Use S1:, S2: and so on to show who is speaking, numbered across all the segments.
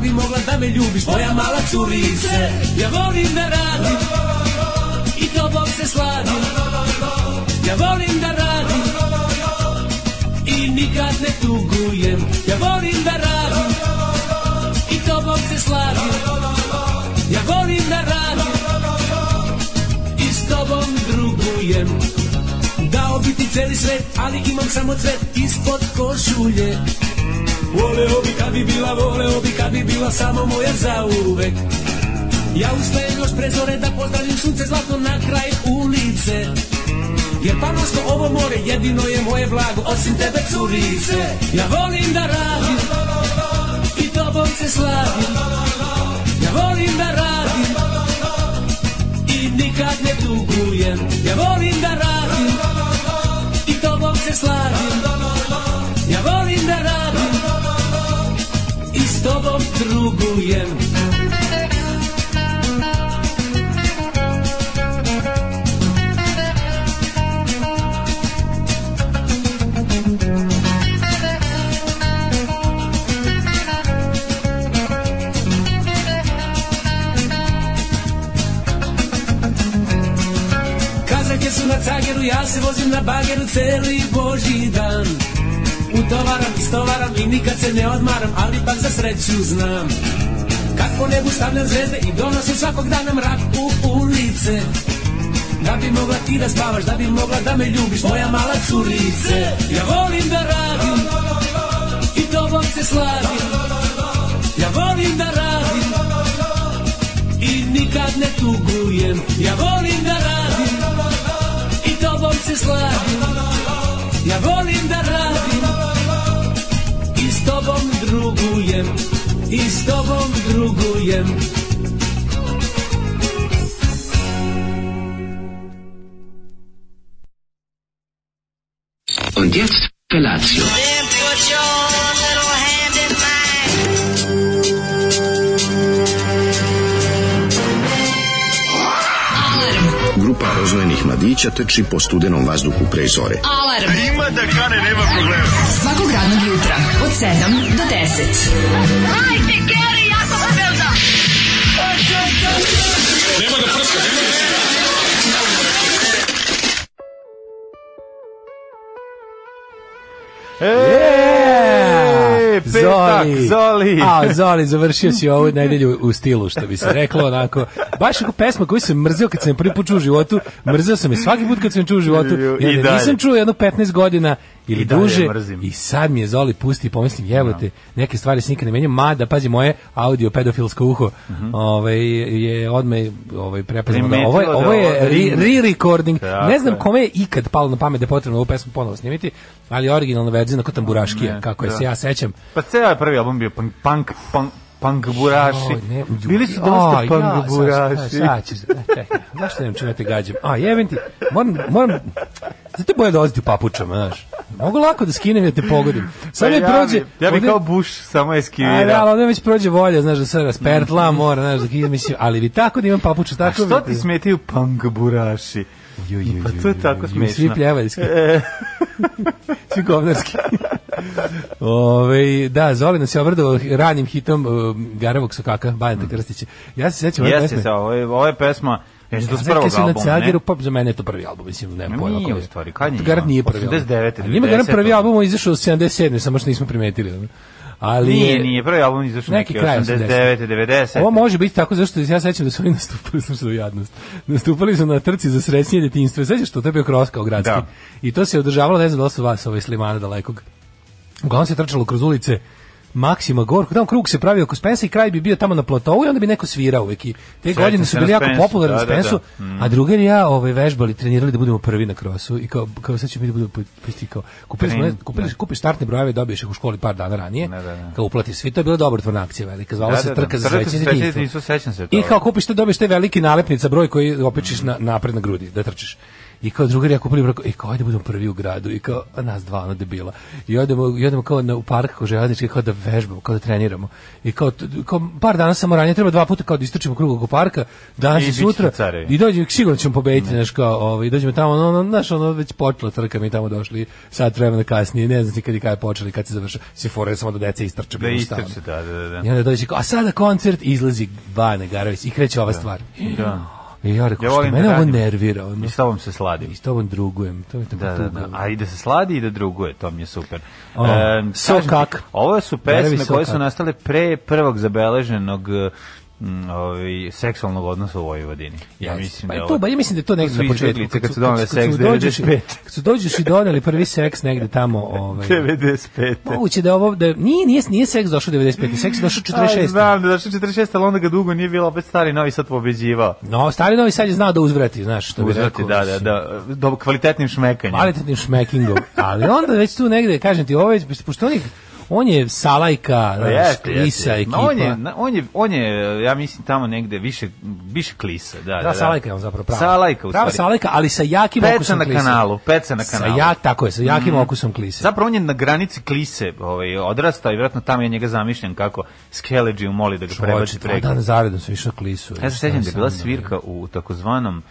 S1: bi mogla da me ljubiš, moja mala curice Ja volim da radim I to Bog se sladim Ja volim da radim I nikad ne tugujem Ja volim da radim I to Bog se sladim Ja volim da radim I s tobom drugujem Dao bi ti celi svet, ali imam samo cvet ispod košulje Voleo bi kad bi bila, voleo bi kad bi bila samo moja zauvek Ja ustajem još prezore da pozdravim sunce zlatno na kraj ulice Jer panonsko ovo more jedino je moje blago osim tebe curice Ja volim da radim i tobom se slavim Ja volim da radim i nikad ne tugujem Ja volim da radim i tobom se slavim Ja volim da radim i s tobom drugujem Kazake su na cageru, ja se vozim na bageru celi božji dan Utovaram, istovaram i nikad se ne odmaram, ali pak za sreću znam Kako nebu stavljam zvezde i donosim svakog dana mrak u ulice Da bi mogla ti da spavaš, da bi mogla da me ljubiš, moja mala curice Ja volim da radim i tobom se slavim Ja volim da radim i nikad ne tugujem Ja volim da radim I tobom se slavim Ja volim da radim I s tobom drugujem I s tobom drugujem
S2: Und jetzt Felatio.
S3: Then put your little hand in mine.
S4: Grupa rozvojenih mladića teči po studenom vazduhu pre zore.
S5: Alarm. A ima da kane, nema problema. Svakog radnog jutra, od 7 do 10.
S6: Hajde, Geri, jako se velda!
S7: Eee, E, petak,
S8: Zoli.
S7: Zoli.
S8: A, Zoli, završio si ovu nedelju u stilu, što bi se reklo, onako. Baš ako pesma koju sam mrzio kad sam je prvi put čuo u životu, mrzio sam je svaki put kad sam je čuo u životu,
S7: I
S8: i onda
S7: dalje.
S8: nisam čuo jedno 15 godina ili
S7: I dalje
S8: duže,
S7: mrzim. Da.
S8: i sad mi je Zoli pusti i pomislim, jebote, neke stvari se nikad ne menjam, mada, pazi, moje audio pedofilsko uho
S7: Mhm.
S8: ovaj, je odmah ovaj, prepoznalo da
S7: Primetilo
S8: ovo je,
S7: da
S8: ovo je
S7: ovo-
S8: re- re-recording,
S7: Tako
S8: ne znam
S7: je.
S8: kome je ikad palo na pamet da je potrebno ovu pesmu ponovo snimiti, ali originalna verzija, onako tamburaškija,
S7: Ne,
S8: kako je
S7: da.
S8: se ja sećam,
S7: Pa ceo je prvi album bio punk, punk, punk, punk buraši.
S8: Joj, ne,
S7: Bili su
S8: joj,
S7: dosta
S8: aj, ja,
S7: punk
S8: sad,
S7: buraši.
S8: Šta, šta ćeš? E, čekaj, zašto nemam čime te gađam? A, jebem ti, moram, moram, zato je bolje dolaziti da u papučama, znaš. Mogu lako da skinem i da te pogodim. Sad mi
S7: ja
S8: prođe...
S7: bi- Pa Ja bi
S8: ovde-
S7: kao Bush samo
S8: A, da, ali
S7: eskivira.
S8: onda već prođe volja, znaš, da se raspertla, mora, znaš, da kidam, mislim, ali bi tako da imam papuču,
S7: A
S8: tako
S7: što
S8: bi-
S7: ti smetaju punk buraši?
S8: Ju, ju,
S7: Pa
S8: ju,
S7: to je
S8: ju,
S7: tako
S8: ju,
S7: smešno.
S8: Svi pljevaljski.
S7: E.
S8: svi govnarski. Ove, da, Zoli nas je obradovao ranim hitom uh, Garavog sokaka, Bajanta Krstića. Ja se sećam ove
S7: Mm. Jeste
S8: pesme.
S7: se, ovo je, ovo je pesma, ja sam to s prvog
S8: Zrke su na
S7: albuma, ne?
S8: Cageru, pa za mene je to prvi album, mislim, nema
S7: Ma
S8: pojma.
S7: nije
S8: koji
S7: u stvari, kad je
S8: To Garant
S7: njima?
S8: nije prvi
S7: 89.,
S8: album. Njima garant prvi
S7: 90.
S8: album on je izašao 77. samo što nismo primetili. ono. Ali
S7: Nije,
S8: je-
S7: nije, prvi album izašao
S8: Neki
S7: neki
S8: kraj
S7: 89. 90.
S8: Ovo može biti tako zašto ja sećam da su oni nastupali slušaj u jadnost. Nastupali su na trci za srećnije detinjstvo. Sećaš što to je bio kros kao gradski.
S7: Da.
S8: I to se je održavalo ne znam da li su vas ovaj Slimana dalekog. Uglavnom se trčalo kroz ulice Maksima Gorku, tamo krug se pravio oko Spensa i kraj bi bio tamo na platovu i onda bi neko svirao uvek. I te
S7: Sećam
S8: godine su
S7: se
S8: bili
S7: na
S8: jako
S7: Spensu,
S8: popularni na
S7: da, da,
S8: Spensu,
S7: da. Mm.
S8: a drugar i ja ovaj, vežbali, trenirali da budemo prvi na krosu i kao, kao sad ćemo mi da budemo pusti kao, kupili smo,
S7: Tren-
S8: ne, kupili,
S2: da.
S8: kupiš startne brojeve, dobiješ ih u školi par dana ranije,
S7: Da, da, da.
S8: kao uplatiš svi, to je bila dobrotvorna akcija velika, zvala
S7: Da,
S8: se
S7: da, da.
S8: trka za
S7: Trka za
S8: srećenje
S7: srećenje
S8: detinjstva.
S7: detinjstva, sećam se
S8: I
S7: toga.
S8: kao kupiš te, dobiješ te veliki nalepnica, broj koji opičiš na, napred na grudi, da trčiš. I kao drugari ja kupili brako, i kao, ajde budemo prvi u gradu, i kao, a nas dva, ono debila. I odemo, i odemo kao na, u park, kao željadički, kao da vežbamo, kao da treniramo. I kao, t- kao par dana samo ranije, treba dva puta kao da istrčimo krug oko parka, danas
S7: I
S8: i,
S7: bit ćete
S8: sutra,
S7: carevi.
S8: i dođemo, sigurno ćemo pobediti, znaš, kao, ovaj, dođemo tamo, ono, ono, znaš, ono, već počela trka, mi tamo došli, sat vremena kasnije, ne znam ti kad i kada je počeli, kad se završa, se fore samo da deca istrče,
S7: Da
S8: bilo šta, ono.
S7: istrče, da, da, da.
S8: I onda dođe kao, a sada koncert i izlazi Bane Garović i kreće ova stvar.
S7: da.
S8: I ja rekao,
S7: Ja
S8: što
S7: volim da
S8: mene ovo
S7: radim.
S8: nervira. Ono.
S7: I s tobom se sladim.
S8: I s tobom drugujem. To mi je tako
S7: Da, da, da.
S8: tuga.
S7: A i da se sladi i da druguje, to mi je super.
S8: O,
S7: Em,
S8: so
S7: kažem ti,
S8: kak.
S7: Ovo su
S8: Berevi
S7: pesme
S8: so
S7: koje su
S8: kak.
S7: nastale pre prvog zabeleženog mm, ovaj, seksualnog odnosa u Vojvodini. Ja
S8: Jeste.
S7: mislim
S8: pa
S7: da
S8: je
S7: je
S8: to,
S7: ovo-
S8: ba, ja mislim da je to negde
S7: su
S8: na početku.
S7: izbeglice kad
S8: su-
S7: su donale
S8: su-
S7: seks
S8: su dođeš i-
S7: 95.
S8: Kad su dođeš i doneli prvi seks negde tamo, ovaj,
S7: 95.
S8: moguće da je ovo, da, nije, nije, nije seks došao 95. Seks je došao
S7: Aj,
S8: 46.
S7: Znam da je došao 46, ali onda ga dugo nije bilo, opet stari novi sad pobeđivao.
S8: No, stari novi sad je znao da uzvrati, znaš, što bi
S7: Uzvrati,
S8: rekao.
S7: da, da, da, do, kvalitetnim šmekanjem.
S8: kvalitetnim šmekingom. Ali onda već tu negde, kažem ti, ovo je, pošto on je, on je salajka,
S7: Pa
S8: znaš, klisa,
S7: Ma
S8: ekipa.
S7: On je, na- on, je, on je, ja mislim, tamo negde više, više klisa. Da, da,
S8: Da, Salajka je on zapravo prava.
S7: Salajka, u
S8: prava
S7: stvari.
S8: Salajka, ali sa jakim
S7: Peca
S8: okusom
S7: na
S8: klise.
S7: kanalu, peca na kanalu. Mhm.
S8: Sa jak, tako je, sa jakim okusom klise.
S7: Zapravo on je na granici klise ovaj, odrastao i vjerojatno tamo ja njega zamišljam kako Skeleđi umoli da ga prebaci
S8: Čovječe, dva
S7: preko.
S8: dana zaredom sam išao klisu.
S7: Ja se sjećam da je bila
S8: pa Sam,
S7: svirka u takozvanom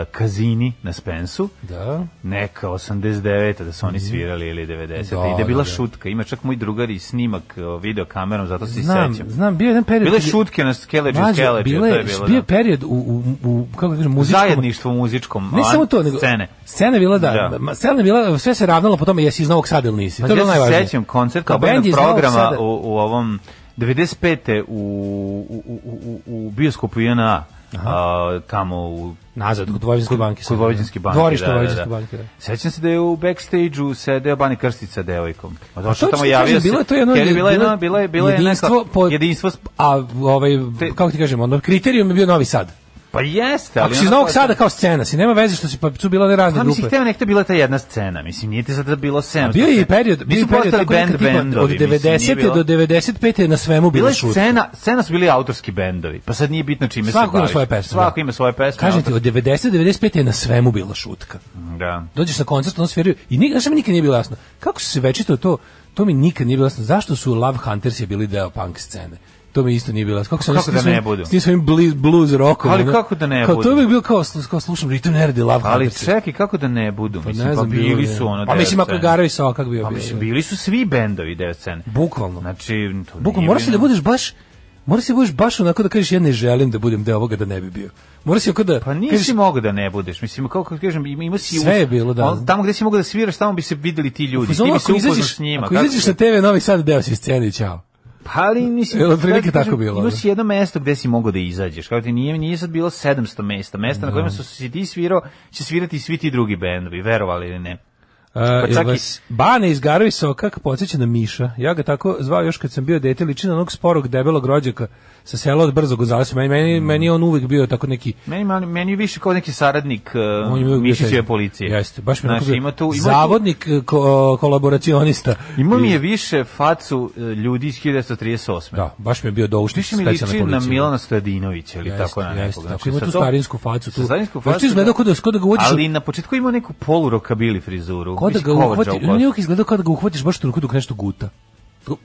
S7: e, kazini na Spensu,
S8: Da.
S7: neka 89. da su oni svirali ili 90. I da
S8: Mhm.
S7: je
S8: Da,
S7: bila
S8: da, da. video
S7: šutka, ima čak moj drugar i snimak e, video kamerom, zato se i
S8: Znam,
S7: sećam.
S8: znam, bio je jedan period...
S7: Bile
S8: kad je-
S7: šutke na Skeleđi,
S8: Mlađe,
S7: Skeleđi, to
S8: bile-
S7: je bilo.
S8: Bio je
S7: Da.
S8: period u, u, u kako kažem, muzičkom...
S7: Zajedništvo u muzičkom,
S8: Ne
S7: a,
S8: samo to, nego
S7: scene.
S8: Scena je bila da,
S7: Da.
S8: ma, scena je bila sve se ravnalo po tome jesi iz Novog Sada ili nisi.
S7: Pa
S8: to je
S7: ja
S8: bilo
S7: se
S8: najvažnije.
S7: sećam koncerta
S8: Kao bend
S7: band
S8: iz Novog
S7: programa
S8: Sada.
S7: u, u ovom 95. u, u, u, u, u bioskopu INA a, tamo u
S8: Nazad kod Vojvodinske banke.
S7: kod Vojvodinske banke.
S8: Dvorište
S7: da, da,
S8: Vojvodinske
S7: da.
S8: banke. Da.
S7: Sećam se da je u backstage-u sedeo Bani Krstić sa devojkom. A došao
S8: ću
S7: tamo
S8: ti
S7: javio
S8: kažem,
S7: se.
S8: bilo je to jedno
S7: jer je bila
S8: bilo je
S7: jedna, bila je, bila je
S8: jedinstvo
S7: neka,
S8: po-
S7: jedinstvo s-
S8: A ovaj
S7: Te-
S8: kako ti kažem, ono kriterijum je bio Novi Sad.
S7: pa jeste, ali
S8: Ako si iz
S7: ono
S8: Novog
S7: kao-
S8: Sada kao scena, si nema veze što si pa su bile one razne
S7: Pa mislim,
S8: grupe.
S7: hteo nekto bila ta jedna scena, mislim, nije ti sad da bilo scena.
S8: Bio je i period, bio je
S7: nisu
S8: period
S7: postali
S8: tako neka
S7: band
S8: tipa
S7: bendovi,
S8: od
S7: mislim, nije
S8: 90.
S7: bilo-
S8: do 95. je na svemu
S7: Bila
S8: bila
S7: je
S8: šutka.
S7: scena, scena su bili autorski bendovi, pa sad nije bitno čime se
S8: Svako ima
S7: baviš.
S8: svoje pesme.
S7: Svako
S8: da.
S7: ima svoje pesme.
S8: Kažem ti, od 90 do 95 je na svemu bila šutka.
S7: autorski- Da.
S8: Dođeš na koncert, on sviraju i nikad, znaš šta mi nikad nije bilo jasno. Kako su se večito to, to mi nikad nije bilo jasno. Zašto su Love Hunters je bili deo punk scene? To mi isto nije bilo jasno. Kako, su oni
S7: Kako da
S8: s tim svojim-
S7: ne budu?
S8: S tim svojim blues, blues rockom.
S7: Ali
S8: ono.
S7: kako da ne
S8: kao,
S7: budu?
S8: To je uvijek bilo kao, slu- kao slušam Ritam Nerede Love
S7: Ali
S8: Hunters.
S7: čekaj, kako da ne budu? Mislim, pa,
S8: bilo
S7: bili
S8: je.
S7: su ono
S8: Pa
S7: deo
S8: mislim, ako
S7: scene.
S8: je Garović sa ovakvog bio.
S7: Pa
S8: bio je.
S7: mislim, bili su svi bendovi deo scene.
S8: Bukvalno.
S7: Znači, to
S8: Bogu,
S7: nije
S8: moraš li da
S7: bilo-
S8: budeš baš Moraš se budeš baš onako da kažeš ja ne želim da budem deo ovoga da ne bi bio. Moraš se onako da
S7: Pa nisi
S8: kažeš,
S7: mogao da ne budeš. Mislim, kako kako kažem, ima ima si...
S8: Sve je
S7: uz-
S8: bilo, da.
S7: on- Tamo gde si mogao da sviraš, tamo bi se videli ti ljudi. Ti
S8: Fuzonu,
S7: bi se
S8: ako
S7: upoznao
S8: izađeš,
S7: s njima.
S8: ako
S7: kako
S8: izađeš
S7: se-
S8: na TV Novi Sad deo si scene i čao.
S7: Pa ali mislim...
S8: Jel otprilike
S7: kako ti kažem,
S8: tako bilo,
S7: Imao
S8: da?
S7: si jedno mesto gde si mogao da izađeš. Kao ti nije, nije sad bilo 700 mesta. Mesta
S8: Da.
S7: na kojima su si ti svirao, će svirati i svi ti drugi bendovi, verovali ili ne.
S8: Uh,
S7: Pa čak
S8: jel
S7: i-
S8: vas Bane iz Garovi Sokak podsjeća na Miša. Ja ga tako zvao još kad sam bio dete, liči na onog sporog debelog rođaka sa sela od Brzog u Zalesu. Meni, meni,
S7: Mm.
S8: meni je on uvijek bio tako neki
S7: Meni, mali- meni je više kao neki saradnik
S8: on je
S7: uh,
S8: bio
S7: Mišićeve policije.
S8: Jeste, baš mi je
S7: Znaš,
S8: onako bio
S7: ima tu, ima tu-
S8: zavodnik e, ko, kolaboracionista.
S7: Ima mi
S8: I-
S7: je više facu uh, ljudi iz 1938.
S8: Da, baš mi je bio doušnik
S7: Više mi
S8: specijalne
S7: liči
S8: policije.
S7: na Milana Stojadinovića ili
S8: Jeste,
S7: tako na
S8: jeste,
S7: nekog. znači,
S8: tako, ima
S7: sa
S8: tu
S7: to-
S8: starinsku facu
S7: sa
S8: tu.
S7: Starinsku
S8: Znaš,
S7: facu.
S8: ti izgledao kao da- kao da ga uvodiš u-
S7: Ali na početku ima neku polu rokabili frizuru.
S8: Kao da
S7: Mislim,
S8: ga
S7: kovača
S8: uhvati,
S7: u
S8: on je
S7: kosu.
S8: uvijek izgledao kao da ga uhvatiš baš u ruku dok nešto guta. Tako,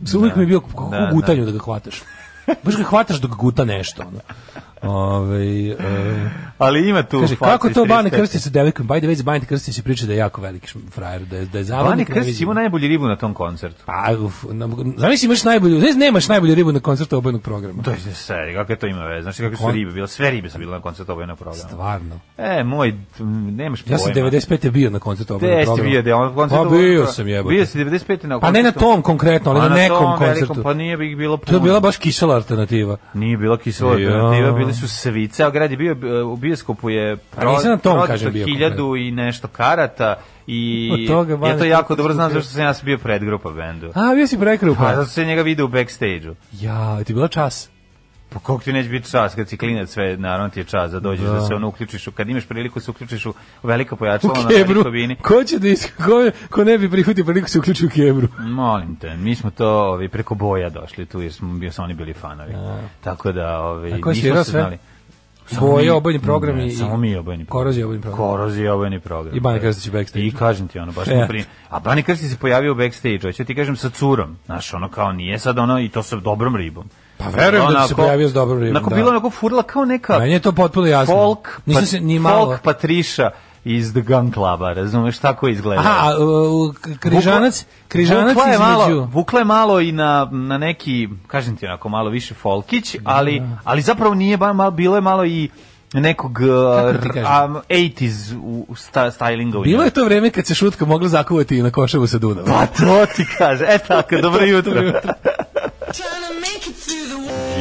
S8: Za uvijek mi je bio kako
S7: da,
S8: u gutanju da. ga hvataš. Baš ga hvataš dok guta nešto. Ono. Ove, e,
S7: Ali ima tu
S8: kaže,
S7: facu
S8: kako
S7: iz
S8: to Bane
S7: 35.
S8: Krstić sa devojkom? Bajde već Bane Krstić se priča da je jako veliki šm- frajer, da je, da je zavodnik.
S7: Bane
S8: ne
S7: Krstić
S8: vidim.
S7: ima najbolju ribu na tom koncertu.
S8: Pa, uf, nam- zamisli imaš najbolju, znaš, nemaš najbolju ribu na koncertu obojnog programa.
S7: To je sve, kakve to ima veze, znači kakve su
S8: Kon-
S7: ribe bile, sve ribe su bile na koncertu obojenog programa.
S8: Stvarno.
S7: E, moj, m, nemaš pojma.
S8: Ja sam 95. bio na koncertu obojnog
S7: Gde ste
S8: programa.
S7: bio da on koncert?
S8: Pa bio sam jebote.
S7: Bio si 95. na
S8: Pa ne na tom konkretno, ali
S7: Pa
S8: na nekom
S7: tom velikom,
S8: koncertu.
S7: Pa nije bi bilo puno.
S8: To je bila baš kisela alternativa.
S7: Nije bila kisela
S8: Ja.
S7: alternativa, bili su svice, a grad je bio, e, u bioskopu je pro,
S8: nisam na tom,
S7: prodato
S8: kažem, bio
S7: hiljadu i nešto karata i
S8: Od toga,
S7: ja to
S8: Vane,
S7: jako dobro znam
S8: skupio.
S7: zašto sam ja bio predgrupa bendu.
S8: A, bio si prekrupa.
S7: Pa zato se njega vide u backstage-u.
S8: Ja, ti je bila čas.
S7: Pa kako ti neće biti čas kad si klinac sve, naravno ti je čas da dođeš, da, se ono uključiš, u, kad imaš priliku se uključiš u velika
S8: U
S7: pojačala na
S8: kebru.
S7: velikoj bini.
S8: Ko će da is- ko, ko ne bi prihvatio priliku da se uključi u kebru.
S7: Molim te, mi smo to ovi, preko boja došli tu jer smo bio, su oni bili fanovi. Tako da, ovi,
S8: A ko
S7: nismo
S8: je svirao
S7: se
S8: sve?
S7: znali.
S8: Boje,
S7: mi-
S8: obojeni program
S7: ne,
S8: i-
S7: samo mi obojeni program.
S8: Korozija obojeni program.
S7: Korozija obojeni program.
S8: I Bane Krstić u backstage-u.
S7: I kažem ti ono, baš
S8: Fet.
S7: na primjer. A Bane Krstić se pojavio u backstage, hoću ti kažem sa curom. Znaš, ono kao nije sad ono i to sa dobrom ribom.
S8: Pa verujem da bi se
S7: Onako-
S8: pojavio s dobrom ribom,
S7: Onako
S8: da.
S7: bilo onako furla kao neka
S8: Meni je to potpuno jasno.
S7: folk,
S8: Nisam
S7: pa-
S8: se ni malo-
S7: folk patriša iz The Gun Cluba, razumeš tako izgleda.
S8: Aha, a, u, k- križanac,
S7: Vukla-
S8: križanac
S7: Vukla je malo,
S8: između...
S7: Vukla je malo i na, na neki, kažem ti onako, malo više
S8: Da,
S7: folkić, ali, ali zapravo nije, ba, malo, bilo je malo i nekog uh,
S8: da ti kažem?
S7: um, 80s u, u sta, stylinga. u
S8: Bilo
S7: njoj.
S8: je to vreme kad se šutka mogla zakuvati i na košavu sa Dunava.
S7: Pa to ti kaže. E tako, dobro jutro.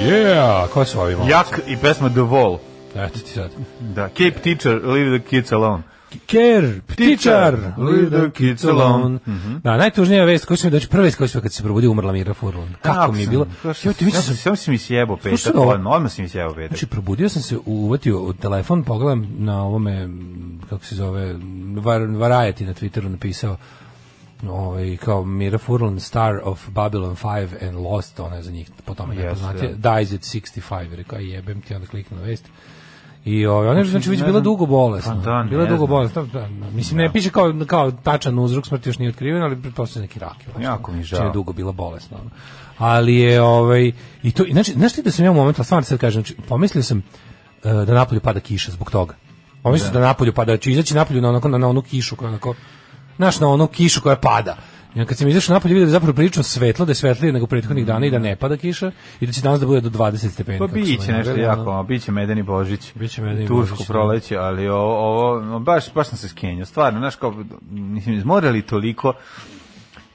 S8: Yeah, ko su ovi momci?
S7: Jak i pesma The Wall.
S8: Eto ti sad.
S7: Da, Cape Teacher, Leave the Kids Alone.
S8: Ker, ptičar,
S7: leave the kids alone.
S8: Da, najtužnija vest koju sam da prva vest koju sam kad se probudio umrla Mira Furlan. Kako mi je
S7: sam-
S8: bilo?
S7: kako sam-
S8: Jo, ti vidiš
S7: ja
S8: sam
S7: sam- Samo si mi sjebao
S8: Slušaj
S7: petak,
S8: ovo.
S7: odmah, odmah si mi sjebao petak.
S8: Znači, probudio sam se, uvatio u telefon, pogledam na ovome, m, kako se zove, var, Variety na Twitteru napisao, ovaj, kao Mira Furlan, star of Babylon 5 and Lost, ona je za njih po tome yes,
S7: Jeste,
S8: nepoznatija,
S7: da.
S8: dies at 65, rekao, aj jebem ti, onda kliknu na vest. I ovaj, ona je znači već bila dugo bolesna.
S7: Pa da, ne
S8: bila je dugo
S7: znam.
S8: bolesna. Da, da, da. Mislim, ne piše kao, kao tačan uzrok smrti još nije otkriven, ali pretpostavljam neki rak. ili nešto.
S7: Jako mi žao.
S8: Čim je dugo bila bolesna. ono. Ali je, ovaj, i to, i znači, znaš ti da sam ja u momentu, stvarno sad kažem, znači, pomislio sam e, da napolju pada kiša zbog toga. Pomislio sam da napolju pada, da ću izaći napolju na, onako, na, na onu kišu koja onako, znaš, na onu kišu koja pada. I onda kad sam izašao napolje vidio da je zapravo prilično svetlo, da je svetlije nego prethodnih dana i da ne pada kiša i da će danas da bude do 20 stepeni.
S7: Pa
S8: kako su me
S7: biće nešto
S8: naveli, ono.
S7: jako, ono, biće Medeni Božić.
S8: Biće Medeni
S7: Tursko
S8: Božić, da.
S7: proleće, ali ovo, ovo no, baš, baš sam se skenio. Stvarno, znaš, kao, mislim, morali toliko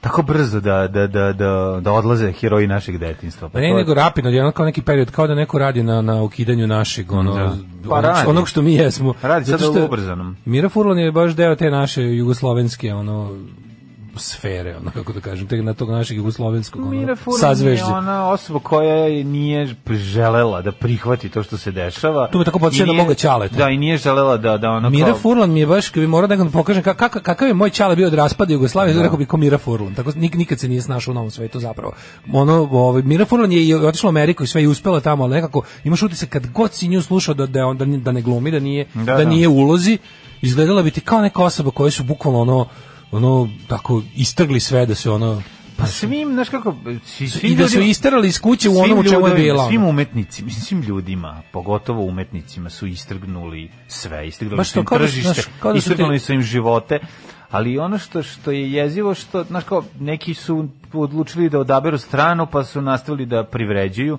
S7: tako brzo da, da, da, da, da odlaze heroji našeg detinstva.
S8: Pa ne,
S7: to je-
S8: nego rapidno, jedan kao neki period, kao da neko radi na, na ukidanju našeg, ono,
S7: Da.
S8: pa
S7: Pa
S8: onog,
S7: radi.
S8: onog što mi jesmo.
S7: Radi
S8: Zato
S7: sada
S8: što
S7: ubrzanom.
S8: Mira Furlan je baš deo te naše jugoslovenske, ono, sfere, ono, kako da kažem, te na tog našeg jugoslovenskog, ono,
S7: Mira Furlan je
S8: sazvežđa.
S7: ona osoba koja je- nije želela da prihvati to što se dešava.
S8: To me tako podsjeća
S7: I
S8: na
S7: nije-
S8: moga Ćaleta.
S7: Da, i nije želela da, da ono
S8: Mira
S7: kao-
S8: Furlan mi je baš, kad bi morao nekako da pokažem ka- kaka- kakav je moj čale bio od raspada Jugoslavije,
S7: Da.
S8: rekao bi ko Mira Furlan, tako nik, nikad se nije snašao u novom svetu zapravo. Ono, ovaj, Mira Furlan je i otišla u Ameriku i sve i uspela tamo, ali nekako imaš utisak kad god si nju slušao da, da, je on- da, ni- da ne glumi, da nije, da,
S7: Da, da.
S8: nije u ulozi, izgledala bi ti kao neka osoba koja su bukvalno ono, ono, tako, istrgli sve da se ono,
S7: Pa svim, znaš kako, svi, svi
S8: i da su
S7: ljudi-
S8: isterali iz kuće u
S7: Svim
S8: onom u čemu je
S7: ljudima,
S8: bila.
S7: Svim
S8: ono.
S7: umetnicima, mislim, svim ljudima, pogotovo umetnicima su istrgnuli sve, istrgnuli
S8: Baš
S7: su
S8: to,
S7: im
S8: kao da su,
S7: tržište,
S8: znaš, kao da su ti-
S7: istrgnuli su im živote, ali ono što što je jezivo što znaš kao neki su odlučili da odaberu stranu pa su nastavili da privređuju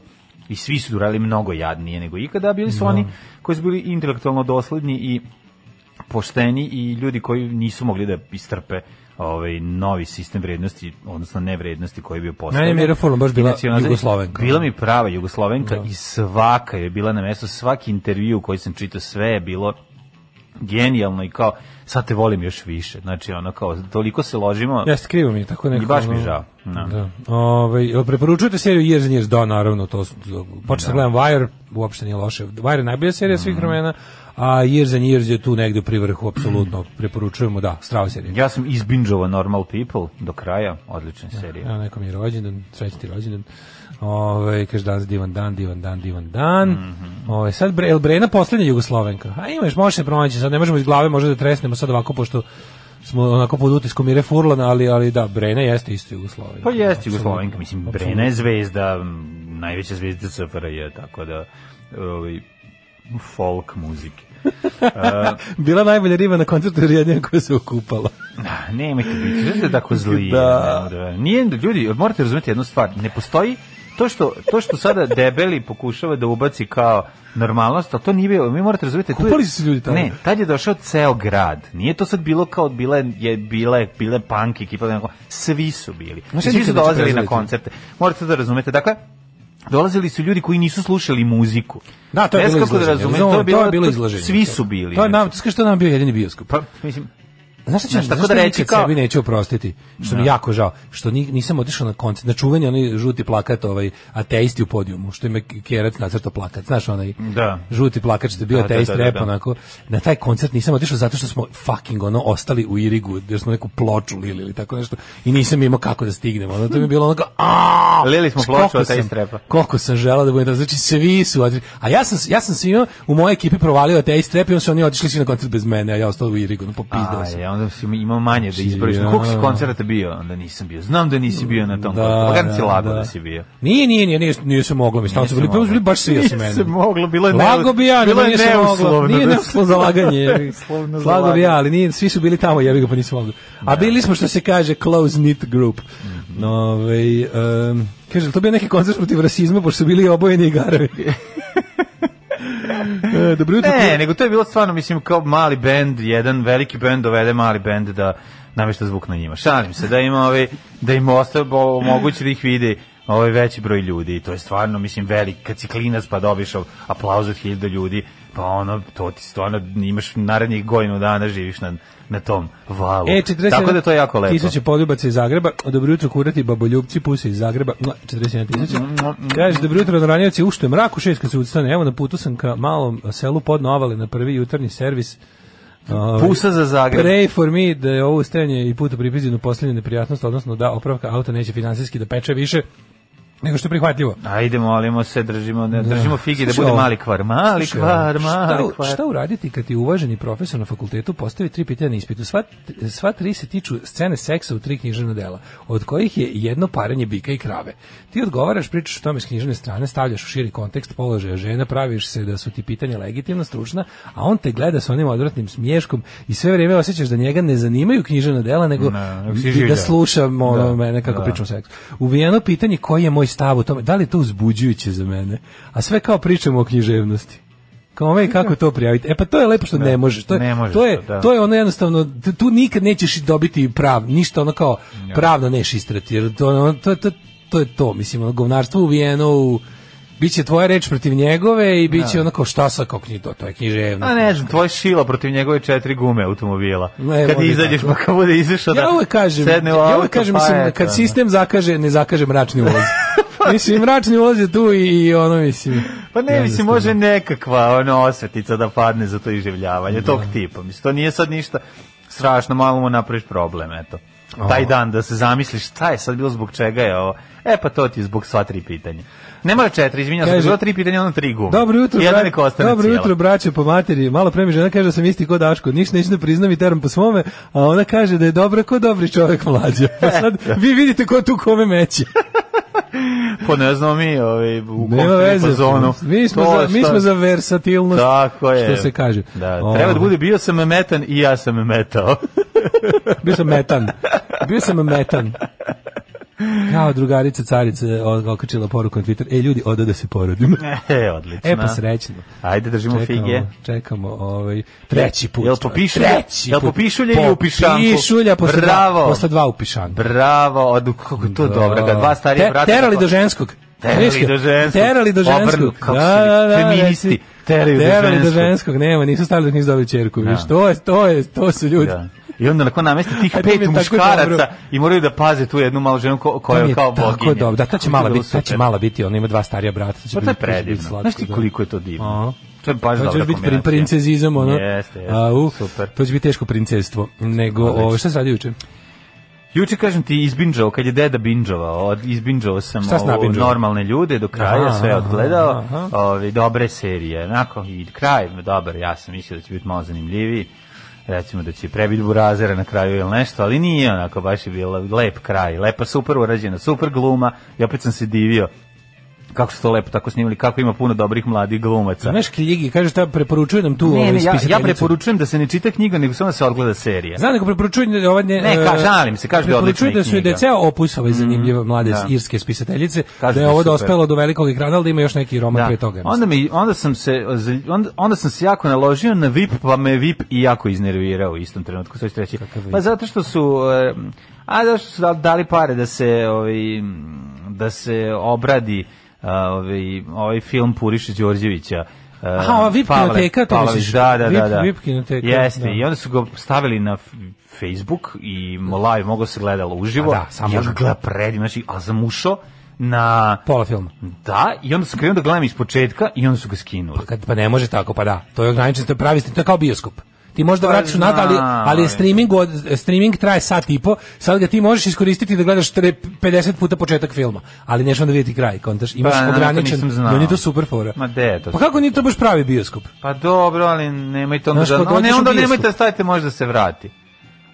S7: i svi su durali mnogo jadnije nego ikada a
S8: Da.
S7: bili su oni koji su bili intelektualno dosledni i pošteni i ljudi koji nisu mogli da istrpe ovaj novi sistem vrednosti odnosno nevrednosti koji je bio postavljen.
S8: Mira Furlan baš bila
S7: I nacionalizam.
S8: Jugoslovenka. Da.
S7: Bila mi prava Jugoslovenka i svaka je bila na mestu, svaki intervju koji sam čitao, sve je bilo genijalno i kao sad te volim još više. Znači ono kao toliko se ložimo.
S8: Jeste, krivo mi je tako neko.
S7: I baš mi
S8: ono,
S7: žao, da.
S8: Da. Ovaj, jel preporučujete seriju Years and Years? Da, naravno, to su, počeo
S7: Da.
S8: sam gledam Wire, uopšte nije loše. Wire je najbolja serija
S7: Mm.
S8: svih vremena, a Years and Years je tu negde pri vrhu, apsolutno. Preporučujemo, da, strava serija.
S7: Ja sam izbinđovao Normal People do kraja, odlična serija.
S8: Evo, nekom je rođendan, srećan ti rođendan. Ove, kaže danas divan dan, divan dan, divan dan.
S7: Mhm.
S8: Ove, sad, Bre, el Brena poslednja Jugoslovenka. A imaš, može se pronaći, sad ne možemo iz glave, može da tresnemo sad ovako, pošto smo onako pod utiskom Mire Furlan, ali, ali da, Brena jeste isto Jugoslovenka.
S7: Pa jeste
S8: Apsolutno.
S7: Jugoslovenka, mislim Brena je zvezda, m, najveća zvezda SFRJ, tako da ovaj folk muzike.
S8: Bila najbolja riba na koncertu jer jedina koja se okupala.
S7: Ah, Nemojte biti, znaš da je tako zli.
S8: Da.
S7: ne, ne, ne. Nije, ljudi, morate razumjeti jednu stvar, ne postoji to što, to što sada debeli pokušava da ubaci kao normalnost, ali to nije bilo, mi morate razumjeti. tu je-
S8: Kupali su se ljudi tamo.
S7: Ne, tad je došao ceo grad. Nije to sad bilo kao bila je, je bila je bile punk ekipa, nego svi su bili.
S8: Znaš, ja
S7: svi su
S8: nikad neću
S7: dolazili na
S8: prezreti.
S7: koncerte. Morate da razumete. Dakle, Dolazili su ljudi koji nisu slušali muziku.
S8: Da, to je
S7: Ne
S8: bilo
S7: znam kako
S8: izlaženje.
S7: Da razumete,
S8: Razumem,
S7: to je bilo,
S8: to je bilo
S7: to-
S8: izlaženje.
S7: Svi su bili.
S8: To je nam,
S7: znači.
S8: to je što nam bio jedini bioskop.
S7: Pa, mislim,
S8: Znaš šta ću,
S7: Znaš,
S8: znaš
S7: tako da
S8: šta
S7: reći
S8: nikad
S7: kao- Da.
S8: sebi neću oprostiti, što mi je jako žao, što ni- nisam otišao na koncert, na čuveni onaj žuti plakat, ovaj ateisti u podijumu, što ime Kjerac nacrtao plakat, znaš onaj
S7: Da.
S8: žuti plakat što je bio
S7: Da, da,
S8: ateist
S7: da, da,
S8: rap,
S7: da.
S8: onako, na taj koncert nisam otišao zato što smo fucking ono ostali u Irigu, jer smo neku ploču lili ili tako nešto i nisam imao kako da stignemo, ono to mi je bilo onako, aaa,
S7: Lili smo
S8: Znaš, koliko
S7: ploču ateist
S8: sam-
S7: rapa.
S8: Koliko sam želeo da budem tamo, znači svi su otišli. A ja sam, ja sam svima u mojoj ekipi provalio ateist rap i onda su oni otišli svi na koncert bez mene, a ja ostao u Irigu, no popizdao
S7: A,
S8: sam.
S7: je, onda si imao manje da izboriš. Na koliko si
S8: Ja.
S7: koncerata bio? Onda nisam bio. Znam da nisi bio na tom koncertu. Pa kad si lago da. si bio.
S8: Nije, nije, nije, nije, nije se moglo, mi stalno su
S7: Nije
S8: bili,
S7: se
S8: prvo su bili
S7: moglo.
S8: baš svi
S7: Nije
S8: osim mene.
S7: se moglo, bilo je
S8: Lago
S7: neus-
S8: bi ja,
S7: bilo
S8: bilo
S7: je
S8: nije se moglo.
S7: neuslovno
S8: Nije
S7: da se-
S8: neuslovno za laganje.
S7: Neuslovno Da. za
S8: Lago bi ja,
S7: laganje.
S8: ali nije, svi su bili tamo, jebi ga, pa nisam mogli. A bili smo, što se kaže, close knit group.
S7: Mhm.
S8: Ovaj em, kaže, jel to bio neki koncert protiv rasizma, pošto su bili obojeni i garovi. E, Dobro jutro.
S7: Ne, nego to je bilo stvarno, mislim, kao mali bend, jedan veliki bend dovede mali bend da namešta zvuk na njima. Šalim se, da ima ovaj, da im ostalo omogući da ih vide ovaj veći broj ljudi i to je stvarno, mislim, velik, kad si klinac pa dobiš ov- aplauz od hiljada ljudi, pa ono, to ti stvarno imaš narednih godinu dana živiš na, na tom valu.
S8: E, 47
S7: Tako da to je jako lepo.
S8: Tisuće poljubaca iz Zagreba. Dobro jutro kurati baboljubci puse iz Zagreba. Mua, 41 tisuća. Kaže, dobro jutro naranjevci, u što je mrak u šest kad se ustane. Evo na putu sam ka malom selu pod Novale na prvi jutarnji servis. Ovaj,
S7: Pusa za Zagreb.
S8: Pray for me da je ovo ustajanje i put u pripizinu posljednje neprijatnost, odnosno da opravka auta neće finansijski da peče više nego što je prihvatljivo.
S7: Ajde, molimo se, držimo, ne, držimo figi da
S8: Slušaj
S7: bude
S8: ovo.
S7: mali kvar. Mali
S8: Slušaj,
S7: kvar,
S8: šta,
S7: mali kvar.
S8: šta uraditi kad ti uvaženi profesor na fakultetu postavi tri pitanja na ispitu? Sva, sva tri se tiču scene seksa u tri književna dela, od kojih je jedno parenje bika i krave. Ti odgovaraš, pričaš o tome s književne strane, stavljaš u širi kontekst položaja žena, praviš se da su ti pitanja legitimna, stručna, a on te gleda sa onim odvratnim smiješkom i sve vrijeme osjećaš da njega ne zanimaju književna dela, nego
S7: Ne, nego si življa.
S8: da slušam ono, mene kako
S7: da.
S8: pričam o seksu. Uvijeno pitanje koji je moj stav o tome, da li je to uzbuđujuće za mene, a sve kao pričamo o književnosti. Kao ome, kako to prijaviti? E pa to je lepo što ne, možeš. To je,
S7: Da, ne možeš
S8: to, je,
S7: to, da.
S8: to je ono jednostavno, t- tu nikad nećeš dobiti prav, ništa ono kao
S7: Da.
S8: pravno neš istrati, jer to, ono, to, to, to je to, mislim, ono, govnarstvo uvijeno u Biće tvoja reč protiv njegove i biće
S7: Da.
S8: ono kao šta sa kao knjigo, to je književnost.
S7: A Pa ne znam, tvoj šila protiv njegove četiri gume automobila.
S8: Ne,
S7: kad
S8: može
S7: izađeš,
S8: tako.
S7: pa kad bude izašao da
S8: ja uvek kažem,
S7: sedne u
S8: ja
S7: auto,
S8: uvek kažem,
S7: pa
S8: mislim,
S7: eto, ono.
S8: kad sistem zakaže, ne zakaže mračni ulaz. mislim, mračni ulaz je tu i, i ono, mislim...
S7: Pa ne, mislim, može nekakva ono, osvetica da padne za to iživljavanje, tog
S8: Da.
S7: tipa. Mislim, to nije sad ništa strašno, malo mu napraviš problem, eto. Taj dan da se zamisliš šta je sad bilo, zbog čega je ovo. E pa to ti je zbog sva tri pitanja. Ne mora četiri, izvinjam se,
S8: Kaže-
S7: bilo tri pitanja, ono tri gume.
S8: Dobro jutro,
S7: Jedna
S8: bra-
S7: neka ostane
S8: Dobro
S7: cijela.
S8: jutro, braće po materi. Malo pre mi žena kaže da sam isti ko Daško. Ništa neću da priznam i teram po svome, a ona kaže da je dobra ko dobri čovjek mlađa.
S7: E,
S8: Pa sad
S7: da.
S8: vi vidite ko tu kome meće.
S7: Pa ne znamo mi, ovaj, u kom
S8: Nema veze.
S7: zonu.
S8: Mi smo,
S7: To
S8: za, mi
S7: šta-
S8: smo za versatilnost.
S7: Tako je.
S8: Što se kaže.
S7: Da, treba da
S8: Ovaj.
S7: bude bio sam metan i ja sam metao.
S8: Bio sam metan. Bio sam metan. Kao drugarica carice okačila poruku na Twitter. E, ljudi, oda da se porodim.
S7: e, odlično.
S8: E, pa srećno.
S7: Ajde, držimo fige.
S8: Čekamo ovaj, treći put.
S7: Jel
S8: čovječe,
S7: popišulja?
S8: Treći
S7: Jel
S8: put.
S7: popišulja ili u pišanku?
S8: Popišulja posle,
S7: Bravo.
S8: dva, posle dva u pišanku.
S7: Bravo, od, kako je to dobro, kad dva starije
S8: Da. Te-
S7: brata...
S8: Terali da
S7: tako-
S8: do ženskog.
S7: Terali
S8: Viš ga?
S7: do ženskog.
S8: Terali do ženskog. Da,
S7: Obrnu, kako su feministi.
S8: reci.
S7: Teraju do
S8: da. Terali do
S7: ženskog.
S8: ženskog. Nema, nisu stavili da nisu dobili čerku. Viš,
S7: Da.
S8: to, je, to, je, to su ljudi.
S7: Da. I onda nakon namesti tih
S8: A to mi je
S7: pet
S8: tako dobro.
S7: muškaraca i moraju da paze tu jednu malu ženu ko, koja
S8: To mi
S7: je
S8: je
S7: kao boginja.
S8: Tako dobro, da, ta će
S7: Kako je
S8: mala
S7: bilo
S8: biti, ta će
S7: super.
S8: mala biti, ona ima dva starija brata. to će
S7: Pa to je
S8: biti- to će biti
S7: predivno.
S8: slatko,
S7: Znaš ti
S8: da.
S7: koliko je to
S8: Aha.
S7: divno? To je baš
S8: To će
S7: dobra
S8: još biti prin-
S7: kombinacija.
S8: princezizam, ono.
S7: Jeste, jeste.
S8: Au,
S7: Super.
S8: To će biti teško princestvo. Nego,
S7: Odlično.
S8: ovo, šta se radi juče?
S7: Juče kažem ti izbinđao, kad je deda binđovao, od- izbinđao sam
S8: Šta si
S7: ovo,
S8: nabinđovao?
S7: normalne ljude do kraja,
S8: Aha,
S7: sve odgledao,
S8: aha, aha.
S7: ove, dobre serije, onako, i kraj, dobar, ja sam mislio da će biti malo zanimljiviji, recimo da će prebiti burazera na kraju ili nešto, ali nije onako, baš je bilo lep kraj, lepa, super urađena, super gluma, i opet sam se divio kako su to lepo tako snimili, kako ima puno dobrih mladih glumaca.
S8: Znaš, Kljigi, kaže, ta preporučuje nam tu
S7: Ne,
S8: ovaj
S7: ne, ja, ja
S8: spisateljicu.
S7: preporučujem da se ne čita knjiga, nego samo da se odgleda serija.
S8: Znam nego preporučujem da ova ne...
S7: Ne, ka-
S8: e,
S7: šalim se, kaže da je
S8: preporučujem
S7: odlična
S8: da su i
S7: knjiga. Mhm,
S8: DC opus ove zanimljive mlade
S7: Da.
S8: irske spisateljice,
S7: Kažu
S8: da je
S7: da je
S8: ovo
S7: super.
S8: dospelo do velikog ekrana, ali da ima još neki roman
S7: Da.
S8: pre toga.
S7: Onda mi onda sam se onda, onda sam se jako naložio na VIP, pa me VIP i jako iznervirao u istom trenutku, što ću reći. Pa zato što su e, a da što su da- dali pare da se ovaj eh, m, da se obradi a, ovaj ovaj film Purišić Đorđevića
S8: Aha, ova VIP
S7: Pavle-
S8: kinoteka, to
S7: Pavlović,
S8: misliš?
S7: Da, da,
S8: VIP-
S7: da, da.
S8: VIP kinoteka,
S7: Jeste,
S8: da.
S7: i onda su ga stavili na f- Facebook i live mogo se gledalo uživo.
S8: A da, samo
S7: I ja ga
S8: uživo.
S7: gleda predim, znači, a zamušao na...
S8: Pola filma.
S7: Da, i onda sam krenuo da gledam iz početka i onda su ga skinuli.
S8: Pa, kad, pa ne može tako, pa da. To je ograničen, to je pravi, to je kao bioskop. Ti možda
S7: Pa
S8: vratiš unazad, ali, ali je
S7: znam.
S8: streaming, od, streaming traje sat i po, sad ga ti možeš iskoristiti da gledaš tre- 50 puta početak filma, ali neš onda vidjeti kraj, kontaš, imaš
S7: Pa, na, na, to
S8: ograničen,
S7: nisam znao.
S8: meni je to super fora.
S7: Ma, de je to
S8: Pa kako nije to baš pravi bioskop?
S7: Pa dobro, ali nemojte onda
S8: Znaš,
S7: da...
S8: kad
S7: No, ne,
S8: dođeš u
S7: onda
S8: bioskop.
S7: nemojte da stavite, možda da se vrati.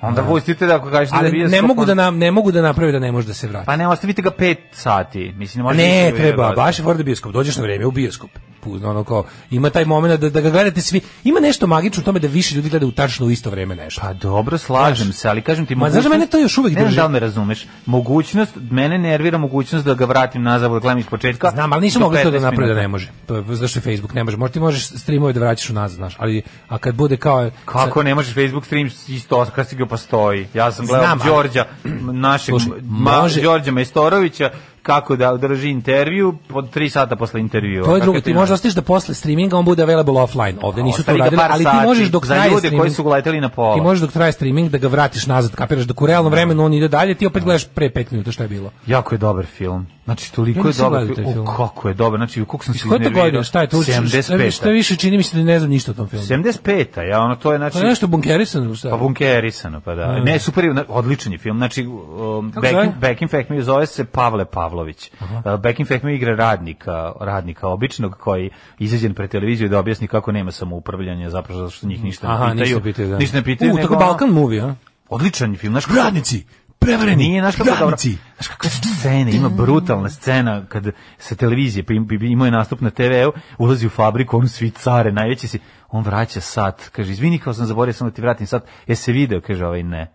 S7: Onda pustite da ako kažete da
S8: Ali
S7: bioskop,
S8: ne mogu da
S7: onda-
S8: nam ne mogu da naprave da ne može da se vrati. Pa
S7: Pa ne, ostavite ga pet sati. Mislim, može
S8: Ne,
S7: više
S8: treba,
S7: vjerovati.
S8: baš je fora da bioskop. Dođeš na vreme u bioskop. Puzno, ono kao, ima taj moment da, da ga gledate svi. Ima nešto magično u tome da više ljudi gleda u tačno u isto vreme nešto.
S7: Pa dobro, slažem se, ali kažem ti
S8: Ma, znaš da mene to još uvek
S7: ne
S8: drži.
S7: znam da li me razumeš. Mogućnost, mene nervira mogućnost da ga vratim nazad, da gledam iz početka.
S8: Znam, ali nisu
S7: do
S8: mogli to da
S7: 15
S8: naprave
S7: minuta.
S8: da ne može. To je zašto je Facebook ne može. Možda ti možeš streamove da vraćaš unazad, znaš, ali a kad bude kao
S7: Kako ne možeš Facebook stream isto kad si ga postoji. Ja sam gledao
S8: Znam, ali-
S7: Đorđa, našeg
S8: Slušaj,
S7: ma,
S8: može-
S7: Đorđa Majstorovića, kako da drži intervju pod 3 sata posle intervjua.
S8: To je
S7: Kako
S8: drugo, ti možda ostaviš da posle streaminga on bude available offline. Ovde nisu to
S7: Ostavi ga
S8: uradili,
S7: par
S8: ali ti
S7: sati
S8: možeš dok
S7: za
S8: traje
S7: ljude koji
S8: streaming.
S7: su ga leteli na pola.
S8: Ti možeš dok traje streaming da ga vratiš nazad, kapiraš da u realnom vremenu on ide dalje, ti opet gledaš pre 5 minuta šta je bilo.
S7: Jako je dobar film. Znači, toliko
S8: Ja
S7: je
S8: nisam
S7: dobar
S8: gledao
S7: film.
S8: taj film.
S7: O, kako je dobar. Znači, koliko sam
S8: Iz
S7: se
S8: koje to
S7: iznervirao.
S8: godine? Šta je to? Šta- Šta
S7: 75.
S8: više čini mi se da ne znam ništa o tom filmu.
S7: 75. Ja, ono, to je, znači...
S8: To je nešto bunkerisano, šta?
S7: Pa bunkerisano, pa da. Ne, super, je, odličan je film. Znači, um,
S8: Kako
S7: Back, in,
S8: zove?
S7: Back in Fact Me zove se Pavle Pavlović. Uh, Back in Fact Me igra radnika, radnika običnog koji izađen pred televiziju da objasni kako nema samoupravljanja, zapravo zato što njih ništa ne
S8: Aha,
S7: pitaju.
S8: ništa pitaju, da.
S7: Ništa ne pitaju,
S8: U,
S7: nego,
S8: tako
S7: ono,
S8: Balkan movie, a?
S7: Odličan je film, znaš kako-
S8: Radnici, prevareni,
S7: Nije, znaš kako je dobro. Znaš kako je scena, ima brutalna scena kad sa televizije, pa im- imao je nastup na TV-u, ulazi u fabriku, on svi care, najveći si, on vraća sat, kaže, izvini kao sam zaboravio sam da ti vratim sat, je se video, kaže, ovaj ne.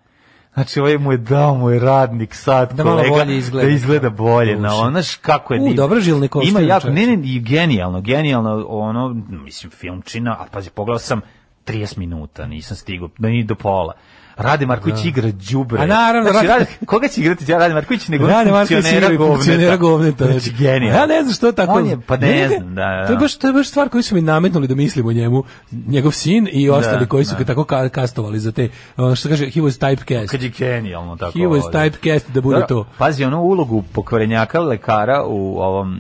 S7: Znači, ovaj mu je dao mu je radnik sat,
S8: Da malo
S7: kolega,
S8: bolje izgleda.
S7: da izgleda bolje, na
S8: Duše.
S7: ono, znaš kako je
S8: U,
S7: divno.
S8: dobro je Žilni kostim,
S7: Ima jako,
S8: čoveče.
S7: ne, ne, i genijalno, genijalno, ono, mislim, filmčina, a pazi, pogledao sam 30 minuta, nisam stigao, da ni do pola. Rade Marković igra đubre.
S8: Da. A naravno,
S7: znači,
S8: Rade-
S7: rade, koga će igrati ja Rade Marković nego
S8: Rade
S7: Rade
S8: Marković
S7: funkcionera
S8: igra i
S7: govneta.
S8: funkcionera govneta.
S7: Znači, genijal.
S8: Ja ne znam što tako.
S7: On je, pa ne,
S8: Njega-
S7: znam, da, da.
S8: To je baš to je baš stvar koju su mi nametnuli da mislim o njemu, njegov sin i
S7: Da,
S8: ostali koji su ga tako ka- kastovali za te ono što kaže he was typecast.
S7: Kad je genijalno tako.
S8: He was
S7: ovo.
S8: typecast da bude
S7: Dobro,
S8: to.
S7: Pazi, onu ulogu pokvarenjaka, lekara u ovom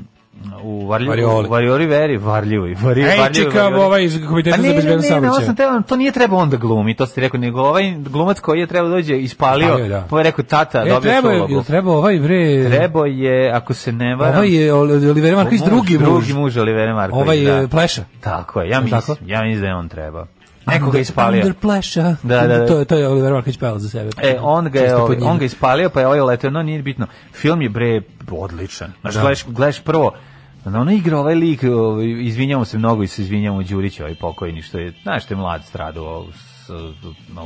S7: u
S8: Varioli.
S7: Varljivoj, Varjori Veri, Varljivoj, Varjivoj,
S8: Ej, čekaj, ovaj iz Komiteta za bezbednost
S7: Pa Ne, ne, ne,
S8: saobraćaja.
S7: ovo sam teo, to nije trebao on da glumi, to ste rekao, nego ovaj glumac koji je trebao dođe,
S8: Ispalio je,
S7: ispalio,
S8: da.
S7: pa je rekao, tata,
S8: E,
S7: dobio
S8: treba, je-
S7: ulogu.
S8: jel treba ovaj bre.
S7: Trebao je, ako se ne varam,
S8: Ovaj je Oliver Marković
S7: muž,
S8: drugi muž.
S7: drugi muž Olivera Marković,
S8: Ovaj
S7: da.
S8: je Pleša.
S7: Tako je, ja mislim,
S8: tako?
S7: ja mislim da je on treba. Nekoga
S8: Under-
S7: je ispalio.
S8: Under Pleša.
S7: Da, da, da.
S8: To je to je Oliver Marković pevao za sebe.
S7: E, on ga je,
S8: Često pod
S7: ovaj,
S8: njim.
S7: on ga je ispalio, pa je ovaj letao, no nije bitno. Film je bre odličan. Znaš, gledaš, gledaš prvo, na ono igra ovaj lik, ovaj, izvinjamo se mnogo i se izvinjamo Đuriću, ovaj pokojni, što je, znaš, što je mlad stradao u, s-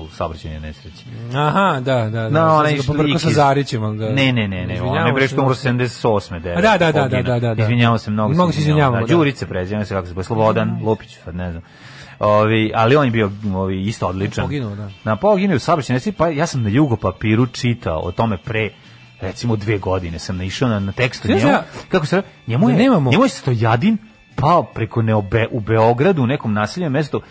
S7: u saobraćajnoj nesreći.
S8: Aha, da, da. da.
S7: No,
S8: Sad
S7: onaj
S8: sam ga
S7: što
S8: pobrkao
S7: lik
S8: sa
S7: iz-
S8: Zarićem, ali da. ga...
S7: Ne, ne, ne, ne, on je bre što umro 78.
S8: A
S7: 9.
S8: da, da, da, da, da, da.
S7: Izvinjavamo se mnogo.
S8: Mnogo se izvinjavamo, da.
S7: Da. Đurice prezivamo se kako se zove, Slobodan Lupić, sad ne znam. Ovi, ali on je bio ovi, isto odličan.
S8: Poginuo, da.
S7: Na poginuo u saobraćaju nesreći, pa ja sam na Jugo papiru čitao o tome pre recimo dve godine sam naišao na, na tekstu
S8: Znaš
S7: njemu,
S8: ja-
S7: kako se njemu je,
S8: Da nemamo-
S7: njemu je stojadin pao preko neobe, u Beogradu u nekom naseljenom mestu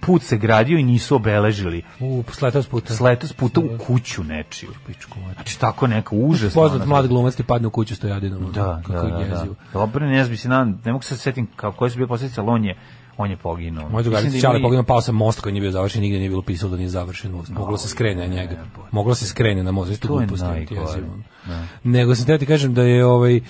S7: put se gradio i nisu obeležili
S8: U, sletao s puta.
S7: sletao s puta u
S8: Da.
S7: kuću nečiju
S8: Pičku mater.
S7: Znači tako neka užasna.
S8: Poznat
S7: ona-
S8: mlad glumac ti padne u kuću stojadinom.
S7: Da, da,
S8: kako
S7: da,
S8: je
S7: da.
S8: jezivo.
S7: Dobro, ne znam, mislim, na- ne mogu se setim kao koje su bile posljedice, ali on je, on je poginuo.
S8: Moj drugar
S7: Mislim da
S8: Čale
S7: ima i-
S8: poginuo, pao sam most koji nije bio završen, nigde nije bilo pisalo da nije završen most. Moglo se skrene na njega. Moglo se skrene na most, isto
S7: pa- To je
S8: glupost.
S7: najgore. da.
S8: Nego sam teo ti kažem da je ovaj e,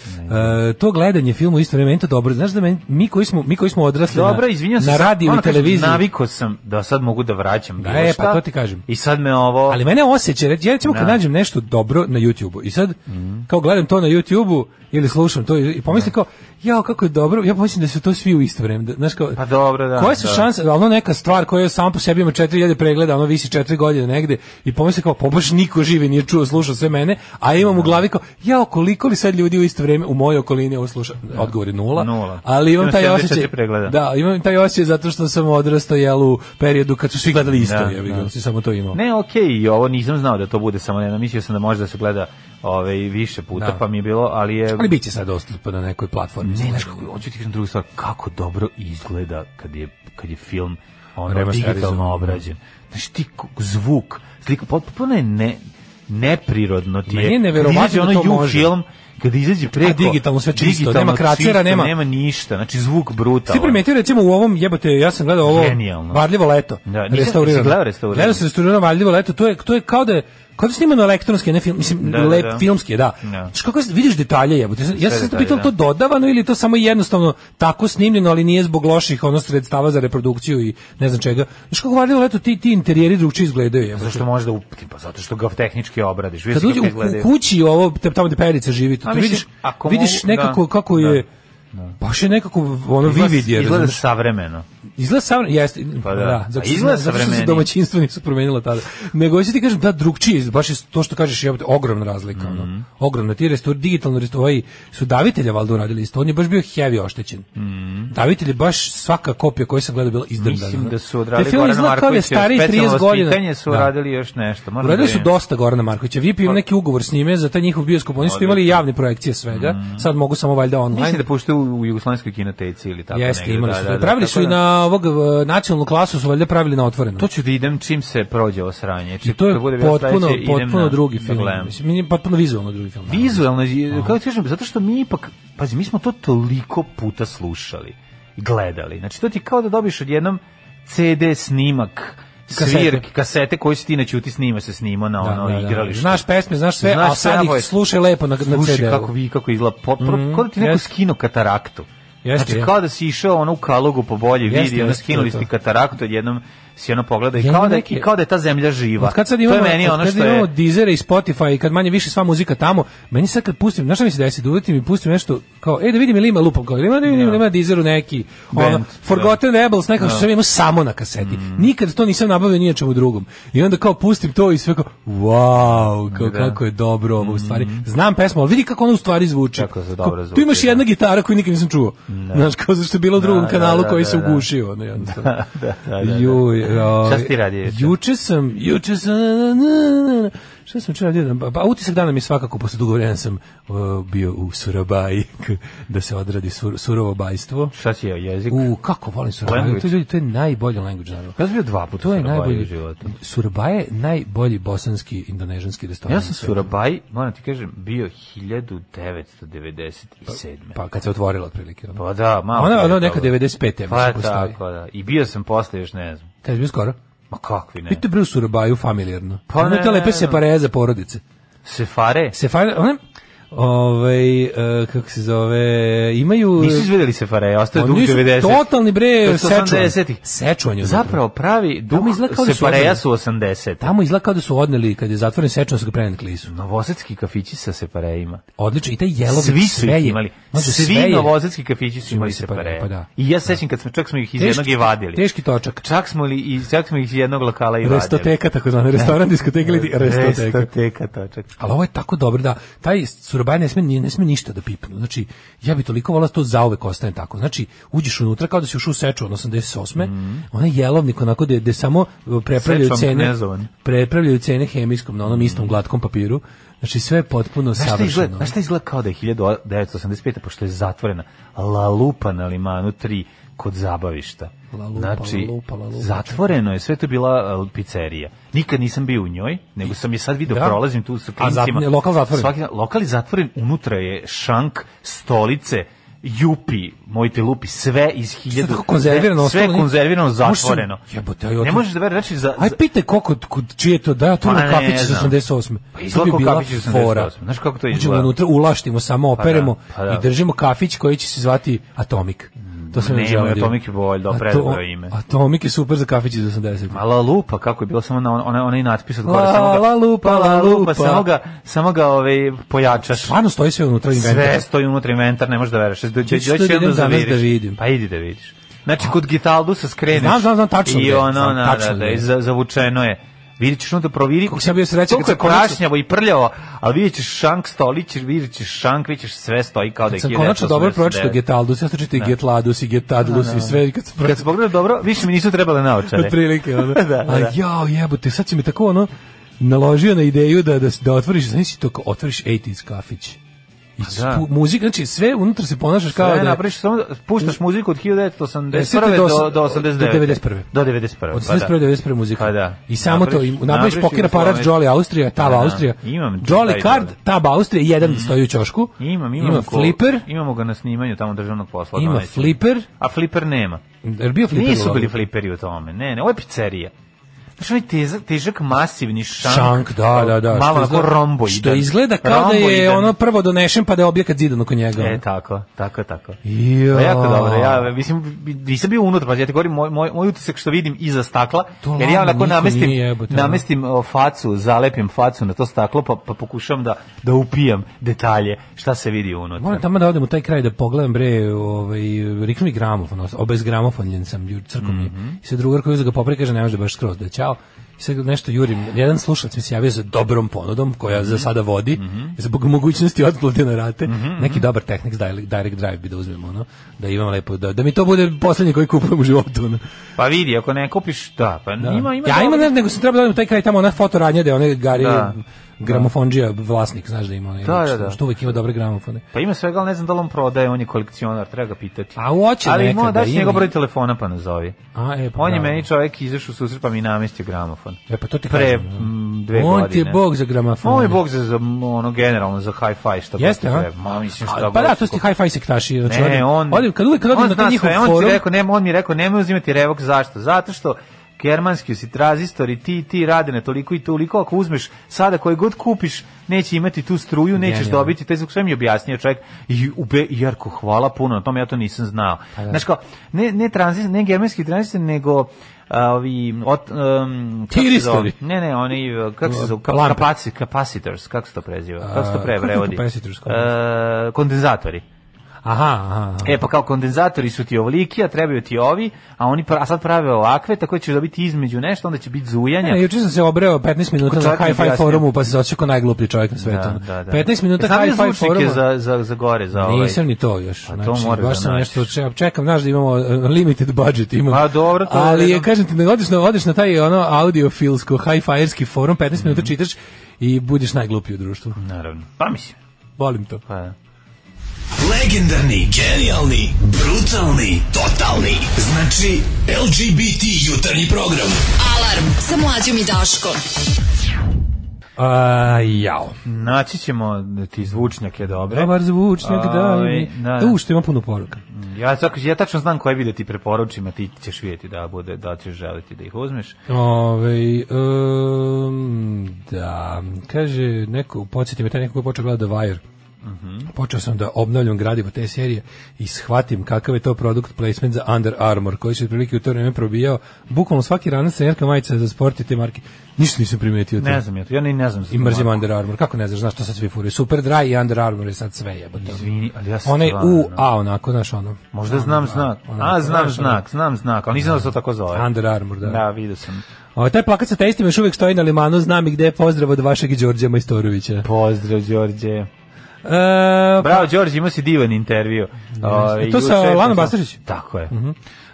S8: to gledanje filma u isto vrijeme meni to dobro. Znaš da meni, mi koji smo mi koji smo odrasli
S7: Dobro,
S8: na,
S7: izvinjam se.
S8: na
S7: sad,
S8: radiju
S7: ono
S8: i
S7: kažem,
S8: televiziji.
S7: Naviko sam da sad mogu da vraćam bilo
S8: e, pa
S7: šta.
S8: to ti kažem.
S7: I sad me ovo...
S8: Ali mene osjeća, ja recimo kad
S7: Da. Mhm.
S8: nađem nešto dobro na YouTubeu i sad kao gledam to na YouTubeu ili slušam to i- i pomislim
S7: Da.
S8: kao jao kako je dobro, ja mislim da su to svi u isto vrijeme. da- Znaš kao
S7: Pa dobro, da,
S8: Koje su
S7: da.
S8: šanse, ono neka stvar koja sama po sebi ima 4000 pregleda, ono visi 4 godine negde i pomislim kao pa baš niko živi nije čuo, slušao sve mene, a imam u
S7: Da.
S8: glavi kao jao koliko li sad ljudi u isto vrijeme u mojoj okolini ovo sluša. Odgovor je nula.
S7: Da. Nula.
S8: Ali imam
S7: Ima
S8: taj
S7: 74
S8: osjećaj.
S7: pregleda.
S8: Da, imam taj osjećaj zato što sam odrastao jel u periodu kad su svi gledali isto,
S7: Da,
S8: jebi ga,
S7: da.
S8: si samo to imao.
S7: Ne, okej, i ovo nisam znao da to bude samo jedno. Mislio sam da može da se gleda ovaj više puta,
S8: Da.
S7: pa mi je bilo, ali je...
S8: Ali biće sad dostupno na nekoj platformi.
S7: Ne, znaš kako, hoću ti kažem drugu stvar, kako dobro izgleda kad je, kad je film ono,
S8: Remasterizovan.
S7: digitalno obrađen. Znaš ti k- zvuk, slika, potpuno je ne, neprirodno ti je.
S8: Meni je
S7: Kad
S8: neverovatno
S7: izađe
S8: da to
S7: ono ju
S8: može.
S7: film, kad izađe preko...
S8: digitalno sve čisto, nema kracera,
S7: čisto,
S8: nema-
S7: Nema ništa, znači zvuk brutalan.
S8: Ti primetio recimo u ovom jebote, ja sam gledao ovo
S7: Genijalno.
S8: Varljivo leto.
S7: Da, nisam-
S8: restaurirano.
S7: jesi gledao restaurirano?
S8: Gledao sam restaurirano Varljivo leto, to je to je kao da je kao da je snimano elektronski, ne film, mislim,
S7: Da, da,
S8: lep,
S7: da.
S8: filmski, je, da.
S7: Da.
S8: Znaš kako vidiš detalje, jebote. Ja sam- Ja sam se sad
S7: detalje,
S8: pitao
S7: da.
S8: to dodavano ili je to samo jednostavno tako snimljeno, ali nije zbog loših ono sredstava za reprodukciju i ne znam čega. Znaš kako Varljivo leto ti ti interijeri drugčije izgledaju, jebote.
S7: Zašto možda upti? Pa zato što ga tehnički obradiš. Vidiš
S8: Kad uđe
S7: kako
S8: u,
S7: izgledaju.
S8: u kući ovo, te- tamo gde perica živi, tu,
S7: A
S8: tu
S7: mislim,
S8: vidiš,
S7: ako
S8: vidiš
S7: mogu,
S8: nekako
S7: da.
S8: kako je, baš je nekako ono
S7: Izgleda-
S8: vivid je,
S7: Izgleda
S8: razumeš?
S7: savremeno.
S8: Izgleda savremeno, jeste,
S7: Pa
S8: pa
S7: da.
S8: da,
S7: A
S8: zato, što,
S7: izgleda
S8: zato što se
S7: savremeniji.
S8: domaćinstvo nisu promenilo tada. Nego hoću ti kažem, da, drugčije, baš je to što kažeš, je ogromna razlika.
S7: Mhm.
S8: ono. Ogromna, ti restaur, digitalno restaur, ovaj su davitelja valjda uradili isto, on je baš bio heavy oštećen. Davitelj je baš svaka kopija koju sam gledao bila izdrdana.
S7: Mhm. Mislim
S8: ono.
S7: da su
S8: Taj
S7: odradili
S8: film
S7: Goran
S8: izgleda kao da je
S7: Marković,
S8: stariji 30 godina.
S7: pitanje su
S8: Da.
S7: radili još nešto. Moram
S8: Uradili
S7: da
S8: su
S7: vidim.
S8: dosta Gorana Markovića. VIP
S7: Pa-
S8: im neki ugovor s njime za taj njihov bioskop. Oni su tu imali javne projekcije svega. Sad mogu samo valjda online.
S7: Mhm. Mislim da puštaju u u jugoslovenskoj kinoteci ili tako
S8: Jeste,
S7: negde,
S8: imali
S7: da,
S8: su.
S7: da, da,
S8: pravili
S7: tako
S8: su i
S7: da-
S8: na ovog e, nacionalnu klasu su valjda pravili na otvoreno.
S7: To ću da idem čim se prođe ovo sranje. Čim
S8: I to je
S7: kad bude bilo
S8: potpuno,
S7: sledeće, idem
S8: potpuno
S7: na-
S8: drugi
S7: da
S8: film.
S7: gledam.
S8: Mislim, meni je potpuno vizualno drugi film. da.
S7: Vizualno, je- kako ti kažem, zato što mi ipak, pazi, mi smo to toliko puta slušali i gledali. Znači, to ti je kao da dobiš odjednom CD snimak,
S8: Kasete.
S7: svirke, kasete koje si ti na ćuti snima se snima na
S8: Da,
S7: ono
S8: da, da.
S7: igralište.
S8: Znaš pesme, znaš sve,
S7: Znaš
S8: a
S7: sve,
S8: sad
S7: ovo je-
S8: ih slušaj lepo na, na
S7: Slušaj
S8: CD-u.
S7: kako vi kako izgleda potpuno mm, kao da ti neko
S8: jeste.
S7: skino kataraktu.
S8: Jeste,
S7: znači
S8: je.
S7: kao da si išao ono u kalogu po bolji
S8: Jeste,
S7: vidi, ono
S8: jeste,
S7: skinuli
S8: to
S7: ste
S8: je to.
S7: kataraktu, odjednom si ono pogleda i
S8: Ja
S7: kao
S8: imam
S7: da,
S8: neke-
S7: i kao da je ta zemlja živa.
S8: Od kad sad imamo,
S7: to je meni
S8: od
S7: ono
S8: kad
S7: što
S8: imamo
S7: je...
S8: Deezera i Spotify i kad manje više sva muzika tamo, meni sad kad pustim, znaš šta mi se desi, da uletim i pustim nešto kao, e da vidim ili ima lupam kao, ili ima, da vidim, ili ima Deezeru neki, ono,
S7: Band, da. Mm.
S8: Forgotten Rebels, nekako što sam imao samo na kaseti. Nikad to nisam nabavio ni na čemu drugom. I onda kao pustim to i sve kao, wow, kao,
S7: Da. Mm.
S8: kako je dobro ovo u stvari. Znam pesmu, ali vidi kako ona u stvari zvuči.
S7: Kako se dobro
S8: Kao, Tu
S7: zvuči,
S8: imaš
S7: da.
S8: jedna gitara koju nikad nisam čuo. Znaš, kao zašto je bilo u drugom
S7: da,
S8: kanalu
S7: da,
S8: koji
S7: da,
S8: se
S7: da.
S8: ugušio. Ono, jednostavno.
S7: da, da, da.
S8: Juj,
S7: Šta
S8: ovaj,
S7: si ti radio juče?
S8: Juče sam, juče sam, na, na, na, na, šta sam učeo radio? Pa, pa utisak dana mi je svakako, posle dugo vremena sam o, bio u Surabaji, k- da se odradi sur, surovo bajstvo.
S7: Šta si jeo, jezik?
S8: U, kako volim Surabaju,
S7: Language.
S8: to, je ljudi, to je najbolji language, naravno.
S7: Ja sam bio dva puta
S8: To je
S7: u Surabaju
S8: najbolji
S7: u životu.
S8: Surabaya je najbolji bosanski indonežanski restoran.
S7: Ja
S8: na
S7: sam
S8: svetu.
S7: Surabaj, moram ti kažem, bio 1997.
S8: Pa kad se otvorila otprilike. ono.
S7: Pa da, malo.
S8: Ona
S7: je
S8: ona
S7: toga.
S8: neka 95. ja
S7: Pa
S8: mislim, postoji.
S7: tako, da. I bio sam posle još, ne znam.
S8: Kad je bio skoro?
S7: Ma kakvi ne.
S8: Pite bre u Surabaju familijarno.
S7: Pa
S8: Pa
S7: ne,
S8: ne, te
S7: ne, ne.
S8: lepe se pare za porodice.
S7: Sefare?
S8: Sefar, one, ovaj, e, kako se zove, imaju...
S7: Nisu izvedeli Sefare, ostaje
S8: Pa
S7: dug
S8: nisu,
S7: 90.
S8: Totalni bre,
S7: To su
S8: sečuan.
S7: 80-ih.
S8: Sečuan je
S7: Zapravo pravi duh
S8: Tamo izgleda kao da su
S7: Separeja
S8: odmah.
S7: su 80.
S8: Tamo izgleda kao da su odneli, kad je zatvoren sečuan, su ga preneli klisu.
S7: Novosadski kafići sa separejima.
S8: Odlično, i taj jelovnik,
S7: Svi su
S8: sve
S7: ih
S8: je-
S7: imali.
S8: Mlađe, sve
S7: Svi
S8: je-
S7: novosadski kafići su imali
S8: separeje,
S7: separeje.
S8: pa da.
S7: I ja se sećam kad smo čak smo ih iz jednog je vadili.
S8: Teški točak.
S7: Čak smo li i čak smo ih iz jednog lokala i vadili.
S8: Restoteka, takozvana, restoran, diskoteka ili restoteka.
S7: Restoteka, točak.
S8: Ali ovo je tako dobro da taj surabaj ne sme, ni- ne sme ništa da pipnu. Znači, ja bi toliko volao da to zauvek ostane tako. Znači, uđeš unutra kao da si ušao u Sečuan 88.
S7: Mhm.
S8: Onaj jelovnik onako da samo e, prepravljaju
S7: Sečuan
S8: cene,
S7: knezovan.
S8: prepravljaju cene hemijskom na onom istom glatkom papiru. Znači, sve je potpuno
S7: Mhm. Znaš šta, izgleda,
S8: savršeno.
S7: znaš šta izgleda kao da je 1985. pošto je zatvorena La Lupa na Limanu 3 kod zabavišta.
S8: La Lupa,
S7: znači,
S8: La Lupa, La Lupa.
S7: zatvoreno je, sve to je bila uh, pizzerija. Nikad nisam bio u njoj, nego sam je sad video,
S8: Da.
S7: prolazim tu sa
S8: A zat-
S7: klincima.
S8: je lokal zatvoren?
S7: Svaki dan- lokal je zatvoren, unutra je šank, stolice, jupi, moj te lupi, sve iz hiljadu...
S8: tako konzervirano,
S7: sve
S8: ostalo-
S7: konzervirano,
S8: Možeš sam-
S7: zatvoreno.
S8: Jebote, aj, otim-
S7: ne možeš da veruješ, znači, za,
S8: Aj
S7: za-
S8: pite koliko kod čije je to da ja to
S7: Pa
S8: na
S7: ne
S8: kafić iz
S7: znam.
S8: 88.
S7: Pa izgleda
S8: To
S7: kao
S8: bi bila
S7: kafić iz 88.
S8: fora.
S7: Znaš kako to
S8: Uđemo
S7: izgleda?
S8: unutra ulaštimo, samo
S7: da,
S8: operemo
S7: pa da.
S8: i držimo kafić koji će se zvati Atomik. To sam
S7: Nemoj,
S8: već želeo da imam.
S7: Atomik je bolje, da,
S8: Ato-
S7: predobro ime.
S8: Atomik je super za kafić iz 80.
S7: A La Lupa, kako je bilo samo na on, onaj, onaj natpis od gore,
S8: La,
S7: samo ga,
S8: La Lupa,
S7: pa
S8: La Lupa.
S7: samo ga, samo ga ovaj, pojačaš.
S8: Stvarno stoji sve unutra
S7: Sve
S8: inventar.
S7: stoji unutra inventar, ne možeš da veruješ. Do,
S8: Hoćeš to da idem danas da vidim?
S7: Pa idi da vidiš. Znači, kod Gitaldusa skreneš.
S8: Znam, znam, znam, tačno
S7: I
S8: gde,
S7: ono,
S8: znam,
S7: na,
S8: tačno
S7: da, da,
S8: gde.
S7: i za, zavučeno je. Vidjet ćeš onda proviri.
S8: Kako sam ja bio srećan kad
S7: Koliko je
S8: sam konačno-
S7: prašnjavo i prljavo, ali vidjet ćeš šank stolić, vidjet ćeš šank, vidjet ćeš sve stoji kao da je
S8: Sam
S7: 1989.
S8: konačno dobro pročito Getaldus, ja sam čitao i
S7: Da.
S8: Getladus i Getadlus i sve. i Kad sam
S7: Kad se pogledao dobro, više mi nisu trebale naočare.
S8: Otprilike, ono.
S7: da, da.
S8: A jao, jebote, sad će mi tako ono naložio na ideju da da, da otvoriš, znači to kao otvoriš 80s kafić. I
S7: da.
S8: spu- muzika, znači sve unutra se ponašaš kao
S7: Sve
S8: da je-
S7: napraviš samo da puštaš muziku od 1981
S8: do
S7: do
S8: osam-
S7: do 89.
S8: do 91..
S7: Do 91.
S8: Od
S7: pa
S8: 71. do 91. muzika.
S7: Pa da.
S8: I samo to, im- napraviš poker aparat
S7: Jugoslaviju.
S8: Jolly Austrija, Tab
S7: Da, da.
S8: Austrija.
S7: Imam taj
S8: Jolly Card,
S7: Jolly.
S8: Tab Austrija, jedan stoji u ćošku.
S7: Imam, imam
S8: Ima
S7: ko-
S8: Flipper,
S7: Imamo ga na snimanju tamo državnog posla.
S8: ima
S7: donećemo.
S8: Flipper.
S7: A Flipper nema.
S8: Jer bio Flipper?
S7: Nisu
S8: u
S7: bili
S8: ovom?
S7: fliperi u tome. Ne, ne, ovo je pizzerija. Znaš, onaj tezak, težak, masivni šank.
S8: Šank, da, da, da.
S7: Malo
S8: izgleda-
S7: onako romboidan.
S8: Što izgleda kao da je
S7: Romboidan.
S8: ono prvo donešen pa da je objekat zidan oko njega.
S7: E, tako, tako, tako.
S8: Jo.
S7: Pa jako dobro, ja mislim, bi- nisam bio unutra, pa ja ti govorim, moj, moj, moj utisak što vidim iza stakla,
S8: To
S7: jer ja
S8: ladno,
S7: onako
S8: niko
S7: namestim,
S8: nije jebote, da. ono.
S7: namestim o, facu, zalepim facu na to staklo, pa, pa pokušam da, da upijam detalje šta se vidi unutra.
S8: Moram tamo da odem u taj kraj da pogledam bre, ovaj riknu mi gramofon, os- obezgramofonjen sam, ju crkom mm
S7: Mhm.
S8: I sad drugar koji uzeo ga popre kaže ne može baš skroz da je ćao. I sad nešto jurim, jedan slušalac mi se javio za dobrom ponudom koja za
S7: Mhm.
S8: sada vodi, zbog mogućnosti otplate na rate,
S7: mhm.
S8: neki dobar Technics Direct- Direct Drive bi da uzmem ono, da imam lepo, da, da mi to bude poslednji koji kupujem u životu. Ono.
S7: Pa vidi, ako ne kupiš, da, pa
S8: Da.
S7: ima, ima...
S8: ja
S7: dobro-
S8: imam, ne- nego sam trebao da odem u taj kraj tamo, ona fotoradnja da je onaj Gari
S7: Da.
S8: gramofondžija vlasnik, znaš da ima onaj,
S7: Da, da,
S8: što,
S7: da.
S8: što uvijek ima dobre gramofone.
S7: Pa ima svega, ali ne znam da li on prodaje, on je kolekcionar, treba ga pitati.
S8: A hoće
S7: Ali
S8: Pa, nekada, da
S7: mo, daš
S8: ima.
S7: njegov broj telefona pa nazovi.
S8: A, e, pa
S7: on je
S8: da.
S7: meni čovjek izašao u susret pa mi je namestio gramofon.
S8: E pa to ti
S7: Pre
S8: kažem, da.
S7: mm, dve
S8: On
S7: godine.
S8: ti je bog za gramofone.
S7: On je bog za, za ono, generalno, za hi-fi što
S8: Jeste, a?
S7: Ma, mislim
S8: A,
S7: što
S8: Pa da, to su ti hi-fi sektaši. Znači,
S7: Ne,
S8: odim-
S7: on...
S8: odim- kad uvijek kad odim
S7: on
S8: na
S7: zna
S8: taj njihov
S7: sve, On
S8: forum,
S7: ti rekao, nema, on mi je rekao, nemoj uzimati revok, zašto? Zato što germanski si tranzistori, ti i ti rade na toliko i toliko, ako uzmeš sada koje god kupiš, neće imati tu struju, nećeš
S8: Genijalno.
S7: dobiti, taj zvuk sve mi je objasnio čovjek, i ube, Jarko, hvala puno na tome, ja to nisam znao.
S8: Pa da.
S7: Znaš kao, ne, ne, tranzist, ne germanski tranzistor, nego a, ovi, ot, um, kako se
S8: Tiristori.
S7: zove? Ne, ne, oni, uh, kako se zove, Kap-
S8: Lampe.
S7: kapaci, capacitors, kako se to preziva, kako se to
S8: A,
S7: pre
S8: kako je
S7: prevodi?
S8: capacitors?
S7: E, kondenzatori.
S8: Aha, aha. aha.
S7: E pa kao kondenzatori su ti ovoliki, a trebaju ti ovi, a oni pra, a sad prave ovakve, tako da ćeš dobiti između nešto, onda će biti zujanja.
S8: Ne, juče sam se obreo 15 minuta na
S7: čovjek mi
S8: hi-fi
S7: objasnio.
S8: forumu, pa se zaočio kao najgluplji čovjek na
S7: Da,
S8: svetu. ono. 15 minuta
S7: E, Znam li
S8: hi-fi
S7: zvučnike
S8: foruma.
S7: Za, za, za gore, za ovaj.
S8: Nisam ni to još.
S7: A to
S8: znači,
S7: moraš
S8: baš
S7: da
S8: sam
S7: nađeš.
S8: nešto čekam, čekam, znaš da imamo eh, limited budget, imamo.
S7: Pa dobro, to je
S8: Ali je,
S7: jedno.
S8: kažem ti, ne odeš na, odeš na taj ono audiofilsko hi-fi-erski forum, 15 minuta čitaš i budeš najgluplji u društvu.
S7: Naravno. Pa mislim.
S8: Volim to.
S7: Pa, da.
S2: Legendarni, genijalni, brutalni, totalni. Znači, LGBT jutarnji program.
S5: Alarm sa mlađom i Daškom.
S8: A, jao.
S7: Naći ćemo ti zvučnjake dobre.
S8: Dobar zvučnjak, da.
S7: Ovaj, da, da.
S8: U, što ima puno poruka.
S7: Ja, tako- ja tačno znam koje bi da ti preporučim, a ti ćeš vidjeti da, bude, da ćeš želiti da ih uzmeš.
S8: Ove, um, da, kaže, neko, podsjeti me, taj neko koji je počeo gleda The Wire.
S7: Mhm.
S8: Počeo sam da obnavljam gradivo te serije i shvatim kakav je to produkt placement za Under Armour, koji se otprilike u to vreme probijao. Bukvalno svaki ranac trenerka majica za sport i te marke. Ništa nisam primetio. od
S7: Ne
S8: toga.
S7: znam ja to, ja ni ne znam. za
S8: Hm. I
S7: tu
S8: mrzim
S7: marku.
S8: Under Armour. Kako ne znaš, znaš što sad svi furaju. Super Dry i Under Armour je sad sve jebote.
S7: Izvini, ali ja sam
S8: Onaj
S7: stvarno-
S8: U, A onako, znaš ono.
S7: Možda znam znak.
S8: ono,
S7: A, znam
S8: znaš, ono.
S7: znak, znam znak, ali nisam da se to tako zove.
S8: Under Armour, da.
S7: Da, vidio sam.
S8: O, Ovaj, taj plakat sa testima još uvijek stoji na limanu, znam i gde je pozdrav od vašeg Đorđa Majstorovića.
S7: Pozdrav, Đorđe.
S8: E, pa-
S7: Bravo, Đorđe, imao si divan intervju. Ovaj,
S8: E, to sa
S7: juče-
S8: Lanom Mhm. Bastarić?
S7: Tako je.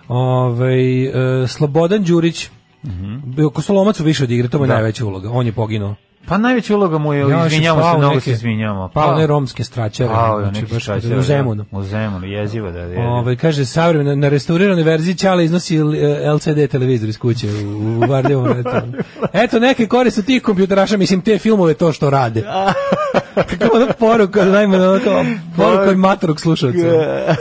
S8: ovaj, e, Slobodan Đurić, bio Kostolomac u više od igre, to mu je
S7: Mhm. Da.
S8: najveća uloga, on je poginuo.
S7: Pa najveća uloga mu je,
S8: Ja,
S7: izvinjamo
S8: pao
S7: se,
S8: u
S7: mnogo
S8: neke-
S7: se izvinjamo. Pa-
S8: Pao one romske straćare,
S7: pao je
S8: znači
S7: neki
S8: baš
S7: štrajcer,
S8: u
S7: da.
S8: Zemunu.
S7: U Zemunu, jezivo da je.
S8: Ovaj kaže savremena na restauriranoj verziji Ćale iznosi L- e, LCD televizor iz kuće u, u Varljevom eto. Eto neke koriste tih kompjuteraša, mislim te filmove to što rade. Kako ona poruka, najmanje ono kao poruka od matorog slušalca.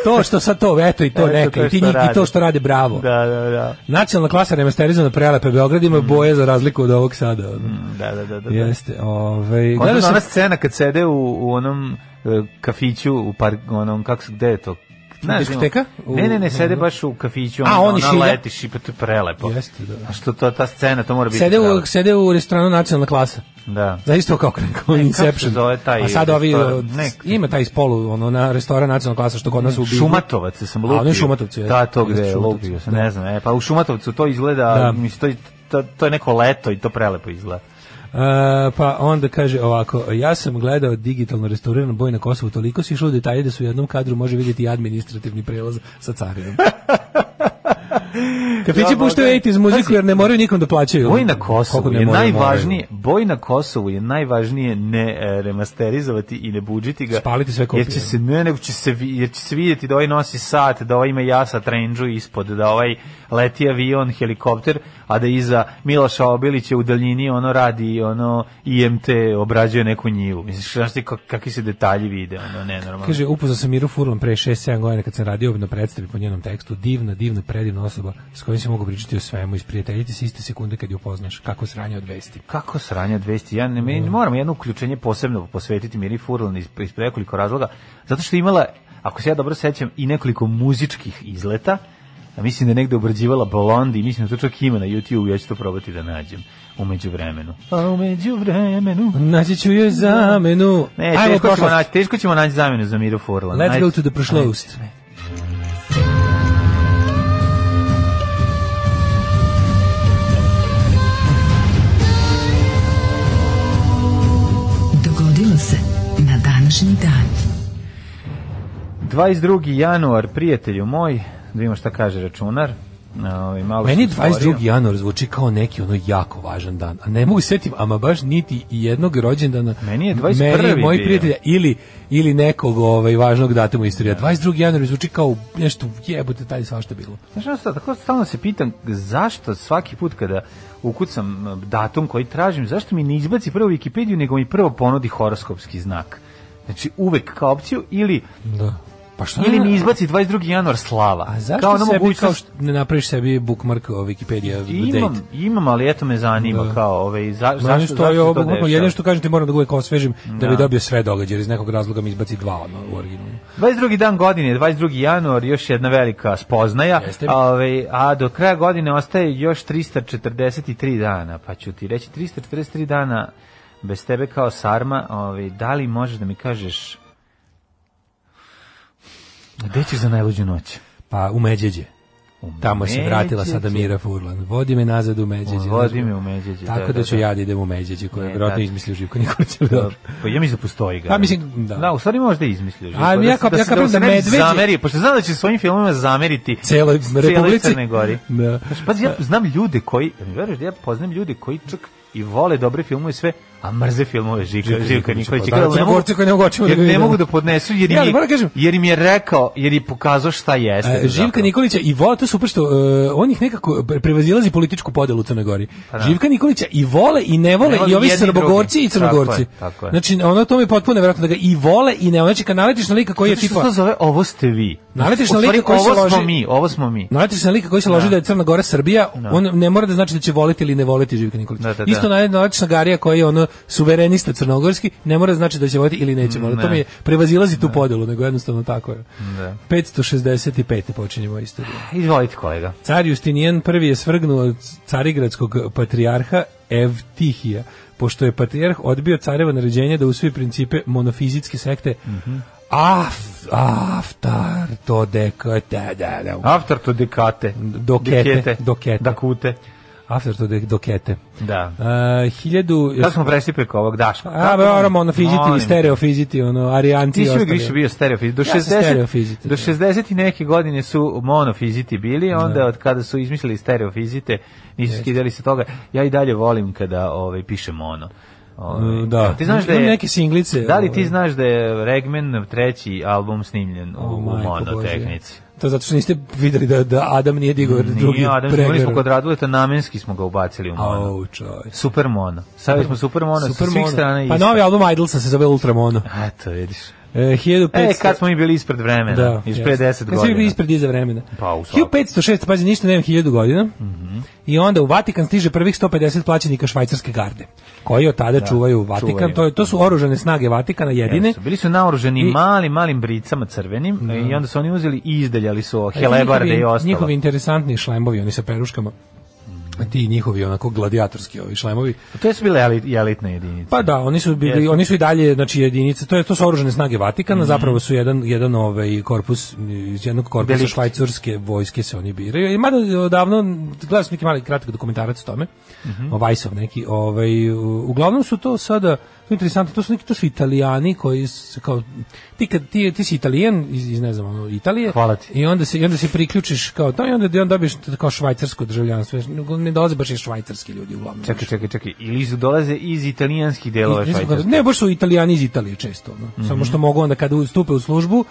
S8: To što sad to, eto i to
S7: Eto
S8: neka,
S7: to
S8: i, ti
S7: što
S8: njih, i
S7: rade.
S8: to što rade, bravo.
S7: Da, Mm. da, da.
S8: Nacionalna klasa remasterizovana prelepe Beograd ima boje za razliku od ovog sada. ono.
S7: Da, da, da, da.
S8: Jeste, ovaj, gledao
S7: Onda
S8: sam-
S7: ona scena kad sede u, u onom e, kafiću, u par, onom, kako se, gde je to? Znaš,
S8: Diskoteka?
S7: ono- Ne, ne, ne, sede baš u kafiću,
S8: A,
S7: ona,
S8: oni
S7: ona
S8: šilja?
S7: leti šipa, pa to je prelepo.
S8: Jeste, da.
S7: A što to, ta scena, to mora biti
S8: Sede u,
S7: prelepo.
S8: sede u restoranu nacionalna klasa.
S7: Da.
S8: Za isto kao kao Inception.
S7: zove taj
S8: A sad ovi
S7: restoran?
S8: od-
S7: Ne.
S8: ima taj spolu ono na restoran nacionalnog klasa što kod nas u Bilju.
S7: Šumatovac sam lupio.
S8: A, ono je Šumatovcu, jeste.
S7: Da, to gde
S8: Jeste
S7: je
S8: Šumatovcu,
S7: lupio sam,
S8: da.
S7: ne znam. E, pa u Šumatovcu to izgleda,
S8: Da.
S7: mislim, to, je- to, to je neko leto i to prelepo izgleda.
S8: E, pa onda kaže ovako, ja sam gledao digitalno restauriran boj na Kosovu, toliko si išlo u detalje da se u jednom kadru može vidjeti i administrativni prelaz sa carinom. Kafići puštaju 80s muziku jer ne moraju nikom da plaćaju.
S7: Boj na Kosovu
S8: Koliko ne
S7: je
S8: moraju,
S7: najvažnije, boj na Kosovu je najvažnije ne e, remasterizovati i ne budžiti ga.
S8: Spaliti sve kopije.
S7: Jer će se, ne, nego će se, vi- jer će se vidjeti da ovaj nosi sat, da ovaj ima jasa trendžu ispod, da ovaj leti avion, helikopter, a da iza Miloša Obilića u daljini ono radi, ono IMT obrađuje neku njivu. Misliš, znaš ti kak- kakvi se detalji vide, ono, nenormalno.
S8: Kaže, upoznao sam Miru Furlan pre 6-7 godina kad sam radio na predstavi po njenom tekstu. Divna, divna, predivna osoba s kojom se mogu pričati o svemu. Isprijateljiti se iste sekunde kad je upoznaš. Kako sranje od vesti.
S7: Kako sranja 200? Ja ne,
S8: Da.
S7: meni moram jedno uključenje posebno posvetiti Miri Furlan iz, iz nekoliko razloga, zato što je imala, ako se ja dobro sećam, i nekoliko muzičkih izleta, a mislim da je negde obrađivala blondi, mislim da to čak ima na YouTube, ja ću to probati da nađem umeđu vremenu.
S8: Pa,
S7: A umeđu vremenu...
S8: Naći ću joj zamenu.
S7: Ne,
S8: Ajmo u
S7: teško ćemo,
S8: prošlost.
S7: naći, teško ćemo naći zamenu za Miru Furlan.
S8: Let's
S7: Ajde.
S8: go to the prošlost.
S5: Dogodilo se na današnji dan.
S7: 22. januar, prijatelju moj, da vidimo šta kaže računar. Ovaj, malo
S8: Meni
S7: sam stvorio.
S8: 22. januar zvuči kao neki ono jako važan dan, a ne mogu setim ama baš niti jednog rođendana.
S7: Meni je 21.
S8: Meni, moji
S7: bio.
S8: prijatelja ili ili nekog ovaj važnog datuma istorije.
S7: Da.
S8: 22. januar mi zvuči kao nešto jebote taj svašta bilo.
S7: Znaš ono sad, tako stalno se pitam zašto svaki put kada ukucam e, datum koji tražim, zašto mi ne izbaci prvo Wikipediju, nego mi prvo ponudi horoskopski znak. Znači, uvek kao opciju ili,
S8: Da. Pa što
S7: ili
S8: ne-
S7: mi izbaci 22. januar slava.
S8: A zašto
S7: kao
S8: kao
S7: ona
S8: sebi kao
S7: mogućnost-
S8: što ne napraviš sebi bookmark o Wikipedia date?
S7: Imam, imam, ali eto me zanima
S8: Da.
S7: kao, ovaj, za,
S8: Meni
S7: zašto, zašto
S8: stoji
S7: se
S8: ovo
S7: to
S8: bookmark,
S7: dešava?
S8: jedino što kažem ti moram da uvek osvežim da bi dobio sve događaje, jer iz nekog razloga mi izbaci dva ono, u originalu.
S7: 22. dan godine, 22. januar, još jedna velika spoznaja,
S8: Jeste.
S7: Ove, a do kraja godine ostaje još 343 dana, pa ću ti reći 343 dana bez tebe kao sarma, ove, da li možeš da mi kažeš gde ćeš za najluđu noć?
S8: Pa u Međeđe.
S7: U
S8: Tamo se vratila
S7: Međeđe.
S8: sada Mira Furlan. Vodi me nazad u Međeđe.
S7: Vodi
S8: znaš,
S7: me u Međeđe,
S8: Tako
S7: da,
S8: da,
S7: da,
S8: ću
S7: da.
S8: ja da idem u Međeđe, koje
S7: Ne,
S8: je vjerojatno
S7: da.
S8: izmislio Živko Nikolić. ali dobro.
S7: Pa ja mislim da postoji ga.
S8: Pa mislim, da.
S7: Da, u stvari možda i izmislio.
S8: A ja kao- ja kapiram da
S7: se ne bi
S8: medveđe-
S7: Zameri, pošto znam da će svojim filmovima zameriti
S8: Cijeloj
S7: cijeloj
S8: Republici.
S7: Crnoj Gori.
S8: Da.
S7: Znaš, pazi, ja znam ljude koji, da mi veruješ da ja poznam ljude koji čak i vole dobre filmove i sve, a mrze filmove Žika,
S8: Živka
S7: Živka
S8: Nikolića,
S7: Nikolića.
S8: pa da,
S7: Kao da ne mogu-
S8: Crnogorci koji ne mogu očima da
S7: jer
S8: ga
S7: ne
S8: vide.
S7: mogu da podnesu, jer, im
S8: Ja, ali
S7: je-
S8: moram kažem-
S7: jer im je rekao, jer je pokazao šta jeste.
S8: E, Živka
S7: zapravo.
S8: Nikolića i vole, to je super što e, on ih nekako pre- prevazilazi političku podelu u Crnoj Gori.
S7: da.
S8: Živka Nikolića i vole i ne vole,
S7: Ne vole
S8: i ovi
S7: jedni i
S8: srbogorci
S7: drugi.
S8: i crnogorci.
S7: Tako je, tako je.
S8: Znači, ono to mi je potpuno nevjerojatno da ga i vole i ne vole. Znači, kad naletiš na lika koji je
S7: Zato što se
S8: tipa...
S7: to zove ovo ste vi.
S8: Naletiš
S7: U
S8: na lika
S7: stvari,
S8: koji se
S7: Ovo smo
S8: loži-
S7: mi, ovo smo mi.
S8: Naletiš se na lika koji se loži da je Crna Gora Srbija, on ne mora da znači da će voliti ili ne voliti Živka Nikolića.
S7: Da, da, da.
S8: Isto na- naletiš na Garija koji je ono suverenista crnogorski, ne mora da znači da će voliti ili neće voliti. To
S7: Mm, ne.
S8: mi je prevazilazi tu podelu, nego jednostavno tako je.
S7: Da.
S8: 565. počinjemo istoriju.
S7: Izvolite kolega.
S8: Car Justinijan prvi je svrgnuo carigradskog patrijarha Evtihija, pošto je patrijarh odbio carevo naređenje da usvoji principe monofizitske sekte
S7: Mhm.
S8: Af, aftar, to deka, da, da, da,
S7: After to dekate.
S8: Dokete, dokete.
S7: Dakute.
S8: aftar, to dek, dokete.
S7: Da.
S8: Uh, hiljadu...
S7: Da smo prešli preko ovog Daška.
S8: A, bro, monofiziti,
S7: Molim
S8: i
S7: te.
S8: stereofiziti, ono, arijanti
S7: Ti
S8: i
S7: si uvijek
S8: ostali.
S7: više bio stereofizit. Do
S8: Ja sam
S7: 60,
S8: stereofizit,
S7: do
S8: da.
S7: 60 i neke godine su monofiziti bili, onda od kada su izmislili stereofizite, nisu skidali se toga. Ja i dalje volim kada ovaj, piše mono. Ovaj,
S8: Mm, da.
S7: Ti znaš da
S8: Imam
S7: je,
S8: neke singlice,
S7: Da li ti
S8: ovaj.
S7: znaš da je Regman treći album snimljen u,
S8: O,
S7: u
S8: majko
S7: mono
S8: Božja.
S7: tehnici?
S8: To zato što niste videli da, da Adam nije digao drugi
S7: Nije, Adam,
S8: pregar.
S7: imali smo kod Raduleta, namenski smo ga ubacili u mono.
S8: Au, čoj.
S7: Super mono. Sad smo super mono sa svih
S8: Supermono.
S7: strana.
S8: Pa
S7: isto.
S8: novi album Idolsa se zove Ultramono.
S7: Eto, vidiš.
S8: E, 1500...
S7: E, kad smo mi bili ispred vremena,
S8: Da,
S7: ispred
S8: jeste.
S7: 10
S8: Kad
S7: godina.
S8: svi bili ispred iza vremena.
S7: Pa, u svakom. Mhm.
S8: 1506, pazi, ništa nema 1000 godina. I onda u Vatikan stiže prvih 150 plaćenika švajcarske garde, koji od tada čuvaju Vatikan.
S7: Da, čuvaju.
S8: To, je, to su oružane snage Vatikana jedine.
S7: Jesu, Bili su naoruženi
S8: I- Da.
S7: malim, malim bricama crvenim i onda su oni uzeli i izdeljali su helebarde i
S8: Njihovi-
S7: ostalo.
S8: Njihovi interesantni šlemovi, oni sa peruškama.
S7: Mhm.
S8: Ti njihovi onako gladijatorski ovi šlemovi.
S7: To su bile elit, elitne jedinice.
S8: Pa da, oni su bili,
S7: Jeste.
S8: oni su i dalje znači jedinice, to je to su oružane snage Vatikana,
S7: Mhm.
S8: zapravo su jedan jedan ovaj korpus iz jednog korpusa
S7: Delikt.
S8: švajcarske vojske se oni biraju. I mada odavno gledao
S7: Mhm.
S8: sam neki mali kratak dokumentarac o tome. O Weissov neki, ovaj u- uglavnom su to sada To je interesantno, to su neki, to su Italijani koji su kao, ti, kad, ti, ti si Italijan iz, iz ne znam, ono, Italije.
S7: Hvala ti.
S8: I onda se, i onda se priključiš kao to i onda, i onda dobiješ kao švajcarsko državljanstvo. Nego Ne dolaze baš i švajcarski ljudi uglavnom.
S7: Čekaj, čekaj, čekaj. Ili su dolaze iz italijanskih delova
S8: Iz- iz-
S7: Švajcarske.
S8: Ne, baš su Italijani iz Italije često. ono.
S7: Mhm.
S8: Samo što mogu onda kada stupe u službu,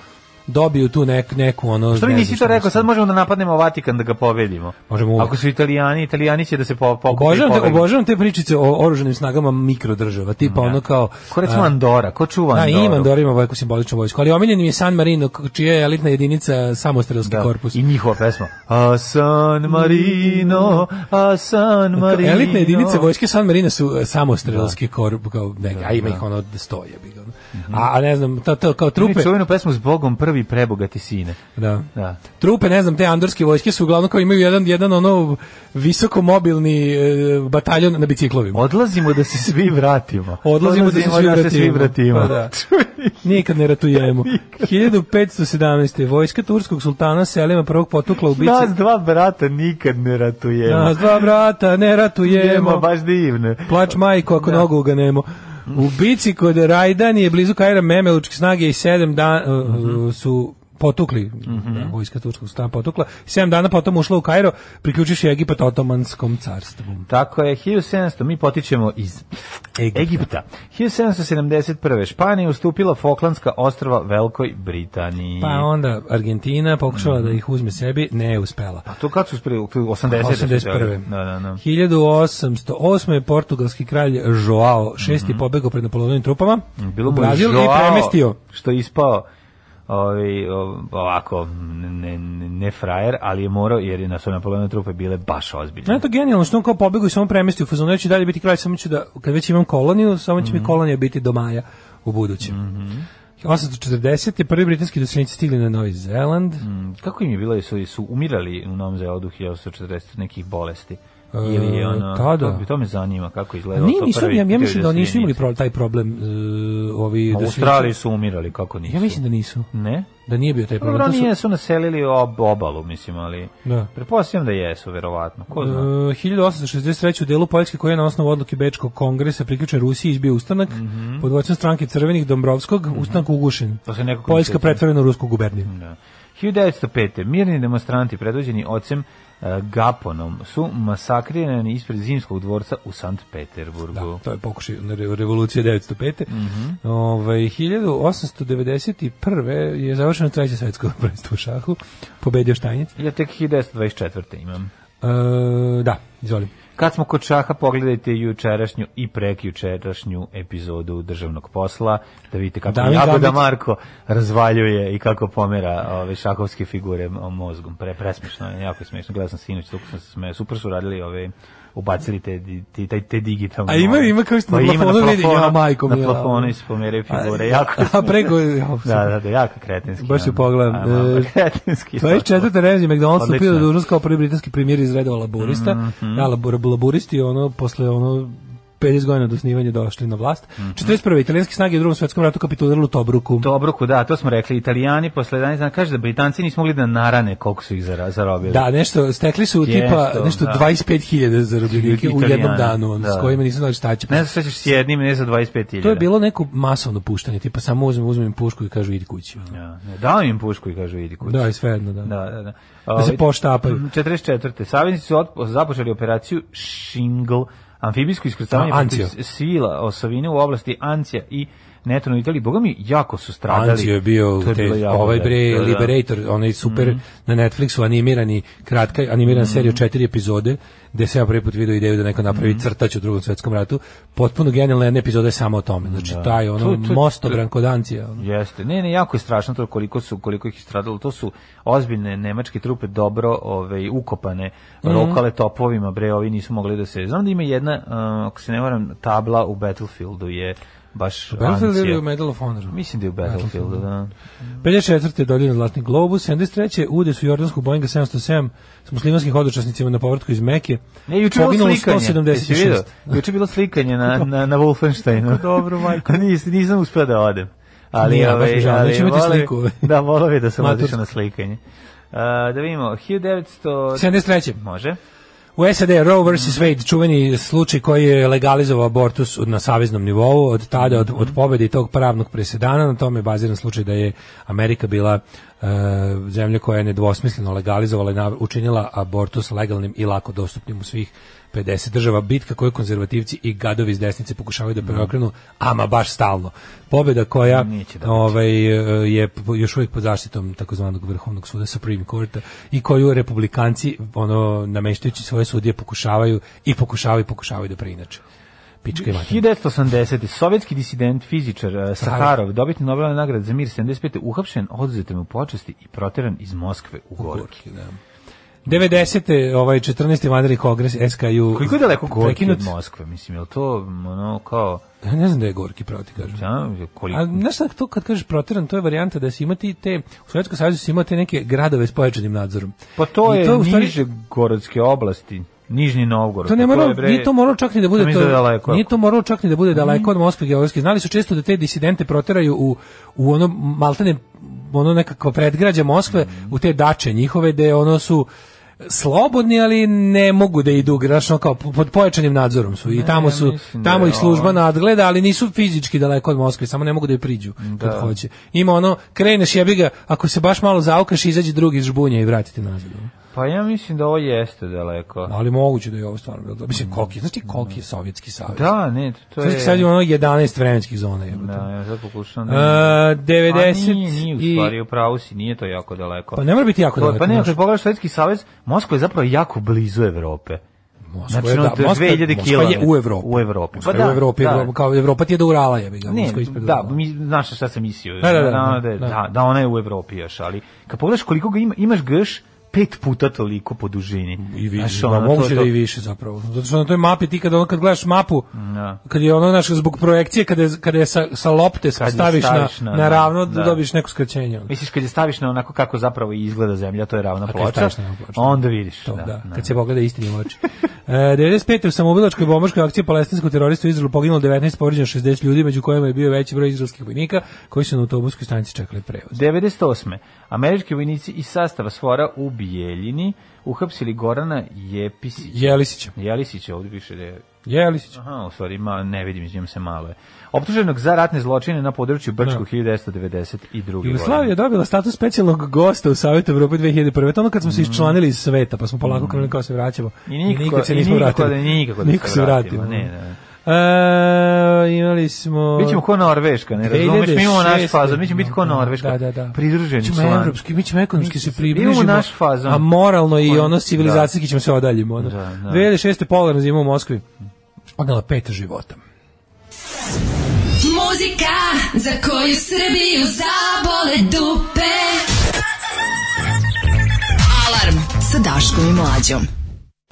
S8: dobiju tu nek, neku ono...
S7: Što mi
S8: ne znam
S7: nisi to rekao?
S8: mislim.
S7: Sad možemo da napadnemo Vatikan da ga pobedimo.
S8: Možemo uvek.
S7: Ako su italijani, italijani će da se po, pokupe i
S8: Obožavam te,
S7: pobegne.
S8: obožavam te pričice o oruženim snagama mikrodržava, tipa ono kao...
S7: Mhm. Da. Ko recimo
S8: a,
S7: Andora, ko čuva
S8: Da,
S7: Andoru?
S8: ima Andora, ima vojku simboličnu vojsku, ali omiljen mi je San Marino, k- čija je elitna jedinica samostrelski
S7: Da,
S8: korpus.
S7: I njihova pesma. A San Marino, a San Marino. Da.
S8: Elitne jedinice vojske San Marina su e, samostrelski korp, kao neka, a ima ih ono da stoje. Bi ga, ono.
S7: Mhm.
S8: a, a ne znam, to, to kao
S7: Trupe.
S8: trupe,
S7: Čuvenu pesmu s Bogom prvi prebogati sine.
S8: da.
S7: Da.
S8: trupe, ne znam, te andorske vojske su uglavnom kao imaju jedan, jedan ono visoko mobilni e, bataljon na biciklovima.
S7: Odlazimo da se svi vratimo.
S8: Odlazimo da se svi
S7: da se svi
S8: vratimo.
S7: vratimo.
S8: Pa da. Nikad ne ratujemo. 1517. Vojska turskog sultana Selima prvog potukla u bici.
S7: Nas dva brata nikad ne ratujemo.
S8: Nas dva brata, ne
S7: Jemo,
S8: ratujemo.
S7: baš divne.
S8: Plač majko ako
S7: Da.
S8: nogu uganemo. U bici kod Rajdan je blizu Kajra Memelučke snage i sedam dana
S7: Mhm.
S8: su potukli, da, vojska turskog sultana potukla, sedam dana potom ušla u Kajro, priključivši Egipat otomanskom carstvu.
S7: Tako je, 1700, mi potičemo iz Egipta. 1771. Španija ustupila Foklandska ostrava Velikoj Britaniji.
S8: Pa onda Argentina pokušala da ih uzme sebi, ne je uspela.
S7: To kad su sprili? 80.
S8: Pa 81.
S7: Mhm. Da, da, da.
S8: 1808. je portugalski kralj Joao VI pobegao pred napoleonovim trupama
S7: Mhm. Bilo
S8: u
S7: mu je
S8: Brazil i
S7: žao
S8: premestio.
S7: Što je ispao ovaj, o- ovako, ne, ne, ne frajer, ali je morao, jer je na svoj napoleone trupe bile baš ozbiljne.
S8: Ne, to je genijalno što on kao pobegao i samo premestio u fazonu, ja ću i dalje biti kralj, samo ću da, kad već imam koloniju, samo
S7: Mhm.
S8: će mi kolonija biti do maja u budućem. 840. je prvi britanski doseljenici stigli na Novi Zeland.
S7: Mhm. Mm, Kako im je bilo, su, su umirali u Novom Zelandu 1940 nekih bolesti? Ili je
S8: E,
S7: ono,
S8: tada.
S7: to, to me zanima kako izgleda
S8: Nije, nisu, ja, ja mislim da nisu imali pro, taj problem e, ovi
S7: U
S8: doseljenici.
S7: Australiji su umirali, kako nisu?
S8: Ja mislim da nisu.
S7: Ne?
S8: Da nije bio taj problem.
S7: Dobro,
S8: To su-
S7: oni su naselili ob, obalu, mislim, ali...
S8: Da.
S7: Pretpostavljam da jesu, verovatno. Ko
S8: E,
S7: zna?
S8: 1863. u delu Poljske koji je na osnovu odluke Bečkog kongresa priključen Rusiji izbio ustanak pod vođstvom stranke Crvenih Dombrovskog, ustanak ugušen.
S7: Mhm. To se nekako
S8: Poljska
S7: ne sjećam.
S8: pretvorena u rusku guberniju.
S7: Da. 1905. Mirni demonstranti predvođeni ocem e, Gaponom su masakrirani ispred zimskog dvorca u Sankt Peterburgu.
S8: Da, to je pokušaj re- revolucije 905.
S7: Mhm.
S8: Mm Ovaj 1891. je završeno treće svetsko prvenstvo u šahu, pobedio Štajnjec.
S7: Ja tek 1924. imam.
S8: E, da, izvolim.
S7: Kad smo kod šaha, pogledajte jučerašnju i prekjučerašnju epizodu državnog posla, da vidite kako
S8: Damir
S7: Jagoda
S8: Gambit.
S7: Marko razvaljuje i kako pomera ove šahovske figure o, mozgom. Pre, presmešno je, jako je smešno. Gledao sam sinoć, toliko sam se smeo. Super su radili ove ubacili te, di- ti- taj- te digitalne.
S8: A ima-
S7: ove-
S8: ima kao što na
S7: ima
S8: plafonu vidi, ja, majko
S7: na
S8: mila.
S7: plafonu se pomeraju figure, jako.
S8: A preko... ja,
S7: Da, da, da, jako kretenski.
S8: Baš ju
S7: ono.
S8: pogledam.
S7: A, malo
S8: E,
S7: kretenski.
S8: 24. Ramsey McDonald stupio na
S7: Odlično. Mhm.
S8: dužnost kao prvi britanski premijer iz reda laborista. Da, labor, laboristi ono posle ono 50 godina od osnivanja došli na vlast.
S7: Mhm.
S8: 41. italijanske snage u drugom svetskom ratu kapitulirali u Tobruku.
S7: Dobroku, da, to smo rekli. Italijani posle 11 dana kaže da Britanci nisu mogli da narane koliko su ih zara- zarobili.
S8: Da, nešto, stekli su
S7: Tijesto,
S8: tipa nešto
S7: da.
S8: 25.000 zarobljenika u jednom
S7: Italijana,
S8: danu, ono, s
S7: da.
S8: kojima nisu znali šta će. pa-
S7: Ne znam šta ćeš s jednim, ne za 25.000.
S8: To je bilo neko masovno puštanje, tipa samo uzmem, uzmem pušku i kažu idi kući. ono.
S7: Ja, ne, dao im pušku i kažu idi kući.
S8: Da, i sve jedno, da.
S7: Da, da, da.
S8: Da se
S7: Ovaj,
S8: poštapaju.
S7: 44. Saveznici su otpo- započeli operaciju Shingle, amfibijsko iskrcavanje
S8: A, Ancio.
S7: protiv svila osovine u oblasti Ancija i Netonu u Italiji. Boga mi, jako su stradali.
S8: Ancio da je bio
S7: To je
S8: te,
S7: bilo jako
S8: ovaj
S7: dobro.
S8: bre
S7: Da, da.
S8: Liberator, onaj super na Netflixu animirani, kratka animirana serija četiri epizode, gde se ja prvi put video ideju da neko napravi crtač u drugom svetskom ratu. Potpuno genijalna jedna epizoda je samo o tome. Znači, taj ono
S7: To- to-
S8: mosto brankodancija. ono.
S7: Jeste. Ne, ne, jako je strašno to koliko su koliko ih je stradalo. To su ozbiljne nemačke trupe dobro, ovaj ukopane,
S8: Mhm.
S7: rokale topovima, bre, ovi nisu mogli da se. Znam da ima jedna, uh, ako se ne varam, tabla u Battlefieldu je baš
S8: Battlefield
S7: Ancija.
S8: ili u Medal of Honor?
S7: Mislim da je u Battlefieldu, da.
S8: 54. je dodeljen Zlatni globus, 73. ude su jordansku Boeinga 707 s muslimanskim hodočasnicima na povratku iz Mekije.
S7: Ne, juče je bilo
S8: Poginulo
S7: slikanje. Jesi vidio?
S8: 176.
S7: Juče je bilo slikanje na, na, na Wolfensteinu.
S8: dobro, majko.
S7: Nis, nisam uspeo da odem. Ali,
S8: Nije, baš mi
S7: ovaj,
S8: žao,
S7: ali
S8: neću imati
S7: voleo bi-
S8: sliku.
S7: Da, volao bi da sam otišao
S8: Matursko.
S7: na slikanje. Uh, da vidimo, 1900...
S8: 73.
S7: Može.
S8: U SAD je Roe
S7: Mhm.
S8: vs. Wade čuveni slučaj koji je legalizovao abortus na saveznom nivou od tada od,
S7: Mhm.
S8: od pobede i tog pravnog presedana na tome je baziran slučaj da je Amerika bila e, zemlja koja je nedvosmisleno legalizovala i nav- učinila abortus legalnim i lako dostupnim u svih 50 država bitka koju konzervativci i gadovi iz desnice pokušavaju da preokrenu, ama baš stalno. Pobeda koja
S7: Neće da
S8: ovaj, e, je p- još uvijek pod zaštitom takozvanog vrhovnog suda Supreme Courta i koju republikanci ono nameštajući svoje sudije pokušavaju i pokušavaju i pokušavaju da preinače. Pička i materna.
S7: 1980. Sovjetski disident, fizičar eh, Saharov,
S8: Saharov.
S7: dobitni Nobelove nagrade za mir 75. uhapšen, oduzet mu počesti i proteran iz Moskve u Gorki.
S8: 90. Da. ovaj 14. vanredni kongres SKU.
S7: Koliko je daleko Gorki
S8: prekinut?
S7: od Moskve? Mislim, je li to ono kao...
S8: Ja Ne znam da je Gorki pravo ti kažem.
S7: Ja, koliko?
S8: A znaš šta, to kad kažeš proteran, to je varijanta da si imati te, u Sovjetskom savjezu si imao te neke gradove s pojačanim nadzorom.
S7: Pa to
S8: I
S7: je
S8: u stvari-
S7: niže gorodske oblasti, Nižni Novgorod.
S8: To ne
S7: pa
S8: moralo,
S7: je, bre,
S8: nije to moralo čak ni da
S7: sam
S8: bude to,
S7: mislio daleko. Mhm.
S8: nije to moralo čak ni da bude daleko od Moskve geografski. Znali su često da te disidente proteraju u, u ono maltene ono nekako predgrađe Moskve,
S7: Mhm.
S8: u te dače njihove gde ono su slobodni, ali ne mogu da idu grašno kao po- pod pojačanim nadzorom su i tamo
S7: ja
S8: su
S7: mislim da
S8: tamo
S7: je
S8: ih služba
S7: ovo-
S8: nadgleda, ali nisu fizički daleko od Moskve, samo ne mogu da je priđu
S7: Da.
S8: kad hoće. Ima ono kreneš jebi ga, ako se baš malo zaukaš, izađe drugi iz žbunja i vratite nazad. ono.
S7: Pa ja mislim da ovo jeste daleko.
S8: Ali moguće da je ovo stvarno bilo. Mislim, koliki, znači koliki je Sovjetski savez?
S7: Mm, Da, ne, to je...
S8: Sovjetski savez ima ono 11 vremenskih zona. Je,
S7: Da, ja sad pokušam...
S8: Uh,
S7: da- A
S8: 90
S7: nije, nije, u
S8: i...
S7: stvari, u pravu si, nije to jako daleko.
S8: Pa ne mora biti
S7: To-
S8: jako daleko.
S7: Pa ne,
S8: znaš.
S7: kad pogledaš Sovjetski savez, Moskva je zapravo jako blizu Evrope.
S8: Moskva
S7: Znači, ono,
S8: da, Moskva-
S7: 2000
S8: Moskva je
S7: kilometara.
S8: u Evropi.
S7: U Evropi.
S8: Moskva
S7: Pa
S8: je
S7: da,
S8: u Evropi,
S7: da.
S8: Evropa, kao Evropa ti je do Urala, jebi ga.
S7: Ne,
S8: Moskva je ispred
S7: da,
S8: Urala.
S7: mi, znaš šta sam mislio.
S8: Da, da, da,
S7: da, da,
S8: da.
S7: da, da, ona je u Evropi još, ali kad pogledaš koliko ga ima, imaš grš pet puta toliko po dužini.
S8: I više,
S7: Znaš,
S8: da,
S7: ono, to-
S8: moguće da
S7: to-
S8: i više zapravo. Zato što na toj mapi ti kada ono kad gledaš mapu,
S7: Da.
S8: kad je ono naš zbog projekcije kada je, kada je sa, sa lopte
S7: je
S8: staviš, na,
S7: staviš na-
S8: na, ravno
S7: da.
S8: da, dobiješ neko skraćenje. ono.
S7: Misliš kad je staviš na onako kako zapravo i izgleda zemlja, to je ravna
S8: Pa kad
S7: ploča,
S8: staviš na ravnu ploču.
S7: onda vidiš.
S8: To, da,
S7: da.
S8: kad se pogleda istini u oči. E, 95. u samoubilačkoj bombaškoj akciji palestinskog terorista u Izraelu poginulo 19, povrijeđeno 60 ljudi, među kojima je bio veći broj izraelskih vojnika koji su na autobuskoj stanici čekali prevoz.
S7: 98. Američki vojnici iz sastava Svora u Bijeljini uhapsili Gorana Jepisića.
S8: Jelisića.
S7: Jelisića, ovdje piše da je
S8: Jelisić.
S7: Aha, u stvari, ma, ne vidim, izvijem se malo je. Optuženog za ratne zločine na području Brčku 1992. godine.
S8: Da. Jugoslavija je dobila status specijalnog gosta u Savjetu Evrope 2001. To ono kad smo se iščlanili iz sveta, pa smo polako krenuli kao se vraćamo.
S7: Mhm. I nikako- i nikako da- nikako da se
S8: se
S7: vratimo,
S8: vratimo.
S7: ne,
S8: E, imali smo...
S7: Bićemo ko Norveška, ne razumeš, mi imamo naš
S8: 2006.
S7: fazon, mi ćemo biti ko
S8: Da,
S7: Norveška,
S8: da, da, da.
S7: pridruženi
S8: ćemo
S7: član.
S8: evropski, mi ćemo ekonomski
S7: Mi ćemo-
S8: se približimo.
S7: imamo naš fazon.
S8: A moralno i
S7: Pa,
S8: ono civilizacijski ćemo se odaljimo. Ono.
S7: Da, da.
S8: 2006. polarna zima u Moskvi. Odnala pet života.
S5: Muzika za koju Srbiju zabole dupe. Alarm sa Daškom i Mlađom.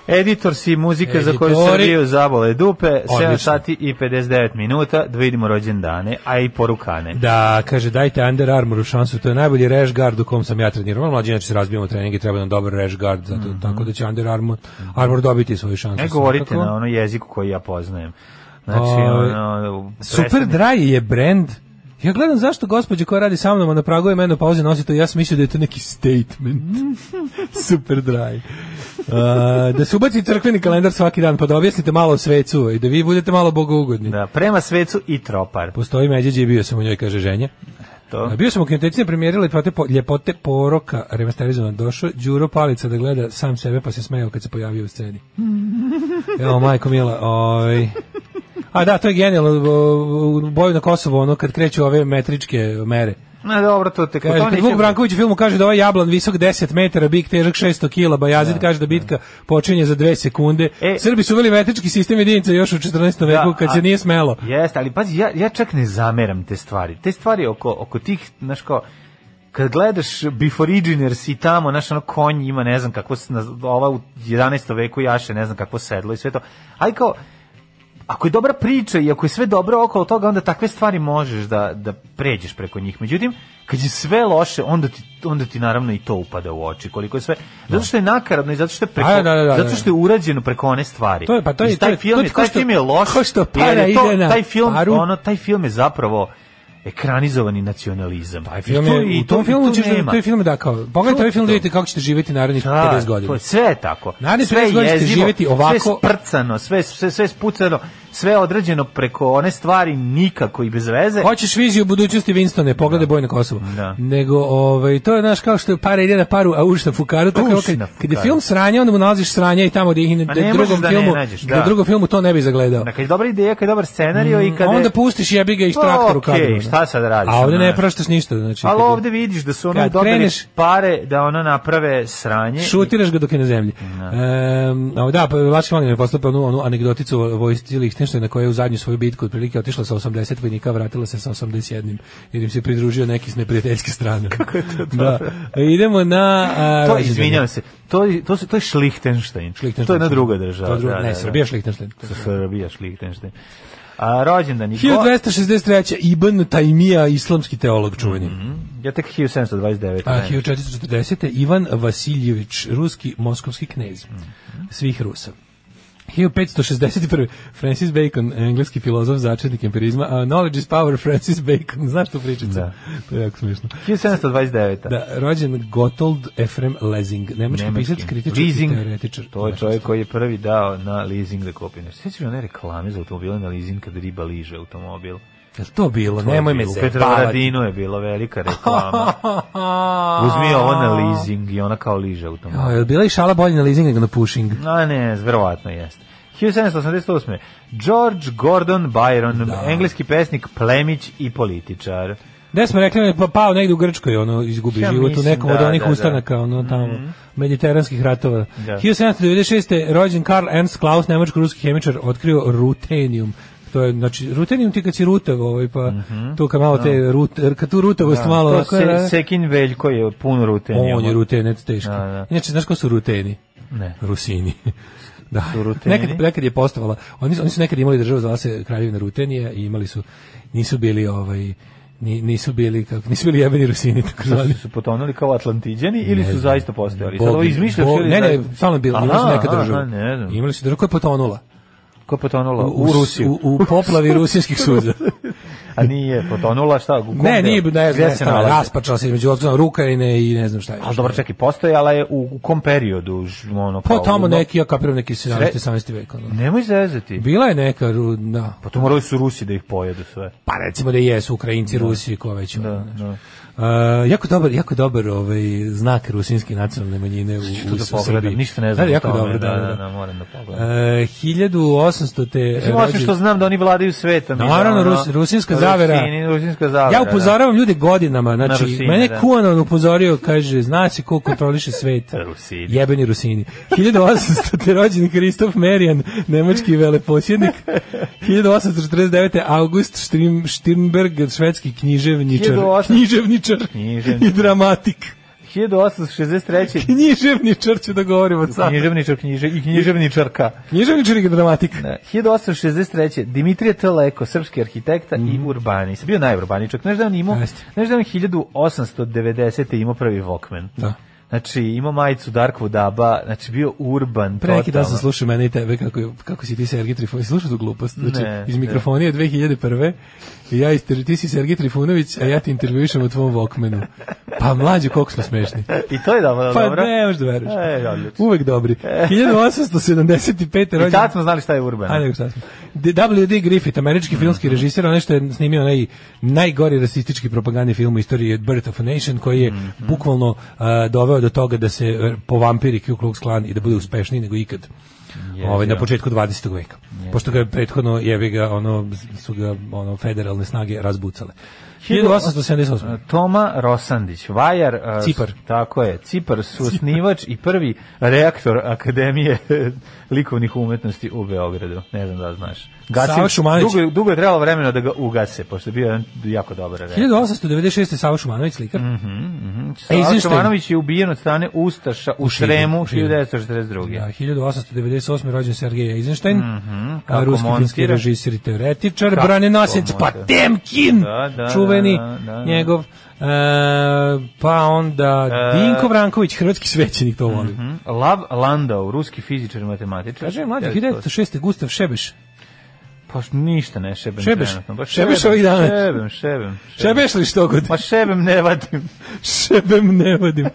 S7: Editor si muzika za koju
S8: Editori.
S7: Srbiju zabole dupe, 7
S8: Odlično.
S7: sati i 59 minuta, da vidimo rođendane, a i porukane.
S8: Da, kaže, dajte Under Armouru šansu, to je najbolji rash guard u kom sam ja trenirao. Mlađi, inače se razbijamo trening i treba nam dobar rash guard, zato, tako da će Under Armour, Armour dobiti svoju šansu.
S7: Ne Mhm. E, govorite
S8: svakako.
S7: na ono jeziku koji ja poznajem. Znači,
S8: Ovaj,
S7: ono,
S8: Super Dry je brand. Ja gledam zašto gospođa koja radi sa mnom a na pragu je menopauze nosi to, ja sam mislio da je to neki statement. Super Dry. Uh, da se ubaci crkveni kalendar svaki dan, pa da objasnite malo o svecu i da vi budete malo bogougodni.
S7: Da, prema svecu i tropar.
S8: Postoji međeđe i bio sam u njoj, kaže ženja.
S7: To.
S8: A Bio sam u kinotecine premijerila ljepote, po, ljepote poroka remasterizovan. Došao Đuro Palica da gleda sam sebe pa se smejao kad se pojavio u sceni. Evo, majko mila, oj... A da, to je genijalno, u u boju na Kosovo, ono, kad kreću ove metričke mere.
S7: Na dobro, to te
S8: Kaže,
S7: to
S8: kad
S7: neće-
S8: Vuk Branković u filmu kaže da ovaj jablan visok 10 metara, bik težak 600 kila, Bajazid kaže da bitka počinje za 2 sekunde.
S7: E.
S8: Srbi su uveli metrički sistem jedinica još u 14. veku kad
S7: a-
S8: se nije smelo.
S7: Jeste, ali pazi, ja, ja čak ne zameram te stvari. Te stvari oko, oko tih, znaš kao, kad gledaš Before Originers i tamo, znaš, ono, konj ima, ne znam kako, se naz- ova u 11. veku jaše, ne znam kako sedlo i sve to. Aj kao, ako je dobra priča i ako je sve dobro okolo toga, onda takve stvari možeš da, da pređeš preko njih. Međutim, kad je sve loše, onda ti, onda ti naravno i to upada u oči. Koliko je sve... Zato što je nakaradno i zato što je, preko,
S8: Da. A, da, da, da,
S7: zato
S8: da.
S7: što je urađeno preko one stvari.
S8: To je- pa to je-
S7: I E, taj
S8: to je-
S7: film,
S8: to je
S7: je,
S8: kao
S7: taj
S8: što-
S7: film je loš.
S8: kao što
S7: jer je
S8: para
S7: to-
S8: ide na
S7: taj film,
S8: paru.
S7: ono, taj film je zapravo ekranizovani nacionalizam.
S8: Taj film je, u tom filmu ćeš, da- taj film je da kao, pogledajte
S7: To-
S8: ovaj film da
S7: to.
S8: vidite kako ćete živjeti narednih
S7: Da,
S8: 50
S7: to
S8: godina.
S7: je sve je tako.
S8: Narednih
S7: sve
S8: 50 godina ćete živjeti ovako.
S7: Sve sprcano, sve, sve, sve spucano, sve određeno preko one stvari nikako i bez veze.
S8: Hoćeš viziju budućnosti Winstone, pogledaj boj na Kosovo.
S7: Da.
S8: Nego, ovaj, to je, znaš, kao što je para ide na paru, a uš na fukaru, tako
S7: Uš
S8: je, kad,
S7: na
S8: kad je
S7: fukaru.
S8: film sranje, onda mu nalaziš sranje i tamo gde ih na
S7: A ne
S8: drugom
S7: možeš da ne
S8: filmu,
S7: nađeš,
S8: da
S7: da.
S8: drugom filmu to ne bi zagledao.
S7: Da, kad je dobra ideja, kad je dobar scenario i kad
S8: A
S7: je-
S8: Mm, onda pustiš jebi ga i
S7: Pa,
S8: traktor u
S7: okej,
S8: kadru. da.
S7: šta sad radiš,
S8: A ovde ne
S7: znaš.
S8: praštaš ništa, znači.
S7: Ali
S8: kad-
S7: ovde vidiš da su ono
S8: Kad
S7: dobili
S8: kreneš-
S7: pare da ono naprave sranje.
S8: Šutiraš ga dok je na zemlji.
S7: Da.
S8: Ehm, a da, pa Vlaški Vagner je postao onu, onu anegdoticu o vojsci Lihtenštajna koja je u zadnju svoju bitku otprilike otišla sa 80 vojnika, vratila se sa 81 jer im se pridružio neki s neprijateljske strane. Kako je to da. E, Idemo na... a,
S7: To
S8: rođendan.
S7: izvinjavam se. To je- to su to je Šlihtenštajn.
S8: Lichtenstein.
S7: To je na druga država.
S8: To je druga-
S7: da,
S8: ne,
S7: da, da.
S8: Srbija je Lichtenstein.
S7: Srbija Šlihtenštajn. A rođendan je
S8: 1263. Ibn Taymija, islamski teolog
S7: Mhm.
S8: čuveni.
S7: Ja tek 1729.
S8: A
S7: Pa ne.
S8: 1440. Ivan Vasiljević, ruski moskovski knez
S7: Mhm.
S8: svih Rusa. 1561. Francis Bacon, engleski filozof, začetnik empirizma. A knowledge is power, Francis Bacon. Znaš tu pričicu?
S7: Da.
S8: To je jako smiješno.
S7: 1729.
S8: Da, rođen Gotold Efrem Lezing, nemački,
S7: Nemački.
S8: pisac, kritičar i
S7: Leasing.
S8: teoretičar. da,
S7: To je čovjek koji je prvi dao na leasing da kupi nešto. Sjećaš se one reklame za automobile na leasing kad riba liže automobil?
S8: Jel to bilo?
S7: To je
S8: Nemoj me
S7: bilo. U
S8: zajebavati.
S7: Petrovaradinu je bila velika reklama. Uzmi ovo na leasing i ona kao liže automobil.
S8: A, Jel bila i šala bolje na leasing nego na pushing?
S7: A ne, verovatno jeste. 1788. George Gordon Byron,
S8: Da.
S7: engleski pesnik, plemić i političar.
S8: Gde smo rekli, on je pa- pao negde u Grčkoj, ono, izgubi
S7: Ja
S8: život u
S7: mislim,
S8: nekom
S7: da,
S8: od onih
S7: da, da.
S8: ustanaka, ono, tamo, mediteranskih ratova.
S7: Da.
S8: 1796. rođen Karl Ernst Klaus, nemačko-ruski hemičar, otkrio rutenijum. To je, znači, rutenijum ti kad si rutav, ovaj, pa tu kad malo te, rut, kad tu rutavost malo...
S7: Mhm. Da. To
S8: onako,
S7: se,
S8: da,
S7: Sekin Veljko je pun rutenja.
S8: on je rutenac teški.
S7: Da, da.
S8: Inače, znaš ko su ruteni?
S7: Ne.
S8: Rusini. da.
S7: Su Ruteni?
S8: nekad, nekad je postavala. Oni, su- oni su nekad imali državu zvala se Kraljevina Rutenija i imali su nisu bili ovaj ni- nisu bili kako nisu bili jebeni Rusini tako zvani.
S7: Su potonuli kao Atlantiđani ili
S8: Ne
S7: su
S8: znam.
S7: zaista postojali? Sad
S8: Bog-
S7: ovo izmišljaš
S8: Bog-
S7: ili
S8: Ne, ne,
S7: zaista-
S8: stvarno je bilo, imali su
S7: Aha,
S8: neka država.
S7: aha, ne znam.
S8: Imali su državu koja je potonula.
S7: Ko je potonula? U,
S8: s-
S7: Rusiju.
S8: U, u poplavi rusijskih suza.
S7: A nije potonula, šta? U kom
S8: ne,
S7: delu?
S8: nije, ne
S7: Gde
S8: znam,
S7: se
S8: stvarno,
S7: nalazi?
S8: raspačala se između Otkrona Rukajne i ne znam šta je.
S7: Ali dobro, čekaj, postojala je u, u kom periodu? Ž- Ono,
S8: Pa
S7: kao-
S8: tamo
S7: u-
S8: neki, ja kapiram neki 17.
S7: Sre-
S8: 18. vek. ono.
S7: Nemoj zezati.
S8: Bila je neka, ru- da,
S7: Pa to morali su Rusi da ih pojedu sve.
S8: pa recimo da jesu Ukrajinci, Rusi, ko već. ono, znaš.
S7: da.
S8: E, jako dobar, jako dobar ovaj znak rusinske nacionalne manjine u, u,
S7: Što da
S8: u
S7: pogledam,
S8: Srbiji.
S7: ništa ne znam
S8: Da, jako
S7: o tome.
S8: dobro, da, da,
S7: da,
S8: da.
S7: moram da pogledam.
S8: E, 1800 te
S7: Mislim,
S8: rođe-
S7: osim što znam da oni vladaju svetom. i da,
S8: Naravno,
S7: ono,
S8: Rus- rusinska zavera.
S7: Rusini, rusinska zavera. da,
S8: Ja upozoravam ljude godinama, znači
S7: Rusine,
S8: mene
S7: da.
S8: Kuanon upozorio, kaže, zna se ko kontroliše svet.
S7: Rusini.
S8: Jebeni Rusini. 1800. te rođen Kristof Merian, nemački veleposjednik. 1849. August Štrim, Štirnberg, švedski književničar.
S7: 1800.
S8: Književničar.
S7: Književničar.
S8: I dramatik.
S7: 1863.
S8: Književničar ću da govorim od sada.
S7: Književničar knjiže, i književničarka.
S8: Književničar i dramatik.
S7: Da. 1863. Dimitrije Teleko, srpski arhitekta i urbanist. Bio najurbanijčak. Znaš da je on imao,
S8: Mhm. Jeste.
S7: znaš da je on 1890. imao prvi Walkman.
S8: Da.
S7: Znači, imao majicu Darkwood Abba, znači bio urban.
S8: Pre neki dan sam
S7: totalno.
S8: slušao mene i tebe kako, je- kako si ti Sergij Trifunović. Slušao tu glupost. Znači,
S7: Ne,
S8: iz
S7: ne.
S8: mikrofonije 2001. I ja, ister, ti si Sergij Trifunović, a ja ti intervjuišem u tvom Walkmanu. Pa mlađi, koliko smo smešni.
S7: I to je dobro,
S8: Pa
S7: dobro.
S8: ne, možda veruješ.
S7: E, odlično. E.
S8: Uvek dobri. 1875.
S7: I tad smo znali šta je urban.
S8: A nego sad Mhm. smo. D- W.D. Griffith, američki filmski režiser, onaj što je snimio onaj najgori rasistički propagandni film u istoriji Birth of a Nation, koji je bukvalno a, doveo do toga da se e, povampiri Ku Klux Klan i da bude uspešniji nego ikad. Ovaj, na početku 20. veka. Pošto ga je prethodno jevi ga ono su ga ono federalne snage razbucale. 1878.
S7: E, Toma Rosandić, Vajar, a,
S8: Cipar.
S7: s- tako je, Cipar su osnivač i prvi reaktor Akademije likovnih umetnosti u Beogradu, ne znam da li znaš.
S8: Sava
S7: Gasio,
S8: Šumanović.
S7: dugo, je- dugo je trebalo vremena da ga ugase, pošto je bio jedan jako dobar reaktor.
S8: 1896. Sava Šumanović slikar.
S7: Sava
S8: Eisenstein.
S7: Šumanović je ubijen od strane Ustaša u
S8: Šibenu,
S7: Sremu
S8: u Šibenu.
S7: 1942.
S8: Da, 1898. rođen Sergej Eisenstein, a
S7: Mhm, kako
S8: ruski filmski
S7: montira.
S8: režiser i teoretičar,
S7: Kako
S8: branenosec
S7: montira.
S8: Potemkin,
S7: Da, da,
S8: čuveni
S7: da, da, da.
S8: njegov, e, pa onda
S7: E,
S8: Dinko Branković, hrvatski svećenik, to volim.
S7: Mhm. Lav Landau, ruski fizičar i matematičar.
S8: Kaže, mlađe,
S7: Ja, to-
S8: 1906. Gustav Šebeš,
S7: Baš ništa ne šebem.
S8: Šebeš?
S7: trenutno. Baš
S8: Šebeš
S7: šebem,
S8: ovih dana?
S7: Šebem, šebem.
S8: Šebeš li što god?
S7: Pa šebem ne vadim.
S8: Šebem ne vadim.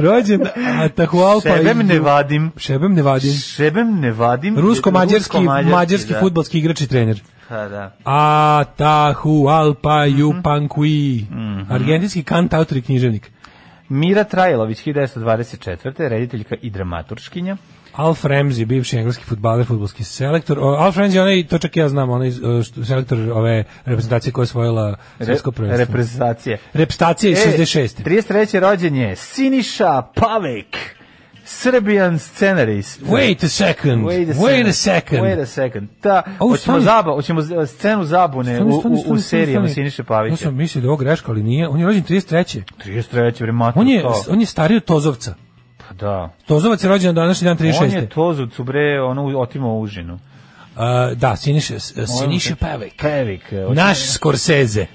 S8: Rođen Atahualpa.
S7: Šebem ne vadim.
S8: Šebem ne vadim.
S7: Šebem ne vadim.
S8: Rusko-mađarski mađarski
S7: da.
S8: futbalski igrač i trener.
S7: Pa da. Mhm.
S8: Atahualpa Yupankui. Argentinski kantautor i književnik.
S7: Mira Trajlović, 1924. rediteljka i dramaturškinja.
S8: Alf Ramsey, bivši engleski futbaler, futbolski selektor. O, Alf Ramsey, onaj, to čak ja znam, onaj e, što- selektor ove reprezentacije koja je osvojila svjetsko prvenstvo.
S7: reprezentacije.
S8: Reprezentacije
S7: E,
S8: 66.
S7: 33. rođen je Siniša Pavek, Srbijan scenarist.
S8: Wait a second. Wait a second. Wait a second.
S7: Wait a second. Da,
S8: A, u,
S7: hoćemo,
S8: stani.
S7: zaba, hoćemo z- scenu zabune
S8: Stani,
S7: u,
S8: stani,
S7: u,
S8: stani,
S7: u
S8: stani,
S7: serijama
S8: stani.
S7: Siniše
S8: Ja
S7: Pavića.
S8: sam mislio da je ovo greška, ali nije. On je rođen 33.
S7: 33. bre, mater,
S8: On je,
S7: to.
S8: on je stariji od Tozovca.
S7: Pa da.
S8: Tozovac je rođen na današnji dan 36.
S7: On je Tozucu, bre, ono, otimao užinu.
S8: A, da, Siniša, Siniša Pevek.
S7: Pavek. e, hoće-
S8: Naš Scorsese.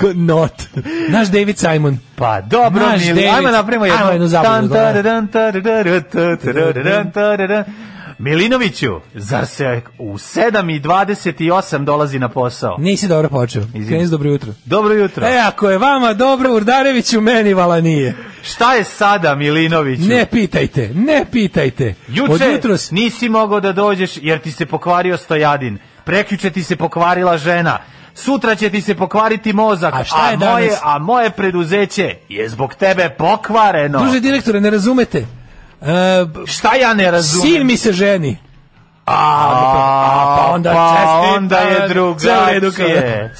S8: Ko- Not. Naš David Simon.
S7: Pa dobro,
S8: Naš
S7: Mili,
S8: David-
S7: ajmo napravimo jednu.
S8: Ajmo jednu da. zabunu,
S7: Tan, da,
S8: dobro.
S7: taradan, taradan, taradan, taradan. da, Milinoviću, zar se u 7 i 28 dolazi na posao?
S8: Nisi dobro počeo. Kreni s dobro jutro.
S7: Dobro jutro.
S8: E, ako je vama dobro, Urdareviću, meni vala nije.
S7: Šta je sada, Milinoviću?
S8: Ne pitajte, ne pitajte. Od
S7: Juče
S8: jutros
S7: nisi mogao da dođeš jer ti se pokvario stojadin. Prekjuče ti se pokvarila žena. Sutra će ti se pokvariti mozak, a,
S8: A šta je
S7: moje,
S8: danas?
S7: a moje preduzeće je zbog tebe pokvareno.
S8: Druže direktore, ne razumete. E, b-
S7: šta ja ne razumem?
S8: sin mi se ženi.
S7: A,
S8: pa onda čestitam,
S7: onda je
S8: sve u redu kad
S7: drugačije.
S8: je.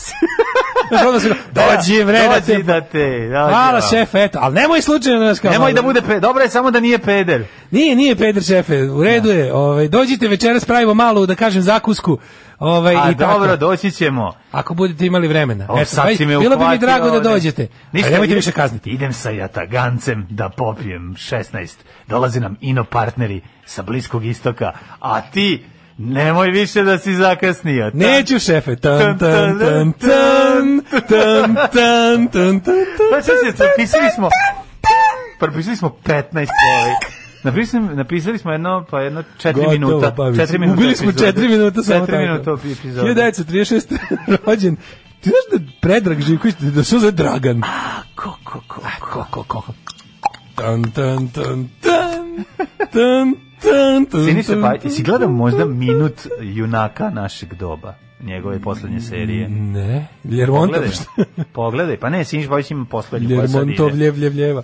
S8: Znaš, odmah se- Dođi vreme.
S7: Dođi
S8: te-
S7: da te. Dođi,
S8: Hvala
S7: da.
S8: šef, eto, ali nemoj slučajno da nas kao...
S7: Nemoj da bude pe, dobro je samo da nije peder.
S8: Nije, nije Peder šefe, u
S7: Da.
S8: redu je. Ovaj dođite večeras pravimo malu da kažem zakusku. Ovaj
S7: A
S8: i tako.
S7: dobro, doći ćemo.
S8: Ako budete imali vremena.
S7: O, sad
S8: pa,
S7: si me
S8: bilo bi mi
S7: uhvatio
S8: drago da
S7: ovde.
S8: dođete. Ništa, nemojte
S7: idem-
S8: više kazniti.
S7: Idem sa Jatagancem da popijem 16. Dolaze nam ino partneri sa Bliskog istoka, a ti nemoj više da si zakasnio. Ta-
S8: Neću šefe. Tan, tan, tan, tan, tan, tan, tan, tan,
S7: Pa šta se, napisali smo... Propisali smo 15 ovaj. Napisali, napisali smo jedno, pa jedno 4
S8: Gotovo,
S7: minuta.
S8: bavi se.
S7: 4 minuta.
S8: Ubili smo
S7: epizode.
S8: 4 minuta samo
S7: Četiri
S8: tako.
S7: minuta epizode.
S8: 1936. rođen. Ti znaš da Predrag Živković, da se on zove Dragan.
S7: Ko, ko, ko, ko.
S8: Ko, ko, ko. Tan, tan, tan, tan, tan, tan, tan.
S7: Sini se pa,
S8: tan, tan.
S7: si gledao možda minut junaka našeg doba, njegove poslednje serije.
S8: Mm, Ne, Ljermontov.
S7: Pogledaj, pogledaj, pa ne, Siniš Bojić ima poslednju koja sad
S8: Ljermontov,
S7: ide.
S8: ljev, ljev, ljeva.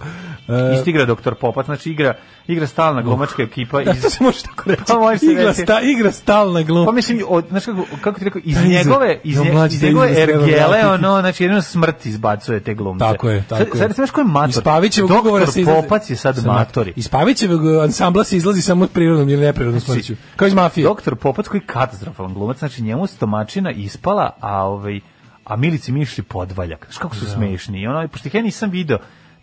S8: E,
S7: Isto igra doktor Popac, znači igra, igra stalna glumačka ekipa
S8: Da,
S7: iz...
S8: to se može tako reći.
S7: Pa može se
S8: igra,
S7: reći.
S8: sta, igra stalna gluma.
S7: Pa mislim, od, znaš kako, kako ti rekao, iz
S8: Da, iza-
S7: njegove, iz,
S8: Ja,
S7: nje-
S8: mlađi,
S7: iz
S8: da
S7: njegove
S8: iza treba
S7: ergele,
S8: vratiti.
S7: ono, znači jedino smrt izbacuje te glumce.
S8: Tako je, tako
S7: sad,
S8: je.
S7: Sad, znaš ko je
S8: Iz
S7: mator?
S8: Pavićevog ugovora se
S7: Doktor
S8: izlazi...
S7: Popac je sad
S8: Sa-
S7: matori.
S8: Iz Pavićevog ansambla se izlazi samo od prirodnom ili neprirodnom smrću. Kao iz mafije.
S7: Znači, Doktor Popac koji je katastrofalan glumac, znači njemu stomačina ispala, a ovaj a Milici Mišli podvaljak. Znaš kako su smešni. I ono, pošto ih ja nisam video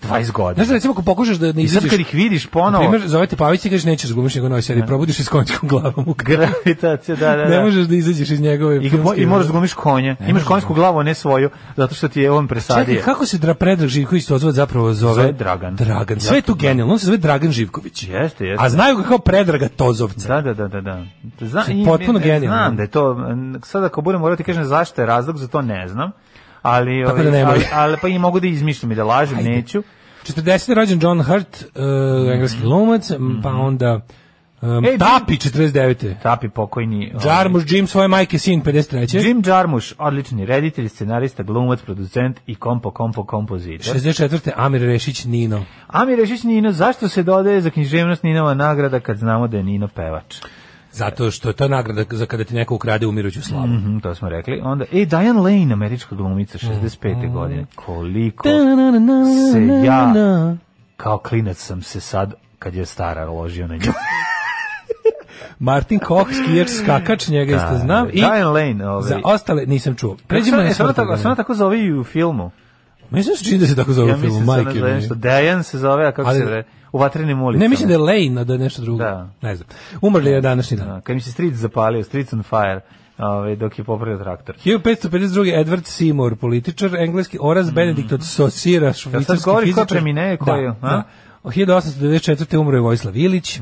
S7: 20 godina.
S8: Da. Znaš da recimo ako pokušaš da ne
S7: I sad
S8: izađeš...
S7: kad ih vidiš
S8: Na
S7: ponovo,
S8: primjer, zove te Pavić i kažeš nećeš gumiš nego novi seriji, probudiš i s konjskom glavom u kraju.
S7: gravitacija, da, da, da.
S8: Ne možeš da izađeš iz njegove...
S7: I, mo-
S8: filmske-
S7: I moraš da glumiš konje. Imaš konjsku glavu, a ne svoju, zato što ti je on
S8: Čekaj,
S7: presadio.
S8: kako se Dra Predrag Živković to zove zapravo zove?
S7: Zove Dragan.
S8: Dragan. Sve je tu genijalno, on se zove Dragan Živković.
S7: Jeste, jeste.
S8: A znaju ga kao Predraga Tozovca.
S7: Da, da, da, da, da. Zna, i-
S8: Potpuno
S7: ne-
S8: genijalno.
S7: Znam da je to, m, sad ako budem morati kažem zašto je razlog, za to ne znam. Ali,
S8: Tako
S7: ovaj,
S8: da nemoj.
S7: ali, ali pa i mogu da izmišljam i da lažem, neću.
S8: 40. rođen John Hurt, uh, engleski glumac, m, pa onda um,
S7: Ej,
S8: Tapi 49.
S7: Tapi pokojni. ovaj,
S8: Jarmusch Jim svoje majke sin 53.
S7: Jim Jarmusch, odlični reditelj, scenarista, glumac, producent i kompo, kompo, kompozitor.
S8: 64. Amir Rešić Nino.
S7: Amir Rešić Nino, zašto se dodaje za književnost Ninova nagrada kad znamo da je Nino pevač?
S8: Zato što je to nagrada za kada ti neko ukrade umiruću slavu.
S7: Mhm, to smo rekli. Onda, e, Diane Lane, američka glumica, 65.
S8: Mhm.
S7: godine. Koliko se ja, kao klinac sam se sad, kad je stara, ložio na nju.
S8: Martin Koch, skijač, skakač, njega
S7: Da,
S8: isto znam. I
S7: Diane Lane, ovaj.
S8: za ostale nisam čuo. Pređimo
S7: Samo-
S8: na
S7: e, samo tako,
S8: smrtonosne.
S7: samo tako zove i u filmu.
S8: Mislim se čini da se tako zove
S7: Ja
S8: u filmu,
S7: mislim se ona
S8: majke.
S7: zove
S8: mi.
S7: nešto. Diane se zove, a kako
S8: Ali-
S7: se zove? U vatrenim ulicama.
S8: Ne, mislim da je Lane, a da je nešto drugo.
S7: Da.
S8: Ne znam. Umrli je današnji dan.
S7: Da, Kad mi se stric zapalio, stric on fire, ovaj, dok je popravio traktor.
S8: 1552. Edward Seymour, političar, engleski,
S7: Mhm.
S8: Oraz Benedikt od Sosira, švicarski
S7: govoriš ko
S8: fizičar.
S7: premine, ko je,
S8: Da,
S7: a?
S8: da.
S7: Mhm.
S8: 1894. umro je Vojislav Ilić,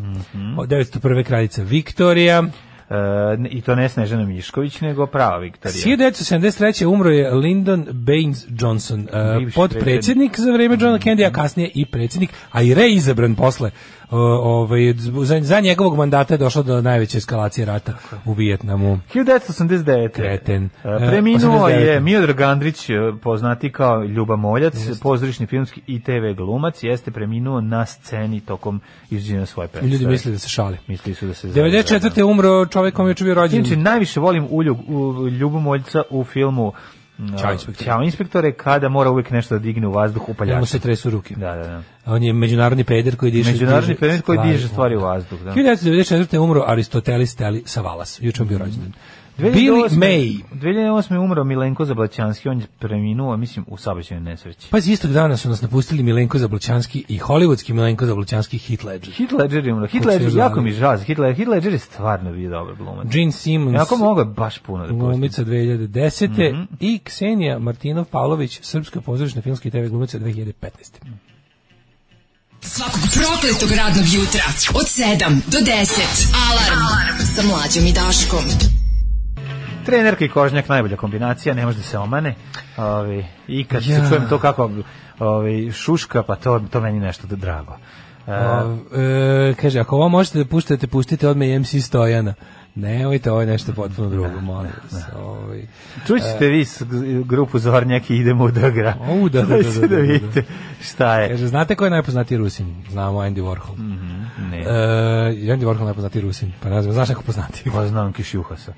S8: od 901. kraljica Viktorija,
S7: E, I to ne Snežana Mišković, nego prava Viktorija.
S8: 1973. umro je Lyndon Baines Johnson, uh,
S7: Bivši Mhm.
S8: podpredsjednik za vreme Johna Kennedy, a kasnije i predsjednik, a i reizabran posle. Uh, ovaj, za, za njegovog mandata je došlo do najveće eskalacije rata u Vijetnamu.
S7: 1989.
S8: Kreten.
S7: E, Preminuo
S8: 89.
S7: je Miodrag Gandrić, e, poznati kao Ljuba Moljac, pozorišni filmski i TV glumac, jeste preminuo na sceni tokom izđenja svoje predstave.
S8: Ljudi misle da se šali.
S7: Mislili su da se... zajedno.
S8: 94. umro čovjek kom je juče bio rođen.
S7: Inače, najviše volim uljub, u, Ljubu Moljca u filmu no,
S8: Ćao, inspektore.
S7: Ćao, inspektore, kada mora uvijek nešto da digne u vazduh upaljača.
S8: Njemu se tresu ruke.
S7: Da, da, da.
S8: On je međunarodni peder koji diže
S7: Međunarodni
S8: diže
S7: predmet koji
S8: stvari.
S7: diže stvari u vazduh. Da.
S8: 1994. je umro Aristoteles Teli Savalas. Juče on bio rođen. Billy
S7: 2008.
S8: May.
S7: 2008. je umro Milenko Zablaćanski, on je preminuo, mislim, u saobraćajnoj nesreći.
S8: Pazi, istog dana su nas napustili Milenko Zablućanski i hollywoodski Milenko Zablućanski hit legend.
S7: Heath Ledger je umro. Heath
S8: Kako se
S7: Ledger,
S8: zove?
S7: jako mi žao. za Heath Ledger, Heath Ledger je stvarno bio dobar glumac.
S8: Gene Simmons,
S7: Jako mogo je baš puno da Mhm. pusti.
S8: glumica 2010. i Ksenija Martinov Pavlović, srpska pozorišna filmska i TV glumica 2015.
S5: Svakog prokletog radnog jutra od 7 do 10. Alarm, Alarm. sa mlađom i Daškom.
S7: Trenerka i kožnjak najbolja kombinacija, ne može da se omane. Ovi, I kad
S8: Ja.
S7: se čujem to kako ovi, šuška, pa to, to meni nešto da drago. E,
S8: O, e, kaže, ako ovo možete da puštate, pustite odme i MC Stojana. Nemojte, ovo je ovaj nešto potpuno drugo, molim vas.
S7: Da,
S8: Ovaj.
S7: Čućete vi s g- grupu Zornjak i idemo u Dogra.
S8: O, da, da, da, da,
S7: Dajte
S8: da, da.
S7: vidite šta je.
S8: Kaže, znate ko je najpoznatiji Rusin? Znamo Andy Warhol.
S7: Mhm. Ne.
S8: E, Andy Warhol je najpoznatiji Rusin. Pa ne znam, znaš neko poznati?
S7: Pa znam Kišjuhasa.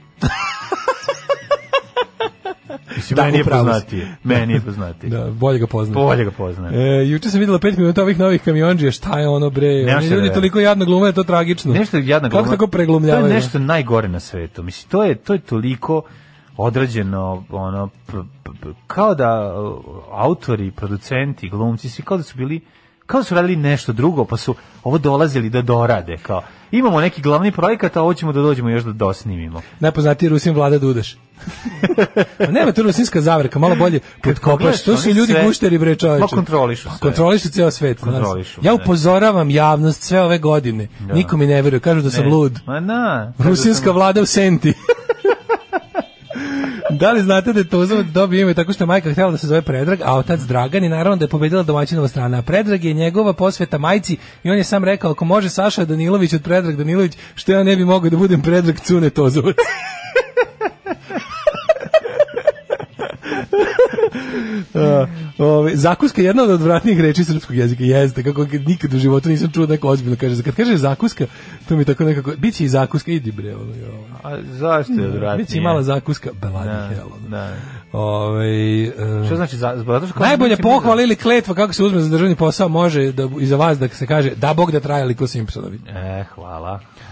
S7: Mislim,
S8: Da,
S7: meni je
S8: upravo si.
S7: poznatije. Meni je poznatije.
S8: Da, bolje ga poznam.
S7: Bolje ga poznajem.
S8: E, juče sam videla 5 minuta ovih novih kamionđija, šta je ono bre?
S7: Nema
S8: Oni
S7: šta da
S8: ljudi
S7: verujem.
S8: toliko jadno glume, da je to tragično.
S7: Nešto je jadna
S8: Kako
S7: gluma.
S8: tako preglumljavaju?
S7: To je nešto najgore na svetu. Mislim, to je, to je toliko odrađeno, ono, p- p- p- kao da uh, autori, producenti, glumci, svi kao da su bili kao da su radili nešto drugo, pa su ovo dolazili da dorade, kao imamo neki glavni projekat, a ovo ćemo da dođemo još da dosnimimo.
S8: Najpoznatiji Rusin Vlada Dudaš. Ma nema to rusinska zavrka, malo bolje podkopaš.
S7: pogledaš,
S8: To su
S7: oni
S8: ljudi
S7: sve-
S8: gušteri bre čoveče. Pa,
S7: Ma, kontrolišu sve.
S8: Kontrolišu ceo svet. znaš.
S7: Kontrolišu,
S8: Ja
S7: ne.
S8: upozoravam javnost sve ove godine. Niko mi ne veruje, kažu da sam
S7: Ne. da
S8: lud.
S7: Ma na.
S8: Rusinska vlada u senti. da li znate da je Tozovac dobio ime tako što je majka htjela da se zove Predrag, a otac Dragan i naravno da je pobedila domaćinova strana. A Predrag je njegova posveta majci i on je sam rekao, ako može Saša Danilović od Predrag Danilović, što ja ne bi mogao da budem Predrag Cune Tozovac. A, Ove, zakuska je jedna od odvratnijih reči srpskog jezika, jeste, kako ga nikad u životu nisam čuo da neko ozbiljno kaže. Kad kaže zakuska, to mi tako nekako, bit će i zakuska, idi bre, ono, i ovo.
S7: A zašto je odvratnije?
S8: Biće i mala zakuska, beladi
S7: Da,
S8: hell. ono.
S7: da.
S8: Ovaj, e,
S7: Što znači za, zato što kao-
S8: najbolja
S7: neće biti-
S8: pohvala ili kletva kako se uzme za državni posao može da iza vas da se kaže da bog da traje liko Simpsonovi.
S7: E, hvala.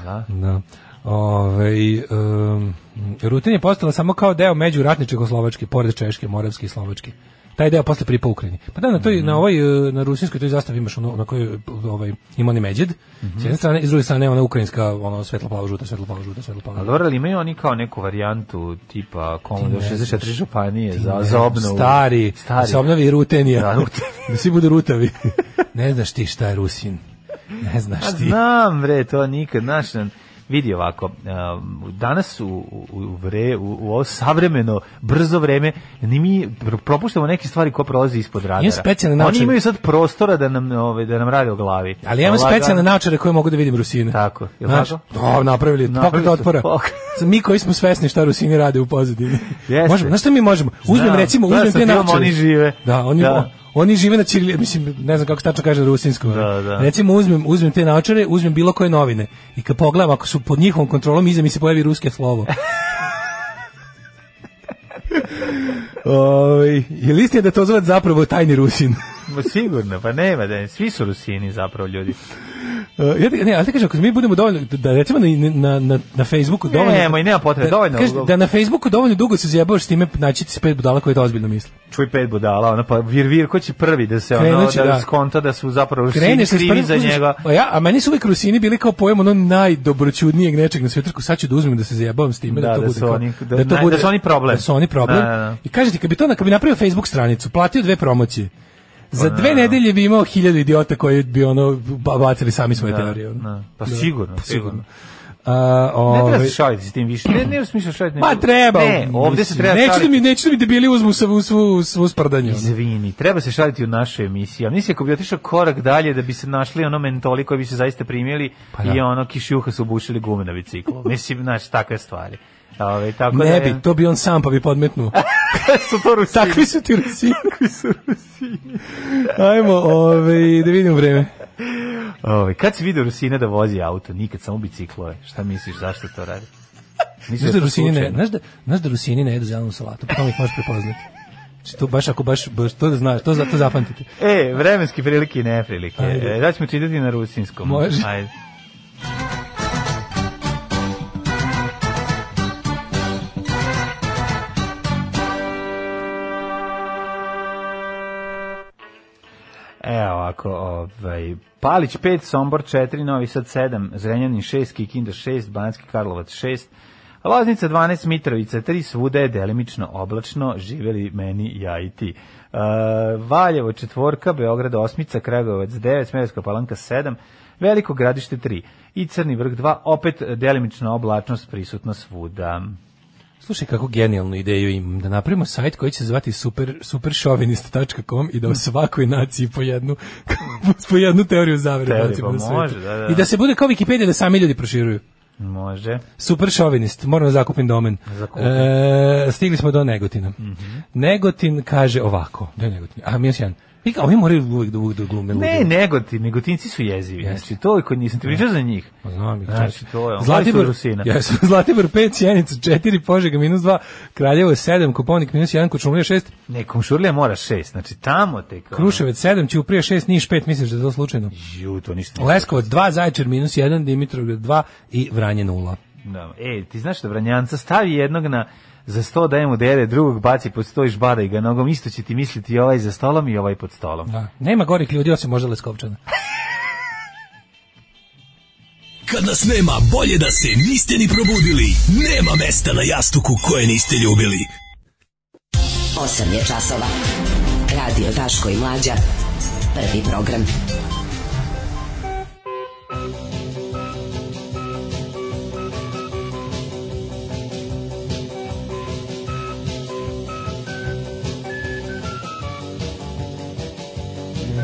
S7: hvala.
S8: Da. Ovaj, em, Rutin je postala samo kao deo međuratne Čekoslovačke, pored Češke, Moravske i Slovačke. Taj deo posle pripao Ukrajini. Pa da, na, toj,
S7: Mhm.
S8: na, ovoj, e, na rusinskoj toj zastavi imaš ono, na kojoj ovaj, ima onaj međed,
S7: Mhm.
S8: s jedne strane, i s druge strane ona ukrajinska, ono svetlo-plavo žuta, svetlo-plavo žuta, svetlo-plavo
S7: Ali
S8: žuta.
S7: dobro, ali imaju oni kao neku varijantu tipa Komodo
S8: Ti ne
S7: 64
S8: znaš.
S7: županije
S8: Ti
S7: za,
S8: ne,
S7: za obnovu?
S8: Stari, stari. se obnovi i rutenija.
S7: Da,
S8: Da,
S7: rutenija.
S8: svi budu rutavi. ne znaš ti šta je Rusin. Ne
S7: A
S8: znaš ti.
S7: znam, bre, to nikad, znaš, n- vidi ovako, um, danas u, u, u vre, u, u ovo savremeno, brzo vreme, ni mi pr- propuštamo neke stvari koje prolaze ispod radara.
S8: Imam specijalne
S7: Oni
S8: naočare.
S7: imaju sad prostora da nam, ove, da nam rade o glavi.
S8: Ali ja imam
S7: Lagano.
S8: specijalne naočare koje mogu da vidim Rusine.
S7: Tako, je li
S8: Znaš,
S7: tako?
S8: o, napravili,
S7: Napravili su
S8: napravili pokret otpora.
S7: pokret.
S8: Mi koji smo svesni šta Rusini rade u pozadini.
S7: Jeste.
S8: Možemo, znaš šta mi možemo? Uzmem
S7: Znam,
S8: recimo,
S7: gledao
S8: uzmem
S7: sam
S8: te
S7: film,
S8: naočare.
S7: Oni žive.
S8: Da, oni,
S7: Da.
S8: o- oni žive na Čirili, mislim, ne znam kako se tačno kaže na rusinskom.
S7: Da, da.
S8: Recimo uzmem, uzmem te naočare, uzmem bilo koje novine i kad pogledam, ako su pod njihovom kontrolom, iza mi se pojavi ruske slovo. Oj, je li istina da to zove zapravo tajni Rusin?
S7: Ma sigurno, pa nema, da, svi su Rusini zapravo ljudi.
S8: Uh, ja ti, ne, ali ti kažem, ako mi budemo dovoljno, da recimo na, na, na, na Facebooku dovoljno...
S7: Nemoj, nema potrebe, dovoljno.
S8: Kaže, da na Facebooku dovoljno dugo se zjebavaš s time, naći ti se pet budala koje to ozbiljno misle.
S7: čuj pet budala, ona pa vir vir ko će prvi da se ono
S8: Krenut će,
S7: da,
S8: da.
S7: skonta da su zapravo Rusini
S8: Kreneš se
S7: krivi za
S8: uzmeš-
S7: njega.
S8: A, ja, a meni su uvijek Rusini bili kao pojem ono najdobroćudnijeg nečeg na svetrku, sad ću da uzmem da se zajebavam s time, da,
S7: Da,
S8: to
S7: da
S8: bude
S7: su
S8: kao-
S7: oni- da- naj- da su oni problem.
S8: Da su oni problem.
S7: Da, da, da.
S8: I kažete, kad bi to, na- kad bi napravio Facebook stranicu, platio dve promocije,
S7: Pa
S8: za
S7: da.
S8: dve nedelje bi imao hiljadu idiota koji bi ono ba- bacili sami svoje teorije. ono.
S7: Da, pa sigurno,
S8: Pa sigurno. A,
S7: Ne treba
S8: ovaj,
S7: se šaliti s tim više. Ne, ne u smislu šaliti. nego-
S8: Ma treba.
S7: Ne, ovde se
S8: mislim,
S7: treba
S8: Neću da
S7: šaliti.
S8: mi, neću da mi debili uzmu svu, svu, svu sprdanju.
S7: Izvini, treba se šaliti u našoj emisiji. A nisi ako bi otišao korak dalje da bi se našli ono mentoli koji bi se zaista primili
S8: Pa da.
S7: i ono kišjuha su bušili gume na biciklu. Mislim, znaš, takve stvari. Ove, tako da
S8: Ne
S7: je-
S8: bi, to bi on sam pa bi podmetnuo.
S7: su to Rusini.
S8: Takvi su ti Rusini. Takvi su Rusini. Ajmo, ovaj, da vidimo vreme.
S7: Ove, kad si vidio Rusina da vozi auto? Nikad, samo biciklove. Šta misliš, zašto to radi? Misliš
S8: Znaš
S7: je
S8: da
S7: to
S8: Rusini ne,
S7: slučajno?
S8: znaš da, znaš da Rusini ne jedu zelenu salatu, po tome ih možeš prepoznati. Znači, to baš, ako baš, baš to da znaš, to, za- to zapamtite.
S7: E, vremenske prilike i neprilike.
S8: Ajde.
S7: E, da ćemo čitati na rusinskom.
S8: Može.
S7: Ajde. Evo E, ovako, ovaj, Palić 5, Sombor 4, Novi Sad 7, Zrenjanin 6, Kikinda 6, Banski Karlovac 6, Loznica 12, Mitrovica 3, svuda je delimično oblačno, živeli meni ja i ti. Uh, Valjevo četvorka, Beograd 8, Kragovac 9, Smerovska palanka 7, Veliko gradište 3 i Crni vrh 2, opet delimična oblačnost prisutna svuda.
S8: Slušaj kako genijalnu ideju imam, da napravimo sajt koji će se zvati super, superšovinist.com i da o svakoj naciji po jednu, po jednu teoriju zavere.
S7: Teoriju,
S8: bacimo
S7: pa
S8: na svetu.
S7: može, da, da.
S8: I da se bude kao Wikipedia da sami ljudi proširuju.
S7: Može.
S8: Super šovinist, moram da zakupim domen.
S7: Zakupi.
S8: E, stigli smo do Negotina.
S7: Mhm.
S8: Negotin kaže ovako, da je Negotin, a mi još jedan. I kao, ovi moraju uvijek da uvijek da glume.
S7: Ne,
S8: lude.
S7: negoti, negotinci su jezivi.
S8: Jeste.
S7: Znači, to je kod njih, sam ti pričao za njih.
S8: Pa Znam ih.
S7: Znači,
S8: čovječe.
S7: to je, Zlatibor,
S8: Zlatibor,
S7: Rusina.
S8: jesu, Zlatibor 5, Sjenica 4, Požega minus 2, Kraljevo 7, Koponik minus 1, Kočumlija 6,
S7: Ne, komšurlija mora šest, znači tamo te kao...
S8: Kruševac 7, Ćuprija 6, Niš 5, misliš da je to slučajno?
S7: Ju, to ništa nije.
S8: Leskovac 2, Zaječar minus 1, Dimitrovgrad 2 i Vranje 0.
S7: Da. E, ti znaš da Vranjanca stavi jednog na za sto daje mu dere, drugog baci pod sto i žbada i ga nogom, isto će ti misliti i ovaj za stolom i ovaj pod stolom.
S8: Da. Nema gorih ljudi osim možda Leskovčana.
S2: Kad nas nema, bolje da se niste ni probudili. Nema mesta na jastuku koje niste ljubili.
S5: 8 je časova. Radio Daško i Mlađa. Prvi program.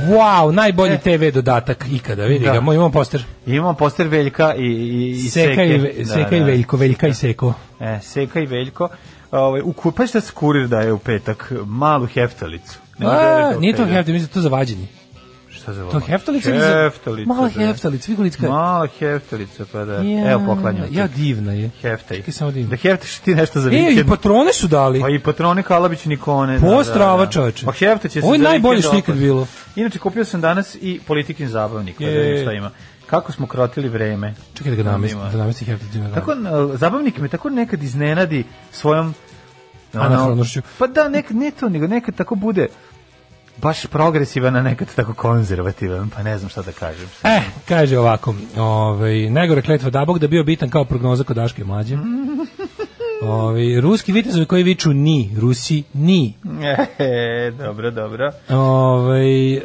S8: Wow, najbolji TV dodatak ikada, vidi
S7: E. Da.
S8: ga, moj imam poster.
S7: Imamo poster Veljka i, i, i
S8: Seka
S7: Seke.
S8: i, ve,
S7: Da,
S8: Seka i
S7: da.
S8: Veljko, Veljka i Seko.
S7: E, Seka i Veljko. Ovaj, u, ku- pa šta se kurir daje u petak? Malu heftalicu. Ne može da
S8: A,
S7: je
S8: nije to
S7: u petak.
S8: heftalic, mislim, to za vađenje.
S7: Šta zove?
S8: To heftalica? ili za-
S7: Heftalica.
S8: Mala
S7: zove.
S8: heftalica, vigulicka.
S7: Mala heftalica, pa da.
S8: Ja,
S7: Evo poklanjam ti.
S8: Ja, divna je.
S7: Heftaj.
S8: Čekaj samo da imam.
S7: Da heftaš ti nešto za
S8: E,
S7: vikend.
S8: i patrone su dali.
S7: Pa i patroni Kalabić Nikone. da,
S8: Postrava, čoveče.
S7: Pa hefta će se
S8: Ovo je
S7: za
S8: najbolje
S7: vikend
S8: što je ikad
S7: opet.
S8: bilo.
S7: Inače, kupio sam danas i politikin zabavnik. Pa da
S8: Je.
S7: vidim šta ima. Kako smo krotili vreme.
S8: Čekaj da ga namestim,
S7: Ima.
S8: da namestim heftalic.
S7: Tako, e, zabavnik me tako nekad iznenadi svojom... ono,
S8: Anahronošću.
S7: Pa da, nekad ne to, nego nekad tako bude baš progresivan, a nekad tako konzervativan, pa ne znam šta da kažem.
S8: E, kaže ovako, ovaj, najgore kletva Dabog da bio bitan kao prognoza kod Daške i mlađe. Ovaj, ruski vitezovi koji viču ni, Rusi ni.
S7: E, dobro, dobro.
S8: Ovaj, e,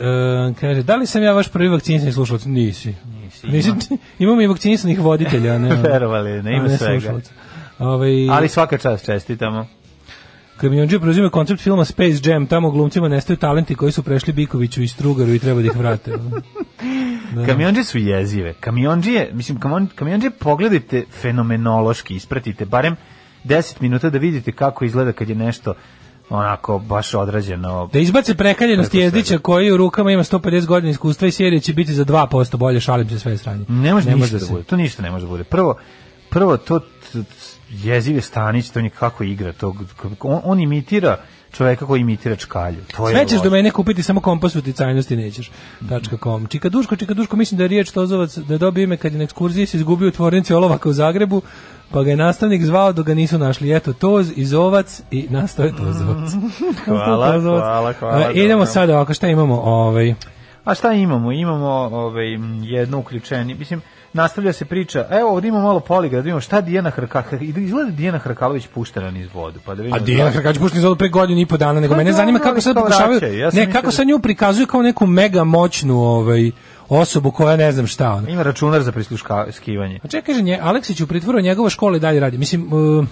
S8: kaže, da li sam ja vaš prvi vakcinisani slušalac? Nisi. Nisi. imamo i vakcinisanih voditelja. a Ne,
S7: Verovali, ne ima
S8: a
S7: svega.
S8: slušalaca. Ovaj,
S7: Mm. Ali svaka čast čestitamo.
S8: Kamionđe preuzima koncept filma Space Jam, tamo glumcima nestaju talenti koji su prešli Bikoviću i Strugaru i treba da ih vrate.
S7: Kamionđe su jezive. Kamionđe, mislim, kamon, kamionđe pogledajte fenomenološki, ispratite barem 10 minuta da vidite kako izgleda kad je nešto onako baš odrađeno.
S8: Da izbace prekaljenost
S7: Preko
S8: jezdića
S7: svega.
S8: koji u rukama ima 150 godina iskustva i serija će biti za 2% bolje, šalim se sve je sranje.
S7: Ne može ništa
S8: da
S7: da
S8: se-
S7: bude. To ništa ne može da bude. Prvo, prvo to t- t- jezive Stanić, to nikako igra. To, on, on imitira čoveka koji imitira čkalju. To je
S8: Sve ćeš
S7: loše.
S8: do mene kupiti samo kompas uticajnosti nećeš. .com. Čika Duško, Čika Duško, mislim da je riječ Tozovac da je dobio ime kad je na ekskurziji se izgubio u tvornici olovaka u Zagrebu, pa ga je nastavnik zvao dok ga nisu našli. Eto, Toz, Izovac i nastao je Tozovac.
S7: Hvala,
S8: Tozovac.
S7: hvala, hvala,
S8: E, Idemo
S7: dobro.
S8: sada ovako, šta imamo? Ovaj.
S7: A šta imamo? Imamo ovaj, jedno uključenje. Mislim, nastavlja se priča. Evo, ovdje imamo malo poligrad. Imamo šta Dijana Hrkalović... Izgleda da Dijana Hrkalović puštena niz vodu. Pa da vidimo
S8: A Dijana
S7: da-
S8: Hrkač Bušni zove pre godinu i po dana, nego
S7: Pa
S8: mene
S7: dobro,
S8: zanima kako
S7: ali
S8: sad
S7: kao
S8: pokušavaju,
S7: vraćaju, ja sam
S8: ne,
S7: mislio
S8: kako
S7: da-
S8: sad nju prikazuju kao neku mega moćnu ovaj, osobu koja ne znam šta ona.
S7: Ima računar za prisluškivanje.
S8: A čekaj, kaže, nje, Aleksić u pritvoru njegova škola i dalje radi. Mislim, uh,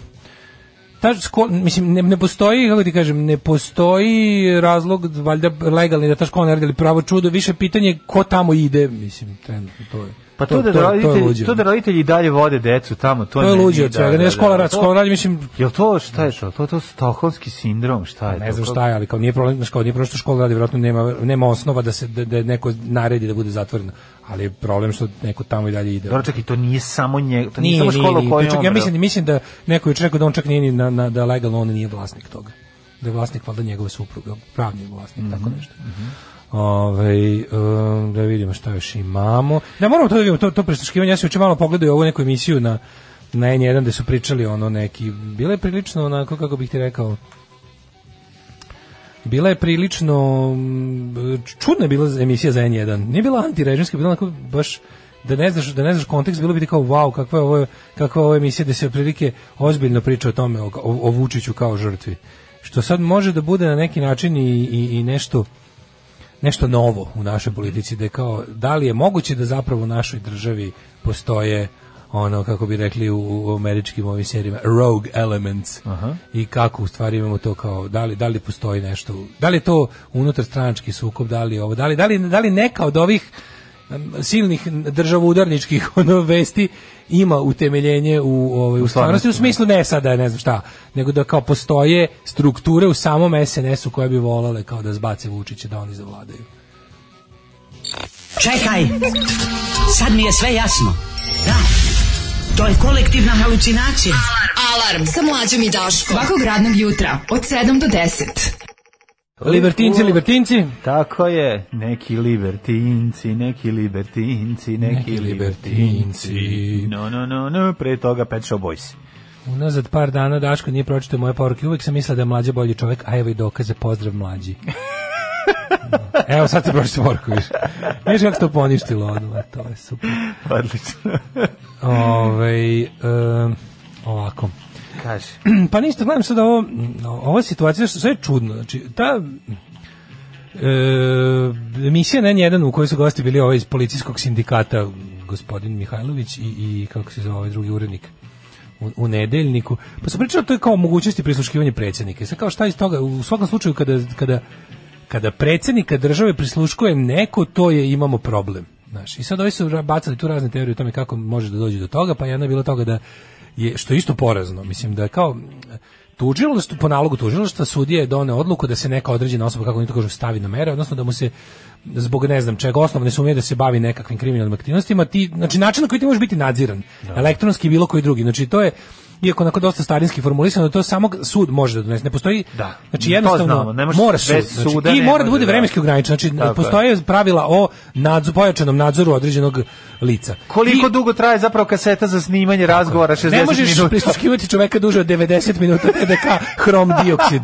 S8: ta škola, mislim, ne, ne postoji, kako ti kažem, ne postoji razlog, valjda legalni da ta škola ne radi, ali pravo čudo, više pitanje je ko tamo ide, mislim, trenutno to je.
S7: Pa to, da, roditelji, to, da roditelji i dalje vode decu tamo, to,
S8: to je
S7: meni-
S8: luđe od
S7: da,
S8: svega,
S7: da,
S8: ne
S7: da,
S8: škola radi,
S7: to-
S8: škola radi, mislim,
S7: Jel to šta je to? To je to stokholmski sindrom, šta je to?
S8: Pa ne znam šta je, ali kao nije problem, znači kao nije problem što škola radi, vjerojatno nema nema osnova da se da, da neko naredi da bude zatvoreno, ali je problem što neko tamo i dalje ide.
S7: Dobro, čekaj, to nije samo nje, to nije, samo škola u
S8: nije.
S7: kojoj
S8: Čak,
S7: on
S8: ja
S7: odrastao.
S8: mislim, mislim da neko je juče rekao da on čak nije ni na, na, da legalno on nije vlasnik toga. Da je vlasnik valjda njegova supruga, pravni vlasnik,
S7: Mhm,
S8: tako nešto. Ovaj, em, da vidimo šta još imamo. Da moramo to da vidimo, to, to prisluškivanje. Ja sam juče malo pogledao ovu neku emisiju na, na N1 gde su pričali ono neki, bila je prilično onako, kako bih ti rekao, bila je prilično mm, čudna je bila emisija za N1. Nije bila antirežimska, bila onako baš da ne znaš, da ne znaš kontekst, bilo bi ti kao wow, kakva je ovo, kakva je ovo emisija da se otprilike ozbiljno priča o tome, o, o, o Vučiću kao žrtvi. Što sad može da bude na neki način i, i, i nešto nešto novo u našoj politici da je kao da li je moguće da zapravo u našoj državi postoje ono kako bi rekli u, u američkim ovim serijama rogue elements i kako u stvari imamo to kao da li, da li postoji nešto da li je to unutar stranački sukob da li je ovo da li, da li, da li neka od ovih em, silnih državoudarničkih ono vesti ima utemeljenje u ovaj u stvarnosti u smislu ne sada ne znam šta nego da kao postoje strukture u samom SNS-u koje bi volale kao da zbace Vučića da oni zavladaju.
S9: Čekaj, sad mi je sve jasno. Da, to je kolektivna halucinacija.
S10: Alarm sa mlađom i Daškom. Svakog radnog jutra od 7 do 10.
S8: Libertinci, libertinci.
S7: Tako je, neki libertinci, neki libertinci, neki,
S8: Neki libertinci.
S7: libertinci. No, no, no, no, pre toga Pet Shop Boys.
S8: Unazad par dana Daško nije pročitao moje poruke. Uvijek sam mislila da je mlađe bolji čovjek, a evo i dokaze, pozdrav mlađi. evo sad se pročitao poruku više. Viš kako se to poništilo odmah, to je super.
S7: Odlično.
S8: Ovaj, em, ovako.
S7: Kaže.
S8: pa ništa, gledam sad ovo, ova situacija, što sve je čudno, znači, ta e, emisija na N1 u kojoj su gosti bili ovaj iz policijskog sindikata, gospodin Mihajlović i, i kako se zove ovaj drugi urednik u, u nedeljniku, pa su pričali o toj kao mogućnosti prisluškivanja predsjednika. I sad kao šta iz toga, u svakom slučaju kada, kada, kada predsjednika države prisluškuje neko, to je imamo problem. Znaš, I sad ovi su ra- bacali tu razne teorije o tome kako može da dođe do toga, pa jedna je bila toga da je, što je isto porazno, mislim da je kao tužilaštvo, po nalogu tužilaštva sudija je doneo odluku da se neka određena osoba, kako oni to kažu, stavi na mere, odnosno da mu se zbog ne znam čega osnovne sumnje da se bavi nekakvim kriminalnim aktivnostima, ti, znači način na koji ti možeš biti nadziran,
S7: Da.
S8: elektronski i bilo koji drugi, znači to je, iako onako dosta starinski formulisano, to samo sud može da donese, ne postoji,
S7: Da.
S8: znači
S7: To
S8: jednostavno
S7: znamo, ne može
S8: mora sud,
S7: bez
S8: znači,
S7: suda
S8: i
S7: ne
S8: mora da
S7: može,
S8: bude
S7: da.
S8: vremenski ograničen, znači
S7: Tako je.
S8: postoje pravila o nadzoru, pojačanom nadzoru određenog lica.
S7: Koliko
S8: I-
S7: dugo traje zapravo kaseta za snimanje razgovora 60
S8: ne možeš
S7: minuta?
S8: prisluškivati čoveka duže od 90 minuta TDK hrom dioksid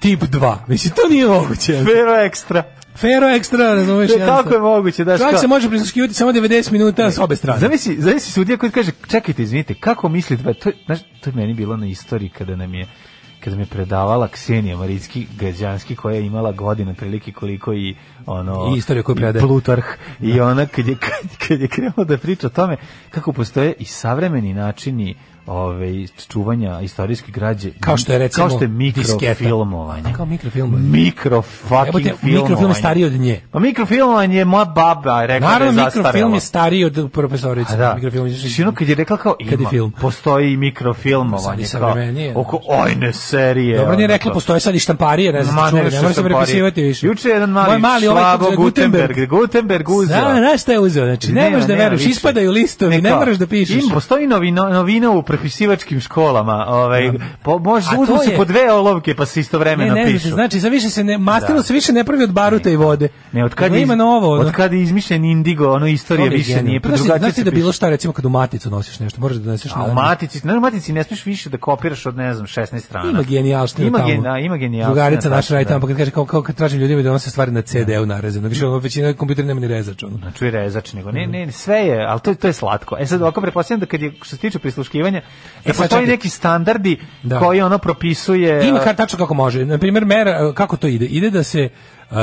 S8: tip 2. Mislim, to nije moguće.
S7: Vero ekstra.
S8: Fero ekstra, razumeš?
S7: E,
S8: jednostavno.
S7: kako je moguće, daš
S8: Čovjek
S7: kao-
S8: se može prisluškivati samo 90 minuta s obe strane.
S7: Zamisli, zamisli sudija koji kaže, čekajte, izvinite, kako mislite, ba, to, je- znaš, to je meni bilo na istoriji kada nam je kada mi je predavala Ksenija Maritski Gađanski koja je imala godina prilike koliko i ono
S8: I istoriju koju Da.
S7: i
S8: predaje.
S7: Plutarh i ona kad je kad, kad je krenula da priča o tome kako postoje i savremeni načini ove čuvanja istorijske građe
S8: Kao što je, recimo,
S7: kao što je
S8: disketa.
S7: mikrofilmovanje
S8: Kao mikrofilmovanje.
S7: mikro
S8: Jebote,
S7: fucking
S8: mikrofilm je
S7: filmovanje.
S8: stariji od nje.
S7: pa mikrofilmovanje je moja baba rekla da
S8: Naravno,
S7: je zastarelo
S8: mikrofilm je stariji od profesorice.
S7: a da.
S8: Mikrofilm je
S7: Znači, ono kad je rekla kao ima,
S8: Kad je film.
S7: postoji i mikrofilmovanje.
S8: Sad je
S7: Kao,
S8: savremenije, da.
S7: oko ojne serije.
S8: Dobro nije
S7: ono,
S8: rekla,
S7: kao-
S8: postoje sad i štamparije, ne
S7: Ma,
S8: znam, čuvali,
S7: nešto
S8: ne mora se
S7: štamparije.
S8: prepisivati više.
S7: Juče je jedan mali,
S8: Moj ovaj kako
S7: švabo
S8: se zove,
S7: Gutenberg. Gutenberg uzeo.
S8: Zna, znaš šta je uzeo, znači ne
S7: Nema,
S8: možeš da
S7: nema
S8: veruješ,
S7: više.
S8: ispadaju listovi,
S7: Ne,
S8: ne
S7: kao,
S8: moraš da pišeš.
S7: Im postoji novina, novina u prepisivačkim školama, ovaj po, može
S8: Da. A to
S7: uzmu se
S8: je-
S7: po dve olovke pa se istovremeno
S8: ne, ne,
S7: pišu.
S8: znači za više se ne mastilo
S7: Da.
S8: se više ne pravi od baruta i vode.
S7: Ne, od kad
S8: Nego
S7: je,
S8: da ima novo. ono.
S7: od kad je izmišljen Indigo, ono
S8: To
S7: istorija
S8: mi je
S7: više
S8: genijalno.
S7: nije, pa
S8: Znaš,
S7: drugačije
S8: znaš ti
S7: se
S8: da
S7: piše.
S8: bilo šta recimo kad u maticu nosiš nešto, moraš da doneseš
S7: A u matici, ne, u matici ne smiješ više da kopiraš od, ne znam, 16 strana.
S8: Ima genijalština
S7: ima
S8: tamo.
S7: gen- da, ima genijalština.
S8: Drugarica naša
S7: tačno,
S8: radi
S7: da.
S8: tamo, pa kad kaže kao, kao kad tražim ljudima da donose stvari na CD-u narezano. Više ono, većina kompjutera nema ni rezač. Ono.
S7: Znači, i rezač, nego
S8: Mhm.
S7: ne, ne, ne, sve je, ali to, je- to je slatko. E sad, ovako pretpostavljam da kad je, što se tiče prisluškivanja, da
S8: E, sad
S7: postoji
S8: čekaj.
S7: neki standardi
S8: Da.
S7: koji ono propisuje...
S8: Ima kar tačno kako može. Na primjer, mera, kako to ide? Ide da se... Uh,
S7: e,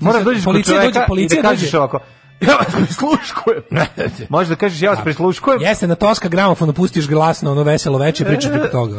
S7: Moraš da dođeš kod
S8: policija dođe,
S7: čoveka
S8: policija
S7: i da kažeš
S8: dođe.
S7: ovako, ja vas prisluškujem. Možeš da kažeš, ja vas prisluškujem.
S8: Jeste, na Toska gramofonu pustiš glasno ono veselo veče, pričaš preko toga.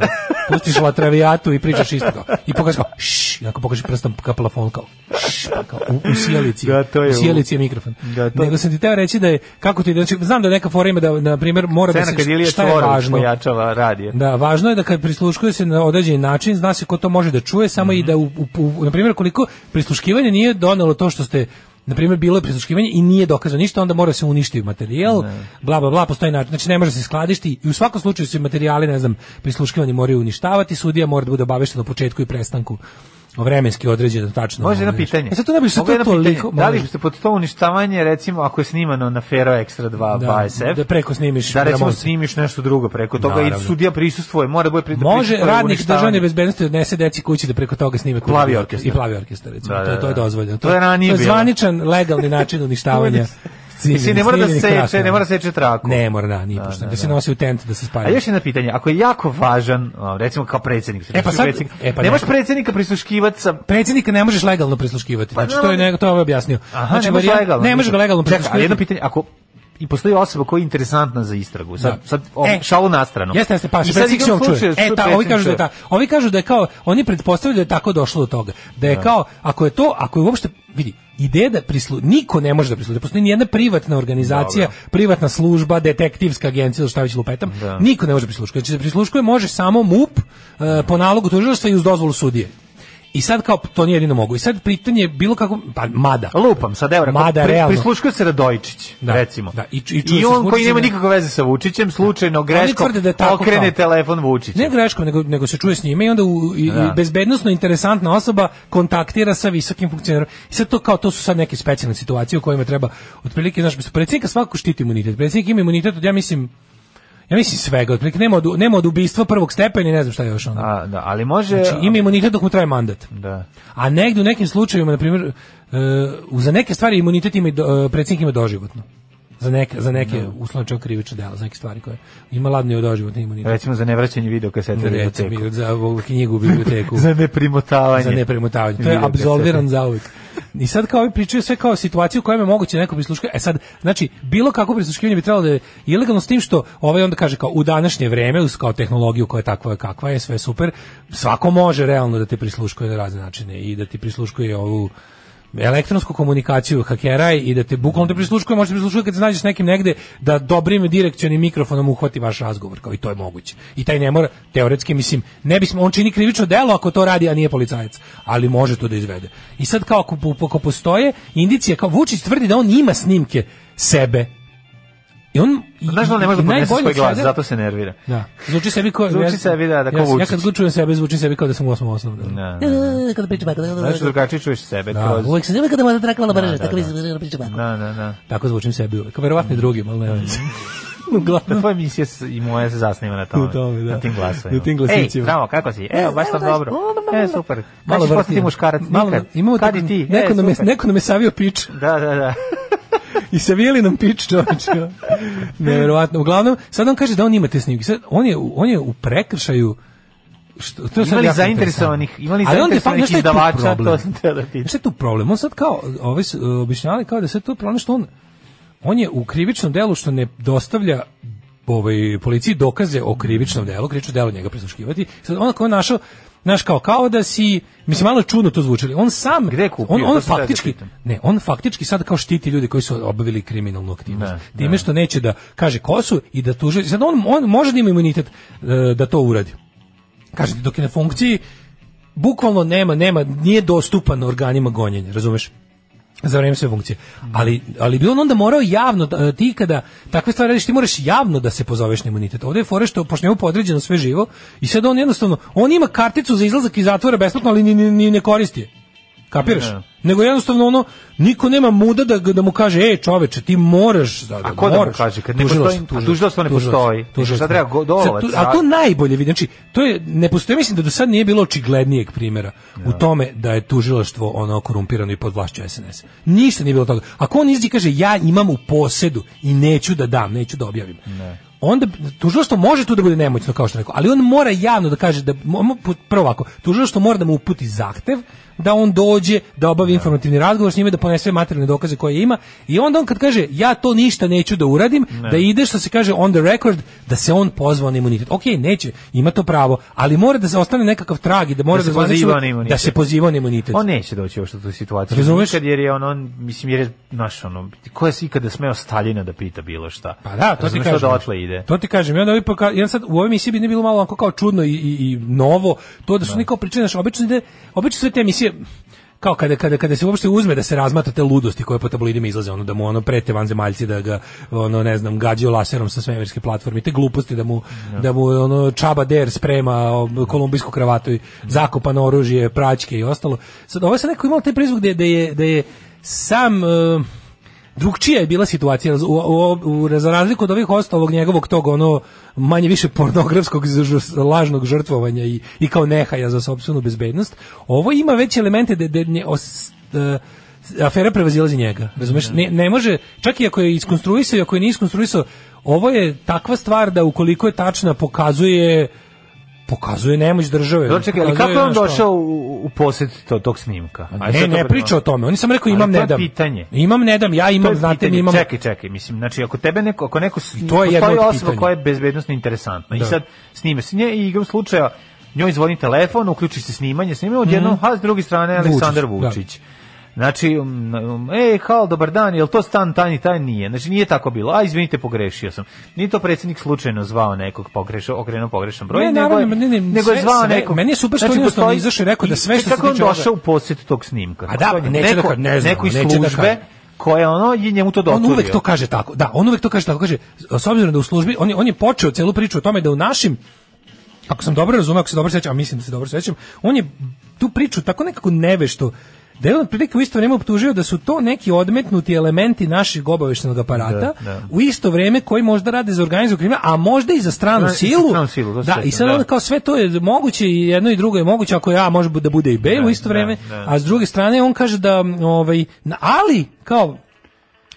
S8: Pustiš La Traviatu i pričaš isto kao. I pokažeš kao, šš, jako pokažeš prstom ka plafon kao, šš, pa kao, u, u sjelici.
S7: Da, to je
S8: u
S7: u-
S8: sjelici je mikrofon.
S7: Da, to-
S8: Nego sam ti teo reći da je, kako ti, znači, znam da neka fora ima da, na primjer, mora da
S7: Scena kad Ilija
S8: se, šta je
S7: Čvorović
S8: važno.
S7: pojačava radio.
S8: Da, važno je da kad prisluškuje se na određeni način, zna se ko to može da čuje, samo
S7: Mhm.
S8: i da, u, u, u- na primjer, koliko prisluškivanje nije donelo to što ste na primjer bilo je prisluškivanje i nije dokazano ništa, onda mora se uništiti materijal, bla bla bla, postoji način, znači ne može se skladišti i u svakom slučaju se materijali, ne znam, prisluškivanje moraju uništavati, sudija mora da bude obavešten o početku i prestanku vremenski određeno tačno.
S7: Može jedno
S8: ono, znaš.
S7: pitanje.
S8: E sad to ne bi se
S7: Mogu
S8: to
S7: jedno pitanje?
S8: toliko...
S7: Da li
S8: može.
S7: ste pod to uništavanje, recimo, ako je snimano na Fero Extra 2
S8: Da,
S7: da, BASF,
S8: da preko snimiš
S7: da recimo
S8: Bramonte.
S7: snimiš nešto drugo preko toga
S8: Naravno.
S7: i sudija prisustvuje, mora da bude pri, da
S8: Može
S7: prisustvuje
S8: radnik
S7: uništavanju.
S8: državne bezbednosti odnese deci kući da preko toga snime kuću.
S7: Plavi orkestar.
S8: i plavi orkestar recimo.
S7: Da, da,
S8: to, je- to je
S7: da.
S8: dozvoljeno.
S7: To je ranije
S8: To je
S7: bilo.
S8: zvaničan legalni način uništavanja.
S7: Mislim, ne mora da
S8: snimljenih
S7: seče,
S8: krasnova.
S7: ne mora da seče traku.
S8: Ne mora da, ni da, da, se nosi u tent da se
S7: A
S8: spalja.
S7: još jedno pitanje, ako je jako važan, a, recimo kao predsjednik,
S8: E, pa sad-
S7: predsjednik,
S8: e, pa
S7: ne
S8: ne.
S7: možeš predsjednika prisluškivati sa
S8: Predsjednika ne možeš legalno prisluškivati. Znači,
S7: da,
S8: to je
S7: da.
S8: ne, to je ovaj objasnio.
S7: Aha,
S8: znači,
S7: ne može
S8: varijan-
S7: legalno.
S8: Ne može ga legalno
S7: Čekaj,
S8: prisluškivati.
S7: ali jedno pitanje, ako i postoji osoba koja je interesantna za istragu. Sad,
S8: Da.
S7: sad o, šalu na stranu.
S8: Jeste, jeste, pa
S7: I sad
S8: predsjednik se
S7: igrom
S8: on čuje.
S7: slučaja,
S8: E, ta, ovi
S7: predsjednik
S8: kažu da je
S7: čuje.
S8: ta, ovi kažu da je kao, oni pretpostavljaju da je tako došlo do toga. Da je kao, ako je to, ako je uopšte, vidi, ideja da prislu, niko ne može da prislu, da postoji nijedna privatna organizacija, privatna služba, detektivska agencija, ili šta već lupetam, niko ne može prisluškati. Znači, da prisluškuje može samo MUP, e, po nalogu tužilaštva i uz dozvolu sudije. I sad kao to nije jedino mogu. I sad pitanje je bilo kako pa mada.
S7: Lupam, sad evo,
S8: Mada,
S7: Mada, pri,
S8: da, realno.
S7: prisluškuje se Radojičić,
S8: Da,
S7: recimo.
S8: da, i- i čuje se
S7: on koji
S8: Vučićem
S7: nema
S8: da-
S7: nikakve veze sa Vučićem, slučajno greškom,
S8: tvrde da je tako
S7: okrene
S8: kao.
S7: telefon Vučića.
S8: Ne greškom, nego, nego se čuje s njime i onda u, i,
S7: Da.
S8: i bezbednosno interesantna osoba kontaktira sa visokim funkcionerom. I sad to kao, to su sad neke specijalne situacije u kojima treba, otprilike, znaš, mislim, predsjednika svakako štiti imunitet. Predsjednik ima imunitet od, ja mislim, ja mislim svega, otprilike, nema od, nema od ubistva prvog stepena i ne znam šta još ono.
S7: A, da, ali može...
S8: Znači, ima imunitet dok mu traje mandat.
S7: Da.
S8: A negdje u nekim slučajevima, na primjer, e, za neke stvari imunitet ima, i do- e, predsjednik ima doživotno. Za neke, za neke no. uslovno krivične dela, za neke stvari koje ima ladni doživotni imunitet.
S7: Recimo za nevraćanje videokasete u
S8: Recimo,
S7: biblioteku.
S8: za ovu knjigu u biblioteku.
S7: Za neprimotavanje.
S8: za nepremotavanje. To je
S7: videokasete.
S8: absolviran zauvijek. I sad kao ovi pričaju sve kao situaciju u kojoj je moguće neko prisluškivanje. E sad, znači, bilo kako prisluškivanje bi trebalo da je ilegalno s tim što ovaj onda kaže kao u današnje vreme, uz kao tehnologiju koja je takva kakva je, sve je super, svako može realno da te prisluškuje na razne načine i da ti prisluškuje ovu elektronsku komunikaciju hakera i da te bukvalno te prisluškuje, možete prisluškuje kad se nađeš s nekim negde da dobrim direkcionim mikrofonom uhvati vaš razgovor, kao i to je moguće. I taj ne mora, teoretski, mislim, ne bismo, on čini krivično delo ako to radi, a nije policajac, ali može to da izvede. I sad kao ako, po- ako postoje indicije, kao Vučić tvrdi da on ima snimke sebe, I on
S7: Znaš da on ne može da podnese svoj glas, zato se nervira.
S8: da. Zvuči sebi kao...
S7: Zvuči
S8: ja-
S7: sebi, da, da, kao
S8: ja, ja
S7: Vučić.
S8: kad god čujem sebe, zvuči sebi kao da sam u osmom osnovu. Da.
S7: Da,
S8: Kada pričam, da, da, da,
S7: Znači,
S8: da.
S7: drugačije čuješ sebe.
S8: Da,
S7: kroz-
S8: uvek se nema kada mada trakvala
S7: Da,
S8: brže,
S7: da,
S8: tako mi
S7: da.
S8: se pričam. ako.
S7: Da, da, da.
S8: Tako zvučim sebi uvek. Verovatno i drugim, ali ne veze. Uglavnom.
S7: Da tvoja emisija s- i moja se zasniva na tome.
S8: U tome, da.
S7: Na tim glasovima.
S8: Na tim glasnicima.
S7: Ej, bravo, kako si? Evo, baš sam dobro. E, super. Malo ćeš
S8: vrtnije.
S7: postati muškarac?
S8: Malo,
S7: Nikad.
S8: imamo
S7: Kad
S8: tako-
S7: i ti?
S8: Neko,
S7: e,
S8: nam je,
S7: super.
S8: neko nam je savio pič.
S7: Da, da, da.
S8: I savijeli nam pič, čoveče. Neverovatno. Uglavnom, sad on kaže da on ima te snimke. Sad, on je, u- on je u prekršaju Što, to je sad
S7: Ima li
S8: jako
S7: zainteresovanih-
S8: interesantno.
S7: ima li
S8: Ali on de facto-
S7: zainteresovanih
S8: znaš šta je tu
S7: izdavača, to
S8: problem?
S7: sam teo da pitam.
S8: Znaš šta je tu problem? On sad kao, ovi su e, objašnjavali kao da se tu problem što on, on je u krivičnom delu što ne dostavlja ovaj, policiji dokaze o krivičnom delu, krivično delu njega prisluškivati. Sad on kao našao, znaš kao, kao da si, mislim malo je čudno to zvučili, on sam,
S7: Gde je kupio?
S8: on, on
S7: To sam teo da
S8: faktički,
S7: pitam.
S8: ne, on faktički sad kao štiti ljudi koji su obavili kriminalnu aktivnost. Time što neće da kaže ko su i da tuže, sad on, on može da ima imunitet e, da to uradi kažem ti, dok je na funkciji bukvalno nema nema nije dostupan organima gonjenja razumeš za vreme sve funkcije. Ali, ali bi on onda morao javno, da- ti kada takve stvari radiš, ti moraš javno da se pozoveš na imunitet. Ovde je fore što, pošto njemu podređeno sve živo, i sad on jednostavno, on ima karticu za izlazak iz zatvora besplatno, ali ni, ni, ni ne koristi je. Kapiraš?
S7: Ne.
S8: Nego jednostavno ono, niko nema muda da, da mu kaže, e čoveče, ti moraš da, da
S7: A ko da mu
S8: moraš.
S7: kaže, kad ne
S8: Tužilaštvo,
S7: postoji- a tužilaštvo ne postoji. Šta treba, go-
S8: Sad
S7: dolovac,
S8: tu- A
S7: a-
S8: to najbolje vidi. Znači, to je ne postoji, mislim da do sad nije bilo očiglednijeg primjera u tome da je tužilaštvo ono korumpirano i pod vlašću SNS. Ništa nije bilo toga. Ako on izđe i kaže ja imam u posedu i neću da dam, neću da objavim. Onda tužilaštvo može tu da bude nemoćno kao što rekao, ali on mora javno da kaže da mo- mo- pu- prvo ovako, tužilaštvo mora da mu uputi zahtev da on dođe, da obavi informativni razgovor s njime, da ponese sve materijalne dokaze koje ima i onda on kad kaže ja to ništa neću da uradim, da ide što se kaže on the record, da se on pozvao na imunitet. Ok, neće, ima to pravo, ali mora da se ostane nekakav trag i da mora
S7: Da
S8: da,
S7: se
S8: zvanično-
S7: pozivao na imunitet.
S8: da se pozivao na imunitet.
S7: On neće doći uopšte u tu situaciju.
S8: Razumeš?
S7: Nikad jer je on, on mislim, jer je, znaš, ono, ko je ikada smeo Staljina da pita bilo šta?
S8: Pa da, to ti
S7: Razumeš
S8: kažem.
S7: odatle ide.
S8: To ti kažem. I onda ovi poka- i onda sad u ovoj emisiji bi ne bilo malo onako kao čudno i, i, i novo, to da su neko pričali, znaš, obično ide, obično sve te emisije kao kada, kada, kada se uopšte uzme da se razmatra te ludosti koje po tabloidima izlaze, ono da mu ono prete vanzemaljci da ga ono ne znam gađaju laserom sa svemirske platforme, te gluposti da mu da mu ono Čaba Der sprema o, kolumbijsku kravatu i zakopano oružje, praćke i ostalo. Sad ovo se neko imao taj prizvuk da je, da je, da je sam e, drugčija je bila situacija u, u, u, za razliku od ovih ostalog njegovog tog ono manje više pornografskog z- ž- lažnog žrtvovanja i, i kao nehaja za sopstvenu bezbednost ovo ima već elemente da, da nje- os- e, afera prevazilazi njega razumeš
S7: Da.
S8: ne, ne može čak i ako je iskonstruisao i ako je nije iskonstruisao ovo je takva stvar da ukoliko je tačna pokazuje pokazuje nemoć države
S7: Dobro, čekaj, ali kako
S8: pokazuje,
S7: je on
S8: znaš, kao-
S7: došao u, u posjed to, tog snimka? Ajde
S8: ne,
S7: sad to
S8: E, ne
S7: budemo-
S8: priča o tome. Oni sam rekao
S7: Ali
S8: imam
S7: to je
S8: ne dam.
S7: pitanje.
S8: Imam ne dam, ja
S7: To
S8: imam,
S7: je
S8: znate, mi
S7: pitanje.
S8: imam.
S7: Čekaj, čekaj, mislim, znači ako tebe neko, ako neko s-
S8: to je jedno
S7: postoji osoba
S8: od pitanja.
S7: koja je bezbednosno interesantna
S8: Da.
S7: i sad snime se nje i igrom slučaja njoj zvoni telefon, uključi se snimanje, snime odjednom, a s druge strane Aleksandar
S8: Mhm. Vučić, da.
S7: Vučić. Znači, um, um, ej, hal, dobar dan, jel to stan tanji, taj nije. Znači, nije tako bilo. A, izvinite, pogrešio sam. Nije to predsjednik slučajno zvao nekog, pogrešao, okrenuo pogrešan broj,
S8: Ne,
S7: nego,
S8: naravno,
S7: je,
S8: ne, ne,
S7: nego je
S8: sve-
S7: zvao
S8: sve-
S7: nekog. Znači,
S8: meni je super što on jednostavno
S7: postoji-
S8: izašao i rekao da sve
S7: I
S8: što se
S7: Kako je on
S8: tiče ovoga-
S7: došao u posjet tog snimka?
S8: A da,
S7: Kako je-
S8: neće da
S7: neko-
S8: ka- ne znamo,
S7: Neko iz
S8: neće da
S7: službe,
S8: kažem.
S7: koja je ono i njemu to doturio.
S8: On uvek to kaže tako. Da, on uvek to kaže tako. Kaže, s obzirom da u službi, on je, on je počeo celu priču o tome da u našim, ako sam dobro razumeo, ako se dobro sećam, a mislim da se dobro sećam, on je tu priču tako nekako nevešto da je on otprilike u isto vrijeme optužio da su to neki odmetnuti elementi našeg obaveštenog aparata
S7: Da, da.
S8: u isto vrijeme koji možda rade za organizam kriminal, a možda i za stranu
S7: Da, i za
S8: silu.
S7: stranu silu, to se
S8: da, i
S7: sećam,
S8: sad
S7: da.
S8: onda kao sve to je moguće i jedno i drugo je moguće ako ja može da bude i B u isto
S7: da,
S8: vrijeme,
S7: da.
S8: a s druge strane on kaže da m, ovaj na- ali kao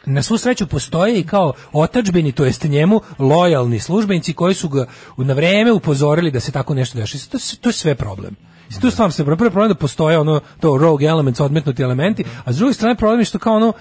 S8: na svu sreću postoje i kao otačbeni, to jest njemu, lojalni službenici koji su ga na vreme upozorili da se tako nešto dešava. To, je- to je sve problem. Mislim, Tu stvarno se prvi problem je da postoje ono to rogue elements, odmetnuti elementi, a s druge strane problem je što kao ono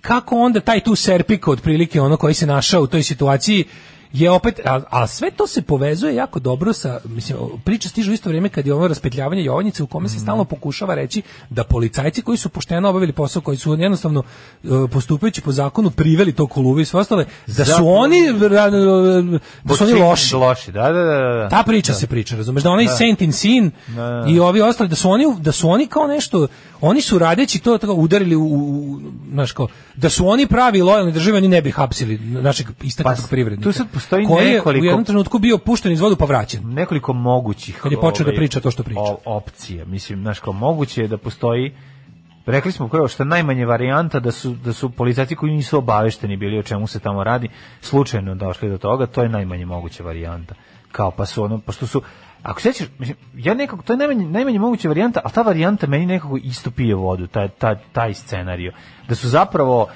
S8: kako onda taj tu Serpiko otprilike ono koji se našao u toj situaciji je opet, a, a sve to se povezuje jako dobro sa, mislim, priča stiže u isto vrijeme kad je ono raspetljavanje Jovanjice u kome se stalno pokušava reći da policajci koji su pošteno obavili posao, koji su jednostavno e, postupajući po zakonu priveli to koluvi i sve ostale, da su
S7: Zapravo-
S8: oni ra- da su oni
S7: Počinjeni
S8: loši.
S7: Loši, da, da, da. da.
S8: Ta priča se priča, razumeš, da onaj Saint in Sin
S7: da.
S8: i ovi ostali, da su oni, da su oni kao nešto, oni su radeći to tako udarili u, u znaš kao, da su oni pravi i lojalni države, oni ne bi hapsili našeg istaknutog
S7: Pa,
S8: privrednika.
S7: tu sad postoji
S8: koji je
S7: nekoliko-
S8: u jednom trenutku bio pušten iz vodu pa vraćen.
S7: nekoliko mogućih
S8: Kad je počeo da
S7: ovaj,
S8: priča to što priča.
S7: o- opcija mislim znaš kao moguće je da postoji rekli smo prvo što je najmanje varijanta da su da su policajci koji nisu obavešteni bili o čemu se tamo radi slučajno došli do toga to je najmanje moguća varijanta kao pa su ono pošto su Ako sećaš, mislim, ja nekako, to je najmanje, najmanje moguća varijanta, ali ta varijanta meni nekako isto pije vodu, taj, taj, taj scenario. Da su zapravo,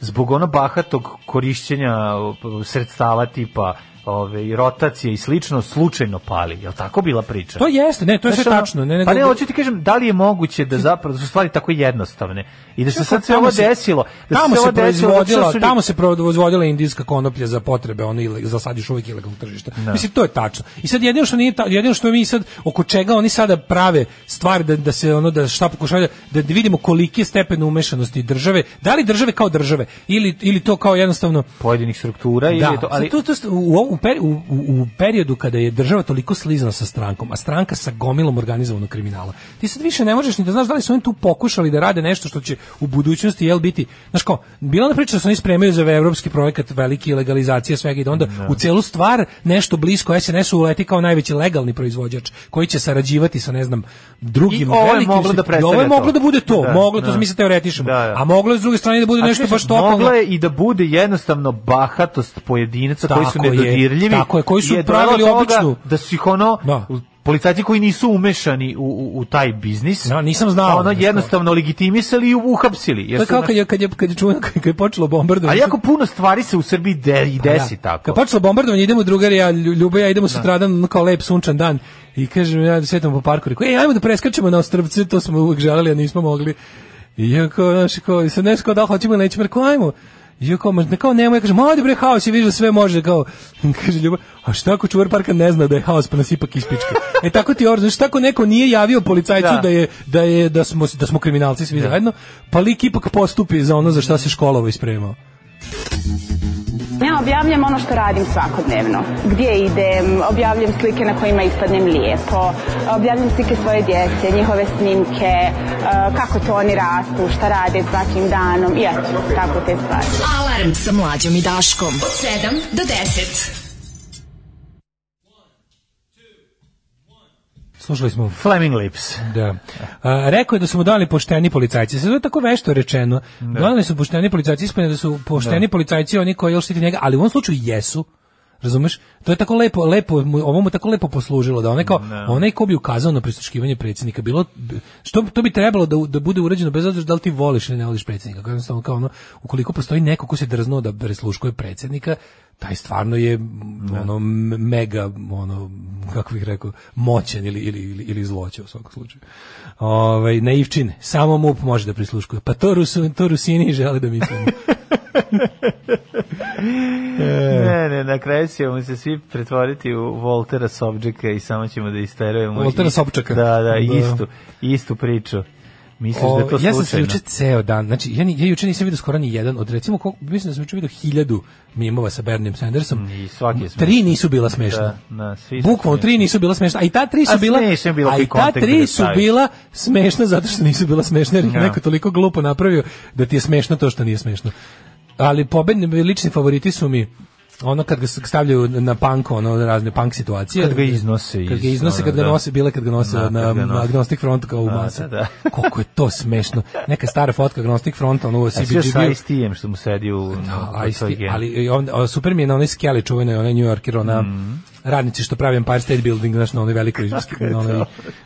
S7: zbog ono bahatog korišćenja uh, sredstava tipa ove, i rotacije i slično, slučajno pali. Je li tako bila priča?
S8: To jeste, ne, to je sve
S7: Da. Znaš, ono,
S8: tačno. Ne,
S7: pa ne,
S8: nego-
S7: hoću ti kažem, da li je moguće da zapravo da su stvari tako jednostavne i da se
S8: Kako,
S7: sad sve
S8: tamo
S7: ovo
S8: se-
S7: desilo, da
S8: tamo
S7: se ovo
S8: se
S7: desilo, zato što
S8: proizvodila,
S7: su ljudi-
S8: tamo se proizvodila indijska konoplja za potrebe one ile- za sad još uvijek ilegalno tržište.
S7: Da.
S8: Mislim to je tačno. I sad jedino što nije ta, jedino što mi sad oko čega oni sada prave stvari da, da se ono da šta pokušavaju da, da vidimo koliki je stepen umešanosti države, da li države kao države ili ili to kao jednostavno
S7: pojedinih struktura ili
S8: da,
S7: je to, ali
S8: sad to, to, st- u, u, u, peri- u, u, u periodu kada je država toliko slizana sa strankom, a stranka sa gomilom organizovanog kriminala, ti sad više ne možeš ni da znaš da li su oni tu pokušali da rade nešto što će u budućnosti jel biti, znaš kao, bila na priča da se oni spremaju za evropski projekat veliki legalizacija svega i da onda u celu stvar nešto blisko SNS-u uleti kao najveći legalni proizvođač koji će sarađivati sa ne znam drugim
S7: I ovo je
S8: velikim
S7: moglo
S8: svi-
S7: da
S8: i ovo
S7: predstavlja
S8: je moglo
S7: to.
S8: da bude to,
S7: Da,
S8: moglo to
S7: da.
S8: mi se teoretišemo.
S7: Da, da.
S8: A moglo je s druge strane da bude
S7: A
S8: nešto
S7: kažem,
S8: baš totalno
S7: Mogla je i da bude jednostavno bahatost pojedinaca koji su
S8: Tako je,
S7: nedodirljivi.
S8: tako je, koji su
S7: je dovela
S8: pravili
S7: do toga
S8: običnu-
S7: Da su ih ono,
S8: Da.
S7: policajci koji nisu umešani u, u, u taj biznis. pa
S8: Da, nisam znao.
S7: Ono jednostavno legitimisali i uhapsili. Jer
S8: To je
S7: su
S8: kao
S7: na-
S8: kad je, kad je, kad je, čuveno, kad je počelo
S7: A
S8: bombardovanje.
S7: jako puno stvari se u Srbiji de, i
S8: E,
S7: desi tako.
S8: Pa da. Kad počelo bombardovanje, idemo drugari, ja, Lju- Ljubo i ja idemo sutradan, ono kao lep sunčan dan. I kažem, ja svetam po parku, rekao, ej, ajmo da preskačemo na ostrvce, to smo uvek želeli, a nismo mogli. I ja kao, znaš, kao, i sad nešto kao da li hoćemo ili nećemo, rekao, ajmo. I ja kao, ma, ne, kao nemoj, ja kažem, ajde bre, haos je, vidiš da sve može, kao, kaže Ljubo, a šta ako čuvar parka ne zna da je haos, pa nas ipak ispička. E tako ti je, ovo, znaš, šta ako neko nije javio policajcu da,
S7: Da.
S8: je, da, je, da, smo, da smo kriminalci svi zajedno, pa lik ipak postupi za ono za šta se školovo ispremao.
S11: Ja objavljam ono što radim svakodnevno. Gdje idem, objavljam slike na kojima ispadnem lijepo, objavljam slike svoje djece, njihove snimke, eh, kako to oni rastu, šta rade svakim danom i eto, tako te stvari.
S10: Alarm sa mlađom i Daškom. Od 7 do 10.
S8: Slušali smo
S7: Flaming Lips.
S8: Da. A, rekao je da su mu dali pošteni policajci. Sve to je tako vešto rečeno. Da. Donali su pošteni policajci, ispane da su pošteni policajci oni koji jel štiti njega, ali u ovom slučaju jesu. Razumeš? To je tako lepo, lepo, mu- ovo mu tako lepo poslužilo da onaj kao, onaj ko bi ukazao na prisluškivanje predsjednika, bilo, što to bi trebalo da, u- da bude urađeno bez obzira da li ti voliš ili ne voliš predsjednika. Kao jednostavno kao ono, ukoliko postoji neko ko se drznuo da prisluškuje predsjednika, taj stvarno je m, ono m- mega ono kako bih rekao moćan ili ili ili, ili zloće u svakom slučaju. Ovaj naivčin, samo MUP može da prisluškuje. Pa to Rusu, to Rusini žele da mislimo. E.
S7: Ne, ne, na kraju ćemo se svi pretvoriti u Voltera Sobčaka i samo ćemo da isterujemo.
S8: Voltera
S7: i-
S8: Sobčaka.
S7: Da, da,
S8: Da.
S7: istu, istu priču. Misliš da je to
S8: O, Ovaj, ja sam se
S7: slučajno?
S8: juče ceo dan, znači ja, ni- ja juče nisam vidio skoro ni jedan od recimo koliko, mislim da sam juče vidio hiljadu mimova sa Bernijem Sandersom.
S7: I svaki je
S8: Tri
S7: smešan.
S8: nisu bila smešna.
S7: Da, da, svi su
S8: Bukvalno tri nisu bila smešna, a i ta tri su
S7: A
S8: bila,
S7: smešno je bilo
S8: a
S7: koji
S8: i ta
S7: kontekst da
S8: tri
S7: ga
S8: su
S7: staviš.
S8: bila smešna zato što nisu bila smešna, jer ih
S7: Ja.
S8: neko toliko glupo napravio da ti je smešno to što nije smešno. Ali pobedni lični favoriti su mi ono kad ga s- stavljaju na punk, ono razne punk situacije.
S7: Kad ga iznose
S8: Kad ga
S7: iz-
S8: iznose,
S7: ono,
S8: kad ga
S7: da.
S8: nose, bile kad ga nose
S7: Da, kad
S8: na,
S7: ga nose.
S8: Agnostic Front kao u masa.
S7: da,
S8: Koliko je to smešno. Neka stara fotka Agnostic Front, ono u
S7: A sve sa
S8: CBGB.
S7: istijem što mu sedi u... u
S8: Da,
S7: toj
S8: isti,
S7: geni.
S8: ali on, a, super mi je na onoj skeli čuvenoj, onaj New Yorker, ona
S7: Mhm.
S8: radnici što pravi Empire State Building, znaš, na onoj velikoj, na onoj,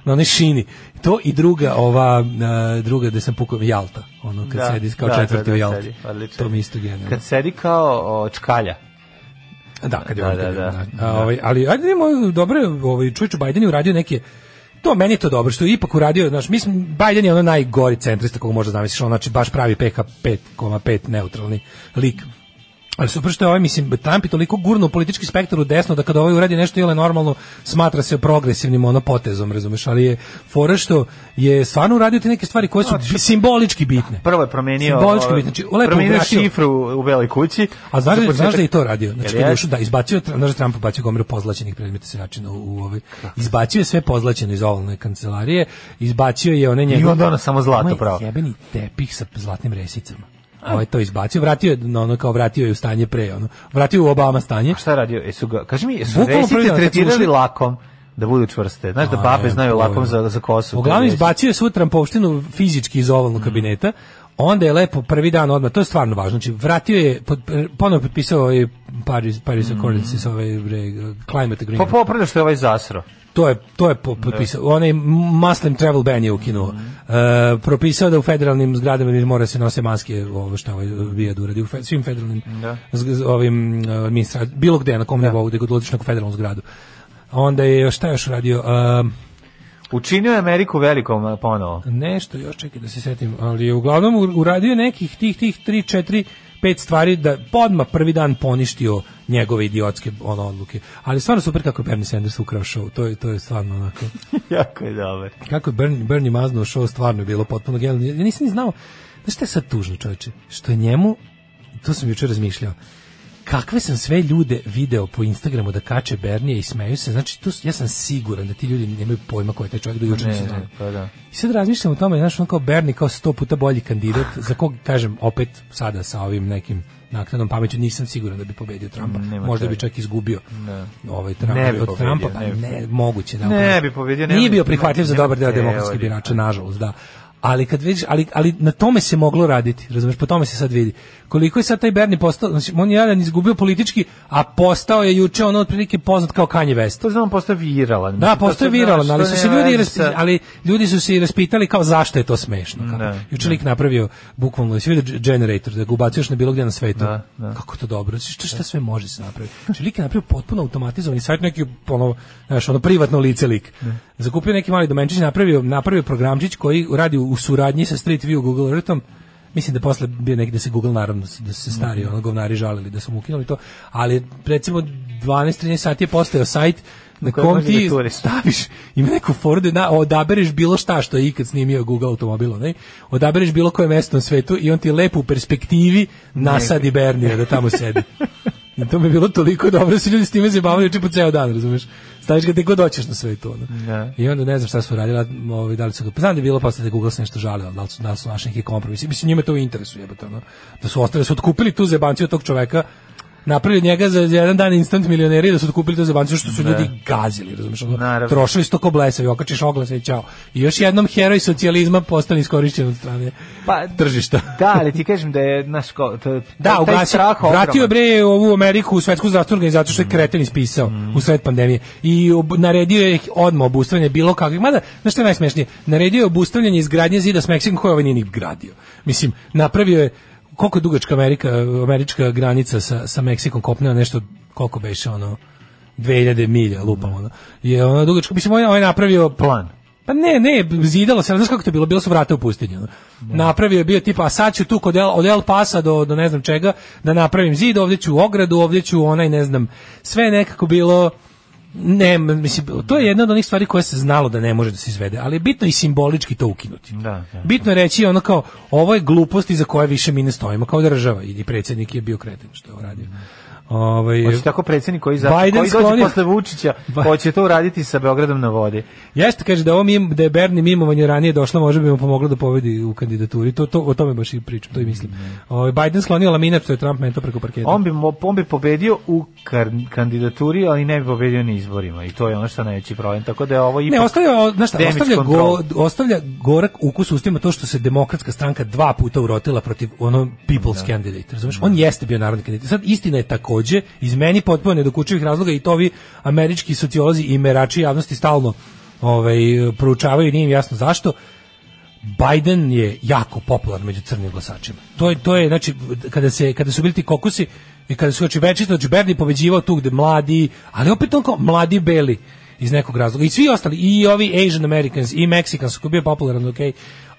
S8: na onoj šini. To i druga, ova, a, druga gde sam pukao, Jalta, ono, kad
S7: Da,
S8: sedi kao
S7: da,
S8: četvrti
S7: da,
S8: u
S7: da,
S8: Jalti.
S7: sedi, odlično.
S8: to mi je isto genijalno.
S7: Kad sedi kao o, čkalja.
S8: Da, kad je
S7: Da,
S8: on-
S7: da,
S8: kad je on-
S7: da.
S8: A, ovaj, ali ajde vidimo, dobro, je, ovaj Čuču Biden je uradio neke To meni je to dobro što je ipak uradio, znaš, mislim Biden je ono najgori centrista kog možda zamisliš, on znači baš pravi PK 5,5 neutralni lik. Ali super što je ovaj, mislim, Trump je toliko gurno politički spektar u desno da kada ovaj uradi nešto ili normalno smatra se progresivnim ono potezom, razumeš, ali je fora što je stvarno uradio te neke stvari koje su bi- simbolički bitne.
S7: Prvo je promenio,
S8: Simbolički
S7: o,
S8: bitne, znači, lepo
S7: promenio
S8: vratio.
S7: šifru u Beloj kući.
S8: A znaš,
S7: Za
S8: da, znaš
S7: početak-
S8: da je i to radio? Znači,
S7: Jel
S8: kad je
S7: je?
S8: ušao, da, izbacio, je- znaš da je Trump ubacio gomilu pozlaćenih predmeta se načina u, u ove. Izbacio je sve pozlaćeno iz ovalne kancelarije, izbacio je one njegove...
S7: onda ono samo zlato
S8: Ovaj
S7: pravo.
S8: jebeni tepih sa zlatnim resicama. Ovo je to izbacio, vratio je na ono kao vratio je u stanje pre, ono, vratio je u Obama stanje.
S7: Šta je radio? Jesu ga, kaži mi, jesu
S8: Bukvalno prvi
S7: resice
S8: dan kad smo
S7: tretirali
S8: ušli-
S7: lakom da budu čvrste? Znaš da babe
S8: A,
S7: znaju lakom
S8: pojma.
S7: za, za kosu. To
S8: Uglavnom
S7: Mm. je-
S8: izbacio je svu trampovštinu fizički iz ovalnog kabineta. Onda je lepo prvi dan odmah, to je stvarno važno. Znači vratio je pod, ponovo potpisao ovaj Paris
S7: Mm.
S8: Paris Accords iz ove bre,
S7: Pa
S8: climate agreement.
S7: popravlja što je ovaj zasro.
S8: To je to je po- potpisao. Onaj Muslim travel ban je ukinuo. E, propisao da u federalnim zgradama mora se nose maske, ovo što je ovaj bijad uradio u fe- svim federalnim
S7: Da.
S8: z- z- ovim e, administra bilo gde na kom nivou da god odlaziš na neku federalnu zgradu. Onda je šta je još radio? E,
S7: Učinio je Ameriku velikom e, ponovo.
S8: nešto još čekaj da se setim, ali je uglavnom u- uradio nekih tih tih 3 4 pet stvari da podma prvi dan poništio njegove idiotske ono odluke. Ali stvarno super kako je Bernie Sanders ukrao show. To je to je stvarno onako
S7: jako je dobar.
S8: kako je Bernie, Bernie maznuo show stvarno je bilo potpuno genijalno. Ja nisam ni znao. Znaš šta je sad tužno, čoveče? Što je njemu, to sam jučer razmišljao, kakve sam sve ljude video po Instagramu da kače Bernije i smeju se, znači tu, ja sam siguran da ti ljudi nemaju pojma ko je taj čovjek do juče
S7: Ne,
S8: nisu
S7: ne,
S8: znali.
S7: pa da.
S8: I sad razmišljam o tome, znaš, on kao Berni kao sto puta bolji kandidat, za kog, kažem, opet sada sa ovim nekim naknadnom pameću nisam siguran da bi pobedio Trumpa.
S7: Mm, nema
S8: Možda bi
S7: čak.
S8: čak izgubio
S7: Ne.
S8: ovaj Trump
S7: Ne bi
S8: od
S7: pobedio,
S8: Trumpa, pa
S7: ne bi
S8: ne,
S7: pobedio.
S8: moguće da.
S7: Ne
S8: upravo.
S7: bi pobedio,
S8: Nije
S7: nema-
S8: bio prihvatljiv za
S7: nema
S8: dobar deo demokratskih
S7: teorije.
S8: birača, nažalost, da. Ali kad vidiš, ali, ali na tome se moglo raditi, razumeš, po tome se sad vidi. Koliko je sad taj Berni postao, znači, on je jedan izgubio politički, a postao je juče ono otprilike poznat kao Kanye West.
S7: To znam, postao viralan.
S8: Da,
S7: Mislim, to
S8: postoje
S7: sad, znaš,
S8: viralan, ali
S7: to
S8: su se
S7: nema
S8: ljudi
S7: veze sa-
S8: raspi- ali ljudi su se i raspitali kao zašto je to smešno. Kako?
S7: Da,
S8: Juče lik napravio bukvalno, jesi vidio generator da ga ubacuješ na bilo gdje na svetu.
S7: Da, da.
S8: Kako to dobro, znači, šta, šta sve može se napraviti. Znači lik je napravio potpuno automatizovani sajt neki ono, znaš, ono privatno lice lik.
S7: Da.
S8: Zakupio neki mali domenčić, napravio napravio programčić koji radi u suradnji sa Street View Google Earthom. Mislim da posle bio negde se Google naravno da se stari
S7: Mhm.
S8: ono govnari žalili da su mu ukinuli to, ali recimo 12-13 sati je postao sajt na
S7: kojem
S8: kom
S7: može
S8: ti
S7: da turiš.
S8: staviš ima neku foru da na- odabereš bilo šta što je ikad snimio Google automobil, onaj, odabereš bilo koje mesto na svetu i on ti lepo u perspektivi nasadi Bernija da tamo sedi. I to mi je bilo toliko dobro, da su ljudi s time zabavljaju čepo ceo dan, razumeš? Staviš ga gde god hoćeš na svetu, ono.
S7: Da.
S8: I onda ne znam šta su radila, ovaj, da li su ga, pa znam da je bilo posle da je Google se nešto žalio, da li su, da li su našli neki kompromis. Mislim, njima je to u interesu, jebate, ono. Da su ostali, da su otkupili tu zebanciju od tog čoveka, napravili od njega za jedan dan instant milioneri da su otkupili tu zebanciju što su ljudi gazili, razumeš, ono,
S7: Naravno.
S8: trošili su to ko blesavi, okačiš oglase i čao. I još jednom heroj socijalizma postane iskorišćen od strane
S7: Pa,
S8: tržišta.
S7: da, ali ti kažem da je, znaš, ko, to,
S8: Da,
S7: taj
S8: ugasio,
S7: strah ogroman. Mm.
S8: vratio je bre ovu Ameriku u svetsku zdravstvenu organizaciju što je kreten ispisao u sred pandemije i ob- naredio je odmah obustavljanje bilo kakvih, mada, znaš što je najsmešnije, naredio je obustavljanje izgradnje zida s Meksikom koje ovaj nije ni gradio. Mislim, napravio je koliko je dugačka Amerika, američka granica sa, sa Meksikom kopnena nešto, koliko beše ono, 2000 milja lupam ono. Je ono dugačko, mislim, on je- on je napravio
S7: Plan.
S8: pa ne, ne, zidalo se, ali znaš kako to je bilo, bilo su vrata u pustinju. ono.
S7: Da.
S8: Napravio je bio tipa, a sad ću tu kod El, od El Pasa do, do ne znam čega, da napravim zid, ovdje ću ogradu, ovdje ću onaj, ne znam, sve je nekako bilo, ne, mislim, to je jedna od onih stvari koje se znalo da ne može da se izvede, ali je bitno i simbolički to ukinuti.
S7: Da, da.
S8: Bitno je reći ono kao, ovo je gluposti za koje više mi ne stojimo, kao država, i predsjednik je bio kreten što je uradio. Ovaj,
S7: Hoće tako predsjednik koji, za,
S8: Biden
S7: koji dođe
S8: sklonio-
S7: posle Vučića,
S8: Ba-
S7: hoće to uraditi sa Beogradom na vodi.
S8: Jeste kaže da ovo mim, da je Berni mimovanje ranije došlo, možda bi mu pomoglo da pobedi u kandidaturi. To, to o tome baš i pričam, to i mislim. Ovaj Biden sklonio laminat što je Trump meto preko parketa.
S7: Mm. On bi, mo- on bi pobedio u kar, kandidaturi, ali ne bi pobedio na izborima. I to je ono što je najveći problem. Tako da je ovo ipak...
S8: ne, ostavlja, o, znaš šta,
S7: damage
S8: ostavlja,
S7: control.
S8: go, ostavlja gorak ukus u ustima to što se demokratska stranka dva puta urotila protiv ono people's
S7: Da.
S8: candidate, razumeš? On jeste bio narodni kandidat. Sad, istina je takođe, iz meni potpuno nedokučivih razloga i to ovi američki sociolozi i merači javnosti stalno ovaj, proučavaju i nije im jasno zašto, Biden je jako popularan među crnim glasačima. To je to je znači kada se kada su bili ti kokusi i kada su znači večito znači Berni pobeđivao tu gde mladi, ali opet on kao mladi beli iz nekog razloga i svi ostali i ovi Asian Americans i Mexicans koji je bio popularan, ok,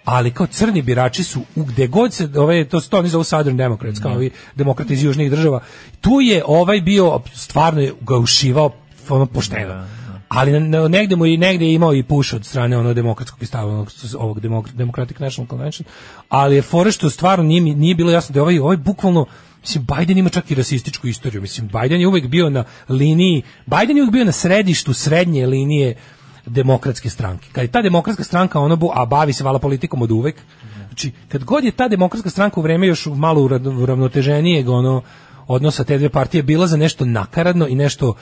S8: ali kao crni birači su u gde god se ove to su to oni zovu Southern Democrats kao ovi demokrati iz južnih država tu je ovaj bio stvarno je ga ušivao ono pošteno ali na- na- negde mu i negde je imao i puš od strane ono demokratskog stava onog, s- ovog demok- Democratic National Convention ali je fore što stvarno nije, mi- nije bilo jasno da je ovaj, ovaj bukvalno Mislim, Biden ima čak i rasističku istoriju. Mislim, Biden je uvek bio na liniji, Biden je uvek bio na središtu srednje linije demokratske stranke. Kad je ta demokratska stranka ono bu, a bavi se vala politikom od uvek, znači kad god je ta demokratska stranka u vreme još malo urad- uravnoteženijeg ono odnosa te dve partije bila za nešto nakaradno i nešto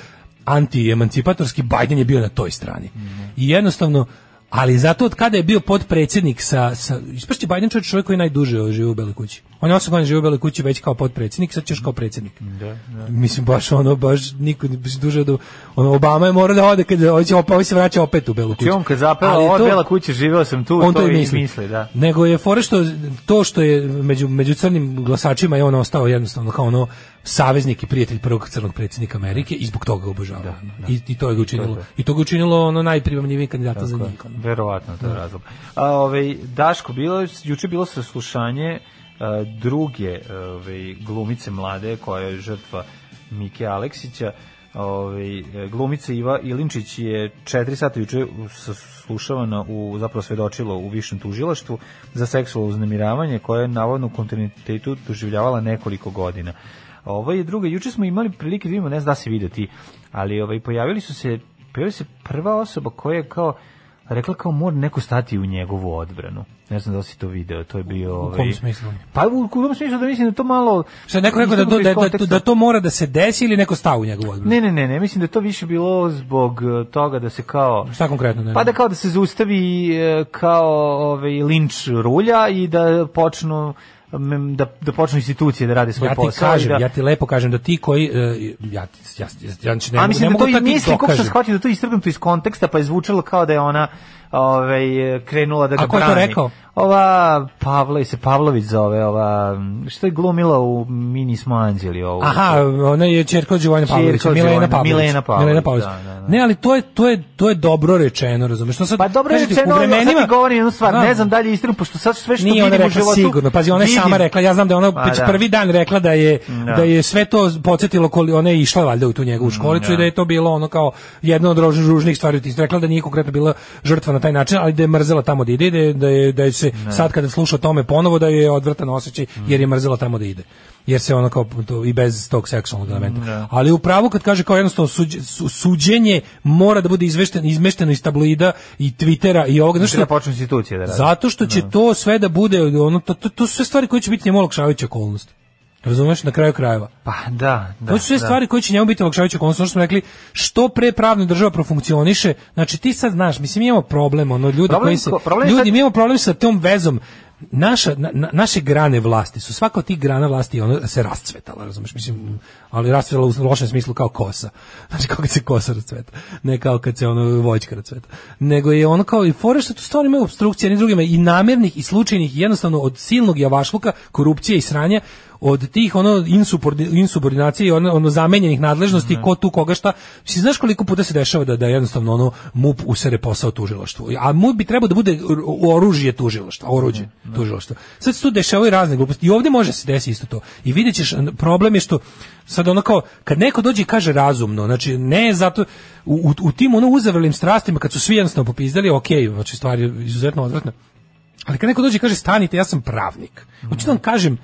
S8: anti-emancipatorski, Biden je bio na toj strani. I jednostavno, ali zato od kada je bio potpredsjednik sa, sa ispašće Biden čovjek, čovjek koji najduže živi u Beloj kući. On je osam godina živio u Beloj kući već kao potpredsjednik, sad će još kao predsjednik.
S7: Da,
S8: Mislim, baš ono, baš niko baš duže do... Ono, Obama je mora da ode, kad hoće, opa, ovaj se vraća opet u Belu kuću.
S7: Znači on kad zapeva,
S8: Ali
S7: od
S8: to-
S7: Bela kuće živeo sam tu,
S8: on
S7: to,
S8: to i
S7: i
S8: misli.
S7: misli da.
S8: nego je fore što to što je među, među crnim glasačima je on ostao jednostavno kao ono saveznik i prijatelj prvog crnog predsjednika Amerike i zbog toga ga obožava.
S7: Da,
S8: I, I to je ga učinilo. I to ga učinilo ono najpribamljivijim kandidata za njih. ono.
S7: Verovatno to je razlog. A ovaj Daško bilo je- juče bilo saslušanje a, druge ovaj glumice mlade koja je žrtva Mike Aleksića. Ovaj e, glumica Iva Ilinčić je 4 sata juče saslušavana u zapravo svedočilo u višem tužilaštvu za seksualno uznemiravanje koje je navodno u kontinuitetu doživljavala nekoliko godina Ovo je druga, juče smo imali prilike da vidimo, ne znam da se vide ti, ali ovaj, pojavili su se, pojavili se prva osoba koja je kao, rekla kao mora neko stati u njegovu odbranu. Ne znam da li si to video, to je bio...
S8: U
S7: Ovaj,
S8: kom smislu?
S7: Pa u kom smislu da mislim da to malo...
S8: Šta je neko rekao da, to- da, da, da, da to mora da se desi ili neko stao u njegovu odbranu?
S7: Ne, ne, ne, ne, mislim da je to više bilo zbog eh, toga da se kao...
S8: Šta konkretno? Ne,
S7: Pa da kao da se zaustavi eh, kao ovaj linč rulja i da počnu mm, da, da počnu institucije da rade svoj
S8: ja ti
S7: posao. i
S8: kažem,
S7: da,
S8: ja ti lepo kažem da ti koji e, ja ti- ja, ja, ja, znači ne,
S7: A
S8: mogu-
S7: mislim
S8: ne
S7: da
S8: mogu
S7: to i
S8: da ti
S7: misli, kako sam
S8: dokažem.
S7: shvatio da je to je istrgnuto iz konteksta, pa je zvučalo kao da je ona ovaj, krenula da ga
S8: A ko je to
S7: brani.
S8: rekao?
S7: Ova Pavla, se Pavlović zove, ova, što je glumila u Mini smo anđeli ovu.
S8: Aha, ona je ćerka od Đivane
S7: Ćerka
S8: Pavlovića,
S7: od
S8: Milena
S7: Đivane,
S8: Pavlović.
S7: Milena Pavlović, da, da, da.
S8: Ne, ali to je, to, je, to je dobro rečeno, razumeš? To sad,
S7: Pa dobro
S8: kažete,
S7: je rečeno,
S8: u
S7: ali sad ti
S8: vremenima, Da.
S7: govorim jednu stvar,
S8: Znam.
S7: ne znam dalje istinu, pošto sad sve što
S8: Nije ona
S7: vidim u
S8: rekla
S7: životu...
S8: sigurno, pazi, ona je
S7: vidim.
S8: sama rekla, ja znam da je ona
S7: Pa
S8: već
S7: da.
S8: prvi dan rekla da je,
S7: Da.
S8: da. je sve to podsjetilo, koli, ona je išla valjda u tu njegovu školicu
S7: da.
S8: i da je to bilo ono kao jedna od rož- ružnih stvari, ti si rekla da nije konkretno bila žrtva na taj način, ali da je mrzela tamo da ide, da je, da je, da je se sad kada sluša o tome ponovo da je odvrtan osjećaj jer je mrzela tamo da ide jer se ona kao to, i bez tog seksualnog elementa.
S7: Da.
S8: Ali u pravu kad kaže kao jednostavno suđ- su- suđenje mora da bude izvešteno, izmešteno iz tabloida i Twittera i ovoga. Znaš
S7: Da
S8: što,
S7: počnu institucije da rade.
S8: zato što će to sve da bude ono to, to, to su sve stvari koje će biti njemu olakšavajuća okolnost. Razumeš na kraju krajeva.
S7: Pa da, da.
S8: to su sve
S7: da.
S8: stvari koje će njemu biti olakšavajuća okolnost, ono što smo rekli, što pre pravna država profunkcioniše, znači ti sad znaš, mislim mi imamo problem, ono ljudi
S7: Problem
S8: koji se
S7: ko- problem je
S8: ljudi
S7: sad-
S8: mi imamo problem sa tom vezom Naša, na- na- naše grane vlasti su svaka od tih grana vlasti ona se rascvetala razumeš mislim ali rascvetala u lošem smislu kao kosa znači kao kad se kosa rascveta ne kao kad se ono voćka rascveta nego je ono kao i fore što tu stvarno imaju obstrukcije ni drugima i namernih i slučajnih i jednostavno od silnog javašluka korupcije i sranja od tih ono insubordi- insubordinacije i ono, ono zamenjenih nadležnosti ko tu koga šta mislim znaš koliko puta se dešava da da jednostavno ono MUP usere posao tužilaštvu a MUP bi trebao da bude r- oružje tužilaštva oruđe tužilaštva sad se tu dešavaju razne gluposti i ovdje može se desiti isto to i vidjet ćeš n- problem je što sad ono kao kad neko dođe i kaže razumno znači ne zato u, u, u tim ono uzavrlim strastima kad su svi jednostavno popizdali ok znači stvar je izuzetno odvratna ali kad neko dođe i kaže stanite, ja sam pravnik. Hoću da vam kažem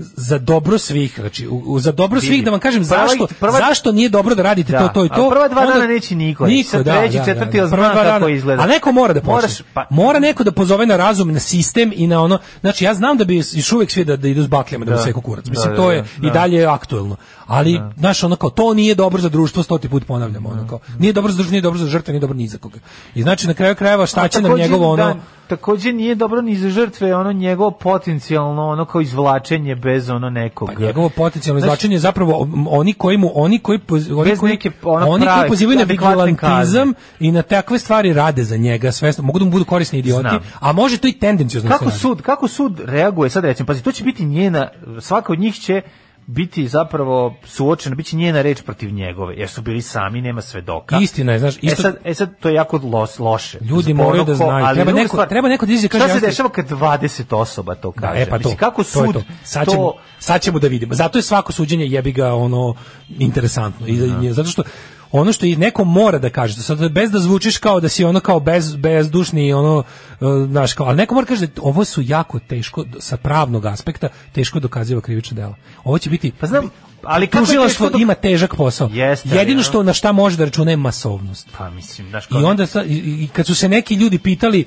S8: za dobro svih, znači u- u- za dobro svih da vam kažem
S7: Prva-
S8: zašto
S7: prva-
S8: zašto nije dobro da radite
S7: Da,
S8: to to i
S7: a
S8: to.
S7: prva dva
S8: onda- da,
S7: dana neće niko, sad treći, četvrti, ali
S8: Prva
S7: zna
S8: dva
S7: kako
S8: dana.
S7: izgleda.
S8: A neko mora da
S7: Moraš,
S8: počne.
S7: pa-
S8: Mora neko da pozove na razum, na sistem i na ono. Znači ja znam da bi još uvijek svi da, da idu s bakljama da,
S7: Da.
S8: da seku kurac.
S7: Da,
S8: Mislim
S7: da,
S8: to je
S7: da,
S8: i
S7: da.
S8: dalje je aktuelno. Ali znaš ono kao to nije dobro za društvo, stoti put ponavljamo
S7: Da.
S8: ono kao. Nije dobro za društvo, nije dobro za žrtve, nije dobro ni za koga. I znači na kraju krajeva šta će nam
S7: Takođe,
S8: njegovo ono
S7: da, takođe nije dobro ni za žrtve ono njegovo potencijalno ono kao izvlačenje bez ono nekog.
S8: Pa njegovo potencijalno
S7: Znaš,
S8: izvlačenje je zapravo m, oni koji mu oni koji poz- oni
S7: Bez
S8: koji,
S7: neke, ono,
S8: oni
S7: prave,
S8: koji pozivaju na
S7: adekvatne
S8: vigilantizam i na takve stvari rade za njega svesno mogu da mu budu korisni idioti
S7: Znam.
S8: a može to i tendencijozno se
S7: Kako
S8: radi.
S7: sud, kako sud reaguje sad recimo, pazi, to će biti njena, svaka od njih će biti zapravo suočena, bit će njena reč protiv njegove, jer su bili sami, nema svedoka.
S8: Istina je, znaš, isto-
S7: E sad, e sad to je jako los, loše.
S8: Ljudi
S7: Zbog
S8: moraju da
S7: ono ko-
S8: znaju.
S7: ali
S8: Treba
S7: druga
S8: neko- treba neko da izađe i kaže,
S7: Šta se
S8: jasno-
S7: dešava kad 20 osoba to
S8: Da,
S7: kaže?
S8: e pa to.
S7: Mislim, kako
S8: to je
S7: sud
S8: to. Sad
S7: to-
S8: ćemo, sad ćemo da vidimo. Zato je svako suđenje jebi ga ono interesantno i
S7: Da.
S8: i- zato što ono što i neko mora da kaže, sad bez da zvučiš kao da si ono kao bez bezdušni ono e, znaš kao, ali neko mora da kaže ovo su jako teško d- sa pravnog aspekta teško dokaziva krivična dela. Ovo će biti
S7: Pa znam, ali kako je
S8: tužilaštvo
S7: teško dok-
S8: ima težak posao.
S7: Jeste, ali,
S8: Jedino
S7: no.
S8: što na šta može da računa je masovnost.
S7: Pa mislim, znaš, kao-
S8: I onda sa, i, i kad su se neki ljudi pitali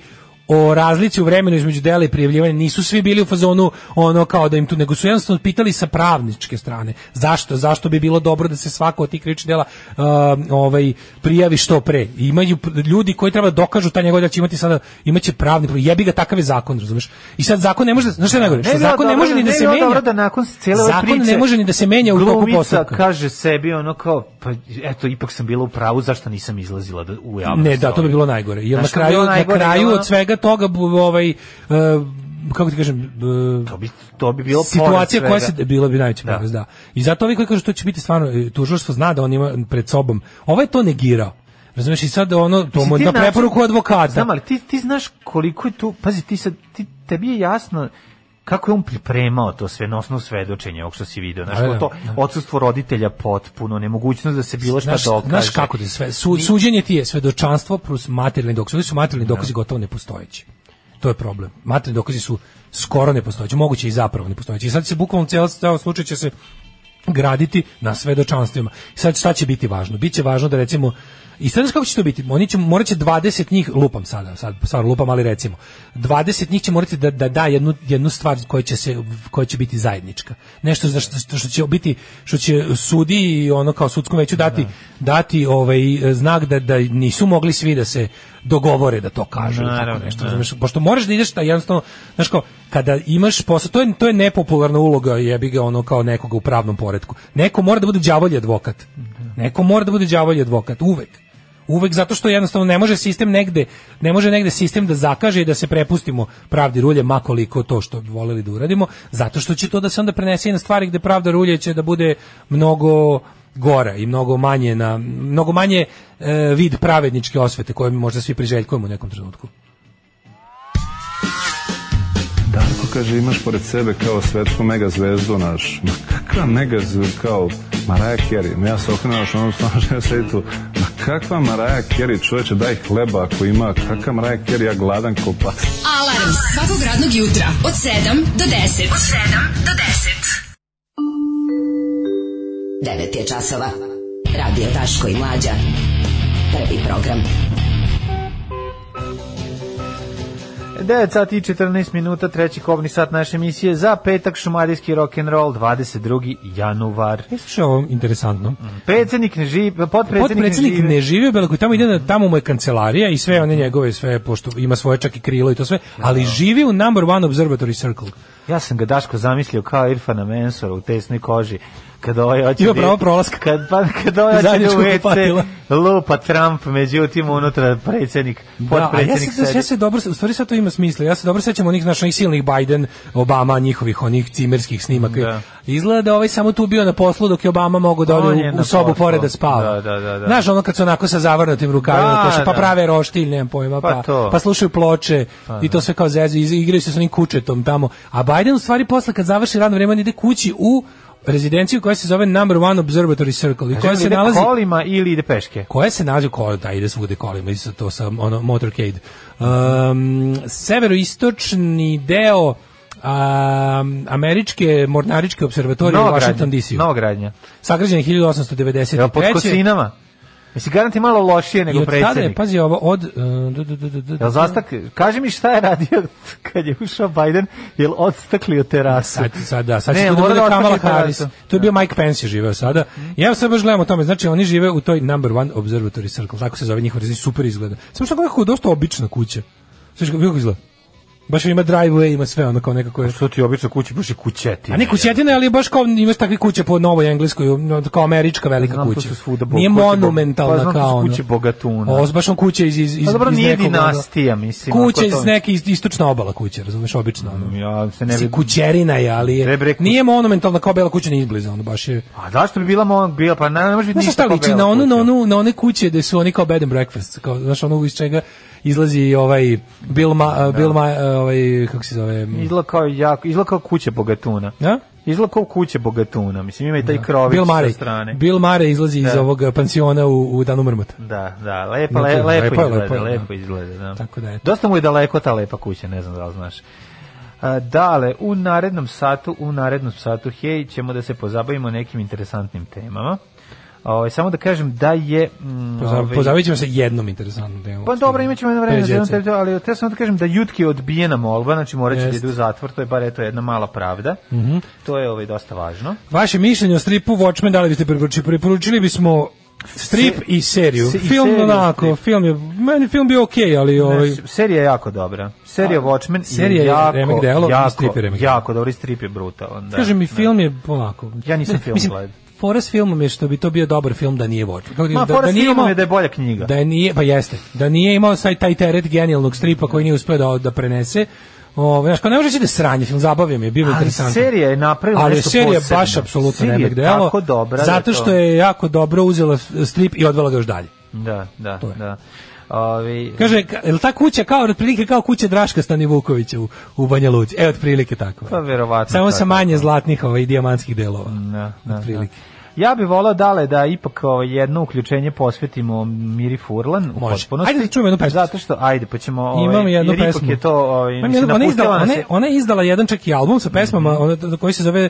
S8: o razlici u vremenu između dela i prijavljivanja nisu svi bili u fazonu ono kao da im tu nego su jednostavno pitali sa pravničke strane zašto zašto bi bilo dobro da se svako od tih krivičnih dela um, ovaj prijavi što pre I imaju pr- ljudi koji treba da dokažu ta njegov da će imati sada imaće pravni problem. jebi ga takav je zakon razumeš i sad zakon ne može da- znaš šta je najgore? Što
S7: bi bilo
S8: zakon ne
S7: dobro
S8: može
S7: da-
S8: ni da
S7: ne bi
S8: se
S7: bilo
S8: menja
S7: dobro da nakon cele ove
S8: zakon
S7: priče
S8: ne može ni da se menja u toku
S7: glumica
S8: postupka
S7: kaže sebi ono kao, pa eto, ipak sam bila u pravu, zašto nisam izlazila da- u javnost?
S8: Ne, da, to bi bilo najgore. Jer
S7: Znaš
S8: na
S7: što bi bilo
S8: kraju,
S7: najgore?
S8: na kraju
S7: Bilo ono-
S8: od svega toga bu- ovaj e, kako ti kažem, e,
S7: To bi, to bi bilo
S8: situacija
S7: pored
S8: koja se
S7: svega.
S8: bila bi najveći da. da. I zato ovi koji kažu to će biti stvarno e, tužilaštvo zna da on ima pred sobom. Ovaj to negirao. Razumeš i sad ono to mu
S7: Mislim, ti
S8: na
S7: način-
S8: preporuku advokata.
S7: Znam, ali ti, ti znaš koliko je tu, pazi, ti sad, ti, tebi je jasno kako je on pripremao to sve na osnovu svedočenja, ovog što si video, znaš,
S8: Da, da,
S7: to
S8: da.
S7: odsustvo roditelja potpuno, nemogućnost da se bilo šta
S8: znaš,
S7: dokaže.
S8: Znaš kako ti sve, su, suđenje ti je svedočanstvo plus materijalni dokazi. Ovi su materijalni
S7: Da.
S8: dokazi gotovo nepostojeći. To je problem. Materijalni dokazi su skoro nepostojeći, moguće i zapravo nepostojeći. I sad se bukvalno ceo, ceo slučaj će se graditi na svedočanstvima. I sad šta će biti važno? Biće važno da recimo I sad znaš kako će to biti? Oni će morat će 20 njih lupam sada, sad stvarno lupam, ali recimo 20 njih će morati da da da jednu jednu stvar koja će se koja će biti zajednička. Nešto za što, što će biti što će sudi i ono kao sudskom veću dati dati ovaj znak da da nisu mogli svi da se dogovore da to kažu ili tako
S7: Naravno,
S8: nešto.
S7: da.
S8: Razumeš? Pošto moraš da ideš da jednostavno, znaš kao, kada imaš posao, to je, to je nepopularna uloga jebi ga ono kao nekoga u pravnom poretku. Neko mora da bude đavolji advokat. Neko mora da bude đavolji advokat, uvek. Uvek zato što jednostavno ne može sistem negde, ne može negde sistem da zakaže i da se prepustimo pravdi rulje makoliko to što bi voleli da uradimo, zato što će to da se onda prenese i na stvari gde pravda rulje će da bude mnogo gora i mnogo manje na mnogo manje e, vid pravedničke osvete koje mi možda svi priželjkujemo u nekom trenutku.
S12: Darko kaže imaš pored sebe kao svetsku mega zvezdu naš. Ma kakva mega zvezda kao Maraja Carey. Ma ja se okrenuo naš onom snažno ja sedi tu. Ma kakva Maraja Carey čoveče daj hleba ako ima. Kakva Maraja Carey ja gladan ko pas.
S10: Alarm svakog radnog jutra od 7 do 10. Od 7 do 10.
S13: 9 je časova. Radio Daško i Mlađa. Prvi program.
S7: 9 sati i 14 minuta, treći kobni sat naše emisije za petak šumadijski rock'n'roll 22. januar.
S8: Što je E, ovo interesantno?
S7: Predsednik ne živi, potpredsednik,
S8: Mhm. Potpredsednik
S7: ne
S8: ne
S7: živi.
S8: živi u Beloj kući, tamo ide na, tamo mu je kancelarija i sve one njegove sve pošto ima svoje čak i krilo i to sve, ali živi u number one observatory circle.
S7: Ja sam ga Daško zamislio kao Irfana Mensora u tesnoj koži. Kad ovaj hoće
S8: Ima
S7: da-
S8: pravo prolaska.
S7: Kad, pa, kad ovaj hoće da
S8: Zajedničko
S7: u WC
S8: kupatilo.
S7: lupa Trump, međutim unutra predsednik,
S8: Da, a ja
S7: potpredsednik
S8: se, ja se dobro, u stvari sad to ima smisla. Ja se dobro sećam onih naših onih silnih Biden, Obama, njihovih onih cimerskih snimaka.
S7: Da.
S8: Izgleda da ovaj samo tu bio na poslu dok je Obama mogao da
S7: On
S8: ode
S7: je
S8: u,
S7: na
S8: u sobu
S7: poslu.
S8: pored da spava.
S7: Da, da, da, da.
S8: Znaš, ono kad su onako sa zavrnutim rukavima,
S7: Da,
S8: da, koša, pa
S7: da.
S8: prave roštilj, nemam pojma,
S7: Pa
S8: pa,
S7: to. Pa da.
S8: pa, slušaju ploče i to sve kao zezu, iz- igraju se s onim kučetom tamo. A Biden u stvari posle kad završi radno vreme on ide kući u rezidenciju koja se zove Number One Observatory Circle i koja se nalazi
S7: kolima ili ide peške.
S8: koje se nalazi u kolu, da ide svude kolima, isto to sa ono, motorcade. Um, severoistočni deo um, američke mornaričke observatorije u Washington DC.
S7: Novogradnja.
S8: Sagrađen je 1893.
S7: Evo pod kosinama. Mislim, garanti malo lošije
S8: I
S7: nego
S8: od tada je,
S7: predsednik.
S8: pazi ovo, od... uh, du, du, du, du, du,
S7: Jel zastak, kaži mi šta je radio kad je ušao Bajden, jel odstaklio terasu?
S8: Sad, sad, da, sad
S7: Ne,
S8: će to da
S7: mora
S8: bude
S7: da ostavi
S8: Kamala
S7: terasu.
S8: Harris. To
S7: Da.
S8: je bio Mike Pence je živeo sada.
S7: Mhm.
S8: I evo sad baš gledamo o tome. Znači, oni žive u toj number one observatory circle. Tako se zove njihov rezin. Super izgleda. Samo što kako je dosta obična kuća. Sviš kako kako izgleda? Baš ima driveway, ima sve ono kao nekako je...
S7: Što ti je obično kući, baš je kućetina.
S8: A ne kućetina, ali baš kao imaš takve kuće po novoj engleskoj, no, kao američka velika
S7: Znam, to
S8: kuća.
S7: su svuda bo-
S8: Nije
S7: kuće bo-
S8: monumentalna
S7: pa znam, to su
S8: kao ono.
S7: kuće bogatuna.
S8: Ovo su baš on kuće iz, iz, iz,
S7: Pa dobro,
S8: iz
S7: nije
S8: nekog, ono,
S7: dinastija, mislim,
S8: Kuće
S7: ako
S8: iz
S7: to-
S8: neke ist- istočna obala kuće, razumeš, obično. Ono.
S7: Ja se ne
S8: Mislim,
S7: bi...
S8: kućerina je, ali je,
S7: Treba reći-
S8: nije monumentalna kao bela kuća ni izbliza, ono baš je.
S7: A Pa zašto bi bila mog bila? Pa ne, ne može biti
S8: Znaš
S7: ništa
S8: šta
S7: kao
S8: liči, na
S7: bela
S8: onu, na
S7: kuća.
S8: onu, na one kuće gde su oni kao bed and breakfast, kao, znaš, ono iz čega izlazi i ovaj Bill, Ma,
S7: Da.
S8: Bill Ma, ovaj, kako se zove,
S7: Izgleda kao, jako, izgleda kao kuće bogatuna.
S8: da?
S7: Izgleda kao kuće bogatuna. Mislim, ima i taj krović
S8: Bill
S7: sa
S8: Mare,
S7: strane.
S8: Bill Mare izlazi iz
S7: Da.
S8: ovog pansiona u, u Danu Mrmota.
S7: Da, da, lepa,
S8: Ne,
S7: le,
S8: to je
S7: lepo,
S8: lepo,
S7: izgleda,
S8: lepo
S7: lepo,
S8: je, da.
S7: izgleda. Da.
S8: Tako da, eto.
S7: Dosta mu je daleko ta lepa kuća, ne znam da li znaš. A, Dale, u narednom satu, u narednom satu, hej, ćemo da se pozabavimo nekim interesantnim temama. Ovaj samo da kažem da je... Mm,
S8: Pozav,
S7: ovaj,
S8: pozabavit ćemo se jednom interesantnom temom.
S7: Pa dobro, imaćemo jedno vreme,
S8: Pet
S7: za jedno
S8: djece.
S7: teritoriju, ali te samo da kažem da Jutki je odbijena molba, znači morat će da
S8: Jest. Mhm.
S7: ide u zatvor, to je bar eto jedna mala pravda. To je ovaj, dosta važno.
S8: Vaše mišljenje o stripu Watchmen, da li biste preporučili? Preporučili bismo strip
S7: Se-
S8: i seriju.
S7: se- i
S8: film
S7: seriju,
S8: onako,
S7: strip.
S8: film je, meni film bio okej, ali ovaj...
S7: Ne, serija je jako dobra. Serija Watchmen
S8: serija
S7: je
S8: je
S7: jako,
S8: remek delo i strip
S7: jako,
S8: je remek delo.
S7: jako dobro i strip je brutalan. Da,
S8: Kaže mi,
S7: Da.
S8: film je polako.
S7: Ja nisam film
S8: Mislim,
S7: gledao.
S8: Fora s filmom je što bi to bio dobar film da nije Watchmen. Kako ti
S7: Ma,
S8: kažem,
S7: fora s filmom
S8: imao-
S7: je da je bolja knjiga.
S8: Da je nije, pa jeste. Da nije imao taj, taj teret genijalnog stripa koji nije uspeo da, da prenese. Ove, znaš, kao ne može reći da je sranje film, zabavio mi je, bio mi
S7: Ali
S8: interesantan.
S7: serija je napravila
S8: Ali
S7: nešto
S8: serija je
S7: posebno.
S8: baš apsolutno
S7: Serija je
S8: remek delo.
S7: tako dobra da je
S8: Zato
S7: to-
S8: što je jako dobro uzela strip i odvela ga još dalje.
S7: Da, da,
S8: To je.
S7: da. Ovi,
S8: Kaže, ka- je li ta kuća kao, otprilike kao kuća Draška Stanivukovića u, u Banja Luci? E, otprilike tako.
S7: Pa, verovatno
S8: Samo sa
S7: tako,
S8: manje
S7: da.
S8: zlatnih ovaj, i dijamantskih delova.
S7: da, da, da.
S8: Otprilike.
S7: Ja bih volao dale da ipak ovaj, jedno uključenje posvetimo Miri Furlan u
S8: Može.
S7: potpunosti.
S8: Ajde da čujemo jednu pesmu.
S7: Zato što, ajde, pa ćemo... Ovaj,
S8: Imam jednu
S7: jer
S8: pesmu.
S7: Ipak je to... Ovaj,
S8: Imam
S7: mislim,
S8: jednu- ona,
S7: napustila
S8: je
S7: Mhm.
S8: izdala,
S7: nas
S8: ona,
S7: je-
S8: je- ona je izdala jedan čak i album sa pesmama ona, koji da- se zove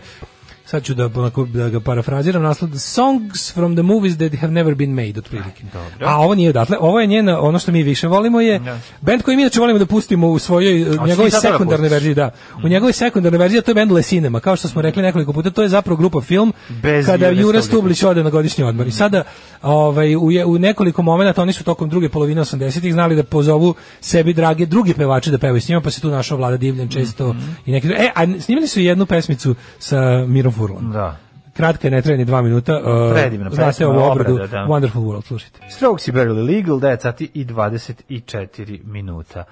S8: sad ću da, onako, da ga parafraziram, naslov Songs from the movies that have never been made,
S7: Mhm,
S8: otprilike. A ovo nije odatle, ovo je njena, ono što mi više volimo je,
S7: Da.
S8: band koji mi inače volimo da pustimo u svojoj, u
S7: ti
S8: njegovoj
S7: sad treba
S8: sekundarnoj
S7: pustiš? Mhm.
S8: verziji, da. U njegovoj sekundarnoj verziji, a to je band Le Cinema, kao što smo rekli nekoliko puta, to je zapravo grupa film,
S7: Bez
S8: kada
S7: Jure
S8: Jure
S7: Stublić.
S8: Stublić da ode na godišnji odmor. I sada ovaj, u, je- u nekoliko momenata oni su tokom druge polovine 80-ih znali da pozovu sebi drage drugi pevače da pevaju s njima, pa se tu našao Vlada Divljan često
S7: Mhm.
S8: i neki. E, a snimili su jednu pesmicu sa Mirom Furlom.
S7: Da.
S8: Kratka je, ne traje ni dva minuta. Uh,
S7: Predivna
S8: Znate
S7: pesma,
S8: ovu obradu,
S7: obrada, da.
S8: Wonderful World, slušajte.
S7: Strokes i Barely Legal, 9 sati i 24 minuta.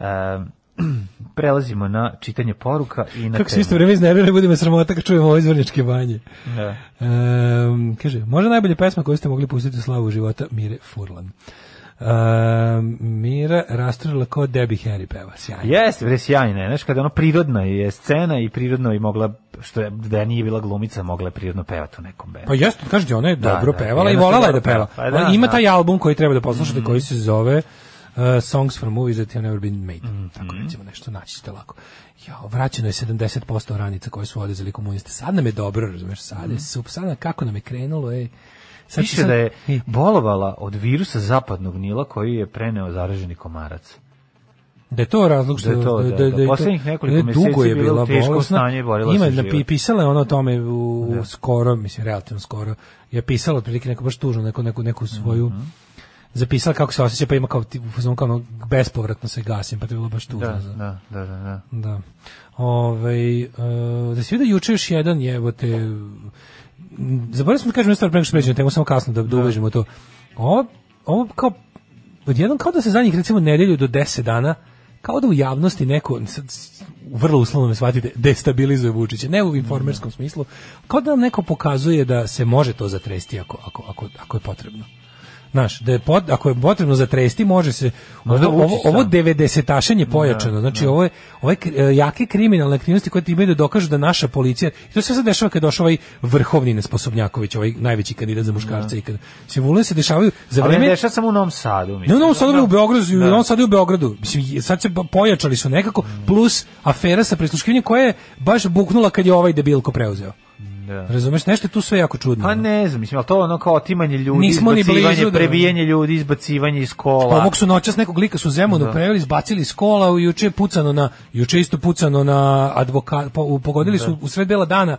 S7: Ehm, prelazimo na čitanje poruka i na
S8: Kako se
S7: temu.
S8: isto vreme iznervira, bude me sramota kad čujemo ovo izvorničke banje.
S7: Da.
S8: Um, kaže, možda najbolja pesma koju ste mogli pustiti u slavu života Mire Furlan. Um, Mira rasturila kao Debbie Harry peva, sjajno.
S7: Jeste, bre, sjajna je, znaš, kada ono prirodna je scena i prirodno je mogla, što je, da nije bila glumica, mogla je prirodno pevati u nekom bendu.
S8: Pa jeste, kažete, ona je
S7: Da,
S8: dobro
S7: da,
S8: pevala i
S7: jednostavno
S8: volala je da
S7: dobro
S8: peva.
S7: peva. Pa da,
S8: Ona Ima
S7: da. Mhm.
S8: taj album koji treba da poslušate, koji se zove uh, Songs from Movies That Have Never Been Made.
S7: Mhm.
S8: Tako recimo nešto naći ćete lako. Ja, vraćeno je 70% ranica koje su odezeli komuniste. Sad nam je dobro, razumeš, sad je sup, sad nam- kako nam je krenulo, ej. Sad
S7: Mhm.
S8: ću
S7: Piše
S8: sad-
S7: da je bolovala od virusa zapadnog Nila koji je preneo zaraženi komarac.
S8: Da je to razlog što
S7: Da je to, da, da.
S8: je to-
S7: Poslednjih nekoliko
S8: da
S7: meseci
S8: dugo je
S7: bila
S8: bila
S7: u teškom
S8: bolesna.
S7: stanju i borila
S8: Ima
S7: se
S8: napi-
S7: život. Da.
S8: pisala je ono o tome u, u skoro, mislim relativno skoro. Je pisala otprilike neko baš tužno neku neku neku svoju
S7: Mhm.
S8: zapisala kako se osjeća, pa ima kao ti- u fazonu kao ono, bespovratno se gasim, pa to je bilo baš tužno.
S7: Da,
S8: za-
S7: da, da, da. da.
S8: da. Ovaj e, da se vidi juče još jedan jevo te m, zaboravio sam da kažem jednu stvar pre nego što pređemo na temu samo kasno da, da uvežemo to. Ovo, ovo kao odjednom kao da se zadnjih recimo nedelju do 10 dana kao da u javnosti neko sad s- vrlo uslovno me shvatite destabilizuje Vučića ne u informerskom smislu kao da nam neko pokazuje da se može to zatresti ako ako ako ako je potrebno Znaš, da je pot- ako je potrebno zatresti, može se...
S7: Ma da,
S8: Ovo, ovo,
S7: Vučić
S8: ovo
S7: sam.
S8: 90-tašenje
S7: Da,
S8: pojačano. Znači, ovo je, ovo je kri- e, jake kriminalne aktivnosti koje ti imaju da dokažu da naša policija... I to se sad dešava kad je došao ovaj vrhovni nesposobnjaković, ovaj najveći kandidat za muškarca. I kad simuluje se dešavaju za
S7: Da. Ali ne
S8: vreme...
S7: dešava samo u Novom Sadu.
S8: Ne,
S7: Mislim.
S8: u Novom Sadu, bre, u Beogradu, i u
S7: Da.
S8: Novom Sadu i u Beogradu. Mislim, je- sad se po- pojačali su nekako,
S7: Mm.
S8: plus afera sa prisluškivanjem koja je baš buknula kad je ovaj debilko preuzeo.
S7: Da.
S8: Razumeš, nešto je tu sve jako čudno.
S7: Pa ne znam, mislim, ali to je ono kao otimanje ljudi,
S8: Nismo ni
S7: izbacivanje,
S8: blizu da-
S7: prebijanje ljudi, izbacivanje iz kola.
S8: Ovog Pa, su noćas nekog lika su u Zemunu
S7: Da.
S8: preveli, izbacili iz kola, u- juče je pucano na, juče je isto pucano na advokat, po- u- pogodili
S7: Da.
S8: su u sred bela dana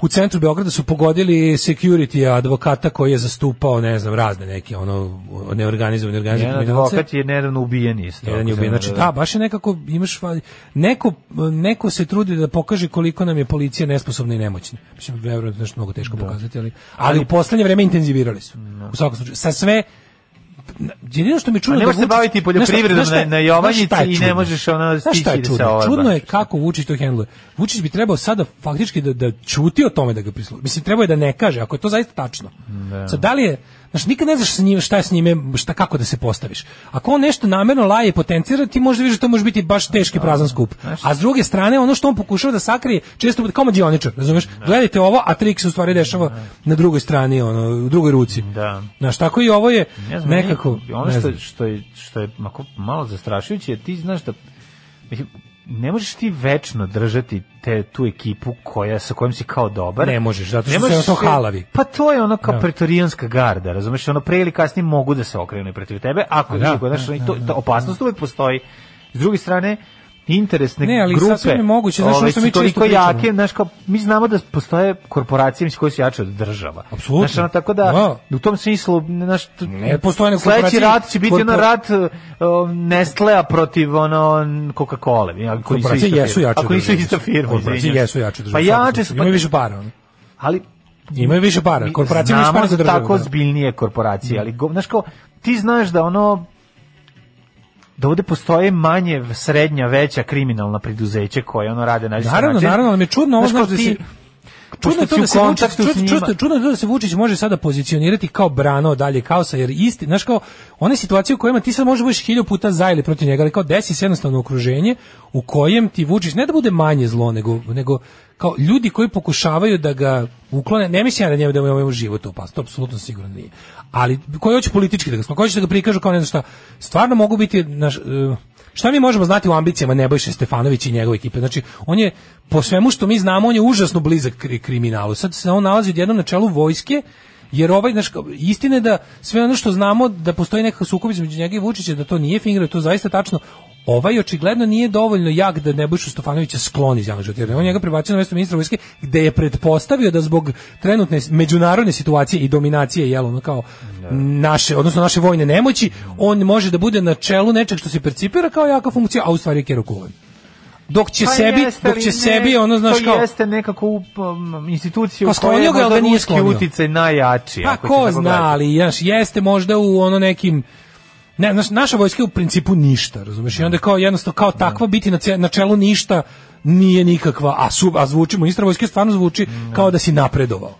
S8: u centru Beograda su pogodili security advokata koji je zastupao, ne znam, razne neke ono neorganizovane organizovane
S7: Jedan
S8: kriminalce.
S7: advokat je nedavno ubijen isto.
S8: Jedan je
S7: ako se
S8: ubijen.
S7: ne
S8: Znači,
S7: varam.
S8: da, baš je nekako, imaš, fa- neko, neko se trudi da pokaže koliko nam je policija nesposobna i nemoćna. Mislim, verujem, to je nešto mnogo teško
S7: Da.
S8: pokazati, ali, ali, u poslednje vreme intenzivirali su. U svakom slučaju. Sa sve, jedino što mi je čudno
S7: A Da. ne
S8: da
S7: možeš se
S8: Vučić-
S7: baviti poljoprivredom
S8: Znaš šta- znaš šta-
S7: na- na Jovanjici
S8: znaš šta je
S7: i ne
S8: čudno?
S7: možeš ono
S8: Znaš šta je
S7: stići da se
S8: čudno?
S7: ovabaš.
S8: Čudno je E, kako Vučić to hendluje. Vučić bi trebao sada faktički da, da čuti o tome da ga prisluškuje. Mislim, trebao je da ne kaže, ako je to zaista tačno. Sad, da li je, znaš, nikad ne znaš s njim, šta je s njime, šta, kako da se postaviš. Ako on nešto namerno laje i potencira, ti možda vidiš da to može biti baš teški prazan skup. A s druge strane, ono što on pokušava da sakrije, često bude kao mađioničar, razumeš?
S7: Da.
S8: Gledajte ovo, a trik se u stvari dešava na drugoj strani, ono, u drugoj ruci.
S7: Da.
S8: Znaš, tako i ovo je
S7: Ne znam,
S8: nekako...
S7: meni- ono
S8: ne
S7: što,
S8: znam.
S7: što je, što je mako, malo zastrašujuće, jer ti znaš da mislim, ne možeš ti večno držati te tu ekipu koja sa kojom si kao dobar.
S8: Ne možeš, zato što su
S7: možeš
S8: jednostavno
S7: se-
S8: halavi.
S7: Pa to je ono kao
S8: Da.
S7: pretorijanska garda, razumeš? Ono pre ili kasnije mogu da se okrenu protiv tebe, ako
S8: Pa da,
S7: da, niko, znaš,
S8: da,
S7: i
S8: da,
S7: to, ta opasnost uvek postoji. S druge strane, interesne
S8: Ne, ali
S7: grupe.
S8: sasvim je moguće, znaš, ono
S7: ovaj,
S8: što
S7: su
S8: mi često
S7: toliko
S8: pričamo.
S7: jake, znaš, kao, mi znamo da postoje korporacije mislim, koje su jače od država.
S8: Apsolutno.
S7: Znaš, ono, tako da,
S8: Da.
S7: u tom smislu, znaš, t-
S8: Ne postoje nego
S7: Sledeći
S8: korporacije-
S7: rat će biti
S8: korpor-
S7: ono rat uh, Nestlea protiv ono Coca-Cola. Ako nisu
S8: Korporacije
S7: ista
S8: jesu
S7: firma.
S8: jače od
S7: Ako nisu
S8: države.
S7: ista firma,
S8: Korporacije
S7: izvinjavam
S8: jesu
S7: se.
S8: jače od
S7: Pa
S8: države, u svakom
S7: jače su.
S8: slučaju. Imaju više para. ono.
S7: Ali
S8: Imaju više para.
S7: mi
S8: Korporacije imaju više para za državu.
S7: Znamo tako
S8: da.
S7: zbiljnije korporacije, ali go- znaš kao, ti znaš da ono da ovde postoje manje srednja, veća kriminalna preduzeće koje ono rade na isti
S8: Naravno,
S7: način.
S8: naravno, ali mi je čudno ovo,
S7: Znaš kao
S8: znaš, da
S7: ti-
S8: si- Čudno je
S7: pošto
S8: to
S7: si
S8: da
S7: u
S8: se Vučić,
S7: kontaktu s
S8: čudno,
S7: njima.
S8: čudno- čudno je to da se Vučić može sada pozicionirati kao brana od dalje kaosa, jer isti, znaš kao, one situacije u kojima ti sad možeš da budeš hilju puta za ili protiv njega, ali kao desi se jednostavno okruženje u kojem ti Vučić ne da bude manje zlo, nego, nego kao ljudi koji pokušavaju da ga uklone, ne mislim ja da njemu da mu je život opasno, to apsolutno sigurno nije. Ali koji hoće politički da ga sklone, koji hoće da ga prikažu kao ne znam šta, stvarno mogu biti naš, eh, Šta mi možemo znati u ambicijama Nebojše Stefanovića i njegove ekipe? Znači, on je, po svemu što mi znamo, on je užasno blizak kri- kriminalu. Sad se on nalazi odjednom na čelu vojske, jer ovaj, znaš, kao, istina je da sve ono što znamo da postoji nekakav sukob između njega i Vučića, da to nije fingrao, to je zaista tačno. Ovaj očigledno nije dovoljno jak da Nebojšu Stefanovića skloni iz javnog života, jer je on njega prebacio na mesto ministra vojske, gde je pretpostavio da zbog trenutne s- međunarodne situacije i dominacije, jel, ono kao naše, odnosno naše vojne nemoći, on može da bude na čelu nečeg što se percipira kao jaka funkcija, a u stvari je kerokulan. Dok će
S7: Pa
S8: sebi,
S7: jeste,
S8: dok
S7: ali
S8: će
S7: ne,
S8: sebi, ono, znaš,
S7: to
S8: kao...
S7: jeste nekako up, um, institucija
S8: Pa
S7: u kojoj
S8: sklonio
S7: je
S8: ga, ali
S7: možda
S8: ga nije
S7: ruski
S8: sklonio.
S7: uticaj najjači.
S8: Pa
S7: ako da ćeš
S8: ko
S7: tako
S8: zna,
S7: gledati.
S8: ali znaš, jeste možda u ono nekim Ne, znaš, naša vojska je u principu ništa, razumeš? I onda kao jednostavno kao takva biti na, ce- na čelu ništa nije nikakva, a, su, a zvuči, ministar vojske stvarno zvuči kao da si napredovao.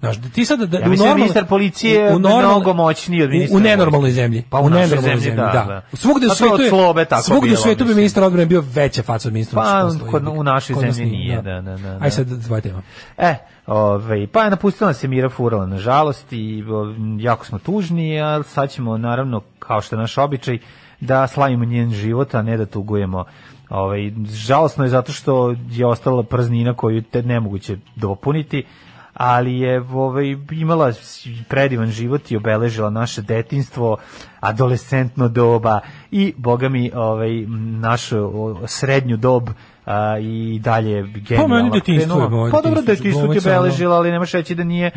S8: Znaš, da ti sad da,
S7: Ja
S8: u
S7: mislim da
S8: normalno-
S7: ministar policije je
S8: u- u normalno-
S7: mnogo moćniji od
S8: u-
S7: ministra
S8: U nenormalnoj
S7: vojske.
S8: zemlji.
S7: Pa u
S8: u
S7: našoj
S8: nenormalnoj
S7: zemlji,
S8: zemlji,
S7: da,
S8: da.
S7: da.
S8: Svugde u
S7: Pa to od
S8: svetu je,
S7: slobe tako
S8: svugde u
S7: bilo,
S8: svetu bi
S7: mislim.
S8: ministar odbrane bio veća faca od ministra
S7: Pa,
S8: odbrane.
S7: kod- u našoj
S8: Kod nas
S7: zemlji nije, da, da, da, da.
S8: Aj sad, dva tema.
S7: E, ovaj, pa je napustila nas je Mira Furala, nažalost, i o, jako smo tužni, a sad ćemo, naravno, kao što je naš običaj, da slavimo njen život, a ne da tugujemo. Ovaj, žalosno je zato što je ostala praznina koju te nemoguće dopuniti, ali je ovaj, imala s- predivan život i obeležila naše detinstvo, adolescentno doba i, boga mi, ovaj, m, našu o, srednju dob a, i dalje genijalno.
S8: Pa, meni detinjstvo je
S7: krenula.
S8: moje
S7: Pa dobro,
S8: detinjstvo,
S7: detinjstvo ti
S8: glumica,
S7: beležila, ali nemaš reći da nije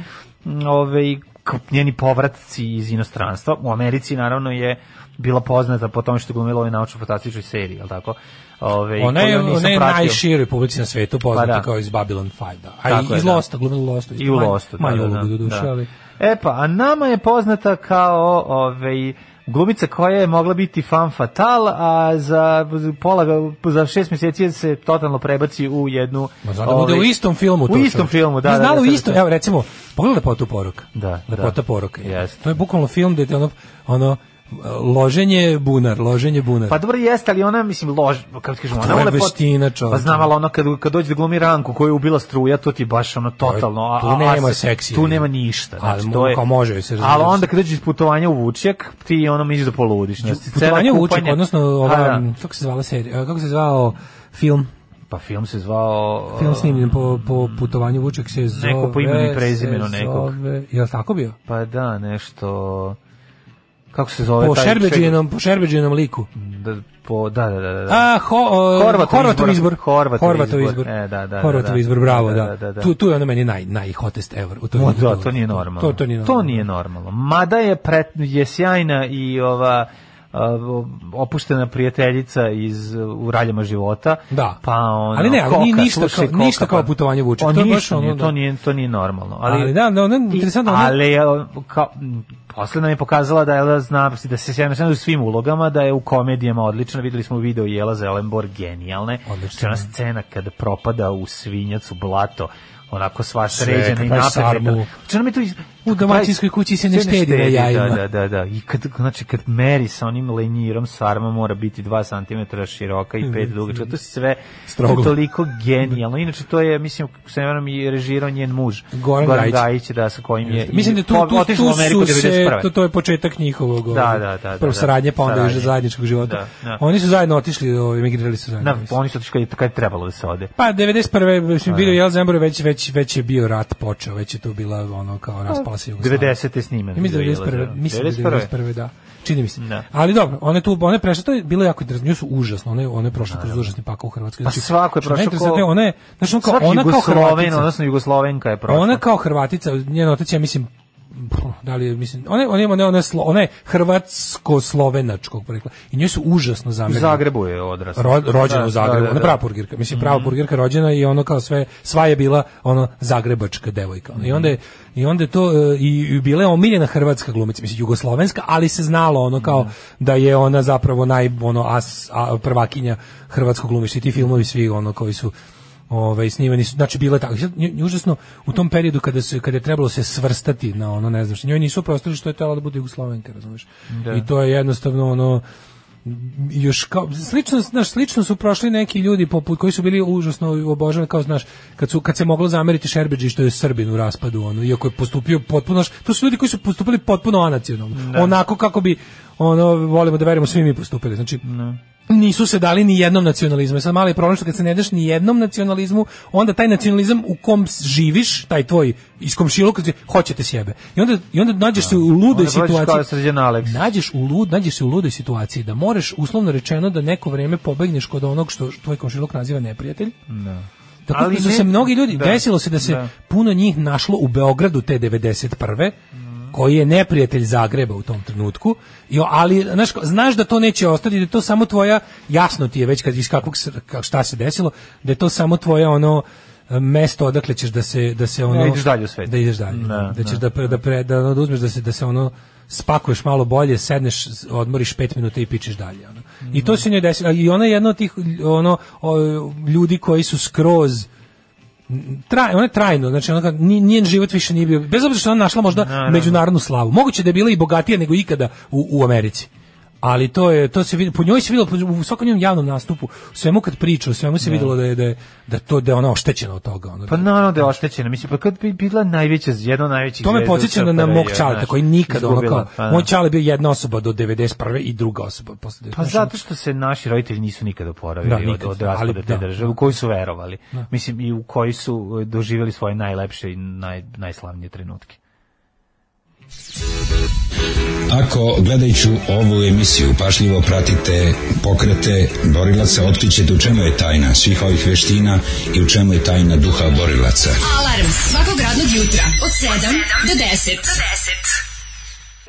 S7: mm, ovaj, k- njeni povratci iz inostranstva. U Americi, naravno, je bila poznata po tome što je glumila u ovoj naučno-fantastičnoj seriji, jel tako? Ove,
S8: Ona je,
S7: koju nisam
S8: ona je
S7: pratio.
S8: najširoj republici na svetu poznata
S7: Pa da.
S8: kao iz Babylon 5, da. A
S7: Tako
S8: i
S7: je,
S8: iz
S7: da.
S8: Losta, glumila u Lostu.
S7: I u Lostu, da,
S8: Manju
S7: da, da,
S8: ulogu do duše,
S7: da.
S8: ali...
S7: E pa, a nama je poznata kao ovaj, glumica koja je mogla biti fan fatal, a za pola, za šest mjeseci se totalno prebaci u jednu...
S8: Ma zna da bude u
S7: ovaj,
S8: istom filmu. to
S7: U istom
S8: čovječe.
S7: filmu, da.
S8: Mi
S7: da,
S8: znala
S7: da,
S8: u
S7: sad-
S8: istom, evo recimo, pogledaj Lepotu poroka.
S7: Da,
S8: Lepota
S7: da.
S8: poroka. je.
S7: Jeste.
S8: To je bukvalno film gde te ono, ono, loženje bunar, loženje bunar.
S7: Pa dobro jeste, ali ona mislim lož, kako ti kažem,
S8: Pa To
S7: ona
S8: je
S7: lepot-
S8: veština, čovječe.
S7: Pa znam, ali ona kad kad dođe da glumi Ranku koju je ubila struja, to ti je baš ono totalno, a,
S8: tu
S7: a-
S8: nema
S7: a-
S8: seksi.
S7: Tu nema ništa, znači
S8: Ali
S7: to je.
S8: kao može joj se
S7: Ali
S8: razumije
S7: onda
S8: se.
S7: kad dođe iz putovanja u Vučjak, ti ono misliš da poludiš, znači scena
S8: Putovanje u Vučjak,
S7: kupanja-
S8: odnosno
S7: A, da.
S8: ova, kako se zvala serija, kako se zvao film?
S7: pa film se zvao
S8: Film snimljen po, po putovanju Vučak se zove...
S7: Neko po imenu i prezimenu
S8: se
S7: nekog.
S8: zove- Je li tako bio?
S7: Pa da, nešto kako se zove
S8: po
S7: Pa taj
S8: Šerbeđinom, po Šerbeđinom liku.
S7: Da, po, da, da, da, da.
S8: A, ho, o,
S7: Horvatov
S8: Horvatov izbor.
S7: izbor. Horvatov
S8: Horvatov
S7: izbor.
S8: izbor.
S7: E, da, da,
S8: Horvatov
S7: da, da.
S8: izbor, bravo,
S7: Da,
S8: da.
S7: da, da, da.
S8: Tu, tu je ono meni naj, najhotest ever. U toj-
S7: Ma da, to nije normalno.
S8: To, to nije normalno.
S7: To nije normalno. Mada je, pre, je sjajna i ova a, opuštena prijateljica iz uh, u raljama života.
S8: Da.
S7: Pa ono,
S8: ali ne, ali nije
S7: koka,
S8: ništa
S7: slušaj,
S8: kao- ništa kao
S7: pa-
S8: putovanje Vučića.
S7: O,
S8: To je baš
S7: ništa
S8: ono,
S7: nije,
S8: da.
S7: to, nije, to nije normalno. Ali,
S8: Ali da, da, ono je
S7: i-
S8: interesantno, ono-
S7: Ali je, kao, m, posle nam je pokazala da Jela zna da se sjajno sjajno u svim ulogama, da je u komedijama odlična. Videli smo video Jela za Ellenbor genijalne.
S8: Odlično.
S7: Znači, ona scena kada propada u svinjac, u blato, onako sva
S8: Sve,
S7: sređena
S8: kad
S7: i
S8: daš
S7: napredna.
S8: sarmu.
S7: Znači, ona mi tu iz-
S8: U domaćinskoj kući se ne
S7: Sve
S8: štedi na jajima.
S7: Da, da, da, da. I kad, znači, kad meri sa onim lenjirom, sarma mora biti 2 cm široka i
S8: Mhm.
S7: 5 dugačka. To je sve
S8: Stroglo.
S7: toliko genijalno. Inače, to je, mislim, ako se ne varam, i režirao njen muž.
S8: Goran Gajić.
S7: da, sa kojim je... i
S8: Mislim da tu,
S7: po-
S8: tu,
S7: otišao u
S8: tu
S7: Ameriku
S8: su se,
S7: 91..
S8: to, to je početak njihovog
S7: Da,
S8: ovaj,
S7: da, da, da,
S8: prvo
S7: da.
S8: saradnje, pa onda
S7: Saradnje.
S8: više zajedničkog života.
S7: Da, da.
S8: Oni su zajedno otišli, ovaj, emigrirali su zajedno.
S7: Da, oni su otišli kad, je- kad je trebalo da se ode.
S8: Pa 91.
S7: Pa
S8: mislim video
S7: da.
S8: Jel Zembor već već već je bio rat počeo, već je to bila ono kao raspala se Jugoslavija.
S7: 90. je snimeno.
S8: Ja mislim da je
S7: video Jela
S8: 91.
S7: Zembor.
S8: Mislim da je 91. da. Čini mi se.
S7: Da.
S8: Ali dobro, one tu one prešle, to je bilo jako interesantno, nju su užasno, one one prošle kroz užasni pakao u Hrvatskoj.
S7: Pa svako je
S8: što je
S7: prošao
S8: najinteresantnije,
S7: ko-
S8: ona je, znači ona kao
S7: Svaki
S8: ona kao
S7: Jugosloven,
S8: Hrvatica.
S7: odnosno Jugoslovenka je prošla.
S8: Ona kao Hrvatica, njen otac je mislim pff, da li je, mislim, ona je, ona je, ona je, ona je, slo- ona je hrvatsko-slovenačkog porekla i njoj su užasno
S7: U
S8: zamerili.
S7: Zagrebu je odrasla.
S8: Ro, rođena
S7: Da,
S8: u Zagrebu,
S7: da, da, da.
S8: ona prava purgirka, mislim prava purgirka rođena i ono kao sve, sva je bila ono zagrebačka devojka.
S7: Mhm.
S8: ono. I onda je, i onda je to e, i, i bila je omiljena hrvatska glumica, mislim jugoslovenska, ali se znalo ono kao
S7: Mhm.
S8: da je ona zapravo naj ono as, a, prvakinja hrvatskog glumišta i ti filmovi svi ono koji su ovaj snimani su znači bile tako Sad, nju- nju užasno u tom periodu kada se kada je trebalo se svrstati
S7: Da.
S8: na ono ne znam što njoj nisu prostili što je trebalo da bude Jugoslovenka razumeš i to je jednostavno ono još kao slično znaš slično su prošli neki ljudi poput koji su bili užasno obožavani kao znaš kad su kad se moglo zameriti Šerbedži što je Srbin u raspadu ono iako je postupio potpuno znaš, to su ljudi koji su postupili potpuno anacionalno onako kako bi ono volimo da verimo svi mi postupili znači nisu se dali ni jednom nacionalizmu. I Sad mali je problem što kad se ne daš ni jednom nacionalizmu, onda taj nacionalizam u kom živiš, taj tvoj iz komšiluka, hoćete sjebe. I onda i onda nađeš se u ludoj
S7: Da. Onda prođeš kao
S8: situaciji.
S7: Srđan Aleksić.
S8: Nađeš u lud, nađeš se u ludoj situaciji da moraš uslovno rečeno da neko vreme pobegneš kod onog što tvoj komšiluk naziva neprijatelj.
S7: Da.
S8: Tako
S7: Ali
S8: da su
S7: ne-
S8: se mnogi ljudi,
S7: da.
S8: desilo se da se
S7: Da.
S8: puno njih našlo u Beogradu te 91. koji je neprijatelj Zagreba u tom trenutku. Jo, ali znaš, ko- znaš da to neće ostati, da je to samo tvoja jasno ti je već kad iz kakvog s- kak- šta se desilo, da je to samo tvoje ono e, mesto odakle ćeš da se da se ono
S7: Da ideš dalje u svet.
S8: Da ideš dalje.
S7: Da,
S8: da ćeš da pre- da pre- da, ono, da uzmeš da se da se ono spakuješ malo bolje, sedneš, s- odmoriš pet minuta i pičeš dalje. Ono. I to se njoj desilo. A I ona je jedna od tih ono, o, ljudi koji su skroz traj, ona je trajno, znači ona kao, ni- njen život više nije bio, bez obzira što je ona našla možda međunarodnu slavu. Moguće da je bila i bogatija nego ikada u, u Americi. Ali to je to se vidi po njoj se videlo po- u svakom njenom javnom nastupu, u svemu kad priča, u svemu se
S7: Da.
S8: videlo da je da je, da to da je ona oštećena od toga, ono.
S7: Pa naravno da je oštećena, mislim, pa kad bi bila najveća, jedna od najvećih
S8: To me
S7: zvezda u
S8: podsjeća na, na
S7: SFRJ,
S8: mog
S7: znaš,
S8: čaleta koji nikada ono
S7: izgubila,
S8: kao,
S7: pa da.
S8: moj čale bio jedna osoba do 91. i druga osoba posle 91.
S7: Pa zato što se naši roditelji nisu nikada oporavili
S8: Da,
S7: od,
S8: nikad,
S7: od raspada
S8: ali
S7: te
S8: da.
S7: države, u koju su verovali.
S8: Da.
S7: Mislim, i u koji su e, doživjeli svoje najlepše i naj, najslavnije trenutke.
S1: Ako gledajući ovu emisiju pašljivo pratite pokrete borilaca, otkrićete u čemu je tajna svih ovih veština i u čemu je tajna duha borilaca.
S10: Alarm svakog radnog jutra od 7 do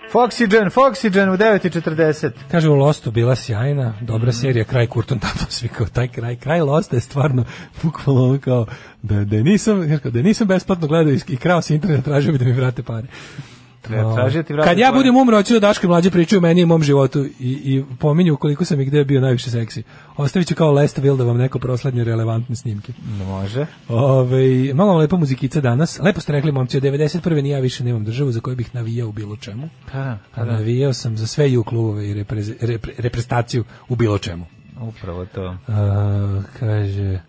S10: 10.
S7: Foxygen, Foxygen u 9.40.
S8: Kaže u Lostu bila sjajna, dobra
S7: Mhm.
S8: serija, kraj Kurton Tatom, svi kao taj kraj, kraj Losta je stvarno bukvalno ono kao da, da je nisam, znaš kao, da je nisam besplatno gledao i, i krao se internet, tražio bi da mi vrate pare.
S7: Treba tražiti, Da, ti vrati
S8: Kad ja
S7: pare.
S8: budem umro, hoću da Daško i mlađe pričaju o meni i mom životu i, i pominju koliko sam i gde bio najviše seksi. Ostavit ću kao Last Will da vam neko proslednje relevantne snimke.
S7: Može.
S8: Ove, malo vam lepa muzikica danas. Lepo ste rekli, momci, od 91. ni ja više nemam državu za koju bih navijao u bilo čemu.
S7: Pa da, pa da.
S8: Navijao sam za sve ju klubove i repreze- repre- reprezentaciju u bilo čemu.
S7: Upravo to.
S8: A, kaže...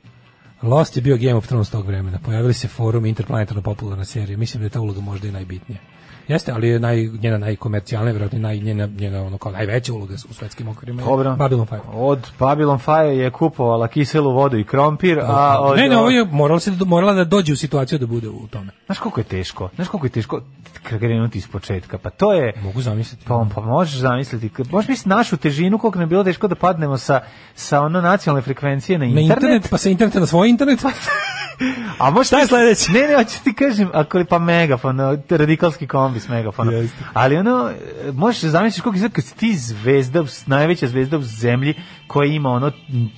S8: Lost je bio Game of Thrones tog vremena. Pojavili se forum Interplanetarno popularna serija. Mislim da je ta uloga možda i najbitnija. Jeste, ali je naj, njena najkomercijalna, vjerojatno i naj, njena, njena ono kao najveća uloga u svetskim okvirima. je
S7: Dobro.
S8: Babylon 5.
S7: Od Babylon 5 je kupovala kiselu vodu i krompir, a od...
S8: ne, ne, ovo je morala, se, morala da dođe u situaciju da bude u tome.
S7: Znaš koliko je teško? Znaš koliko je teško k- krenuti iz početka? Pa to je...
S8: Mogu zamisliti.
S7: Pa, pa možeš zamisliti. K- Možeš misliti našu težinu koliko nam je bilo teško da padnemo sa, sa ono nacionalne frekvencije na
S8: Na
S7: internet.
S8: internet, pa sa interneta na svoj internet.
S7: A možeš
S8: Šta je sledeće?
S7: Ne, ne, hoću ti kažem, ako je pa megafon, o, to je radikalski kombi s megafonom. Ali ono, e, možeš zamisliti koliko je sad kad si ti zvezda, s- najveća zvezda u zemlji koja ima ono m,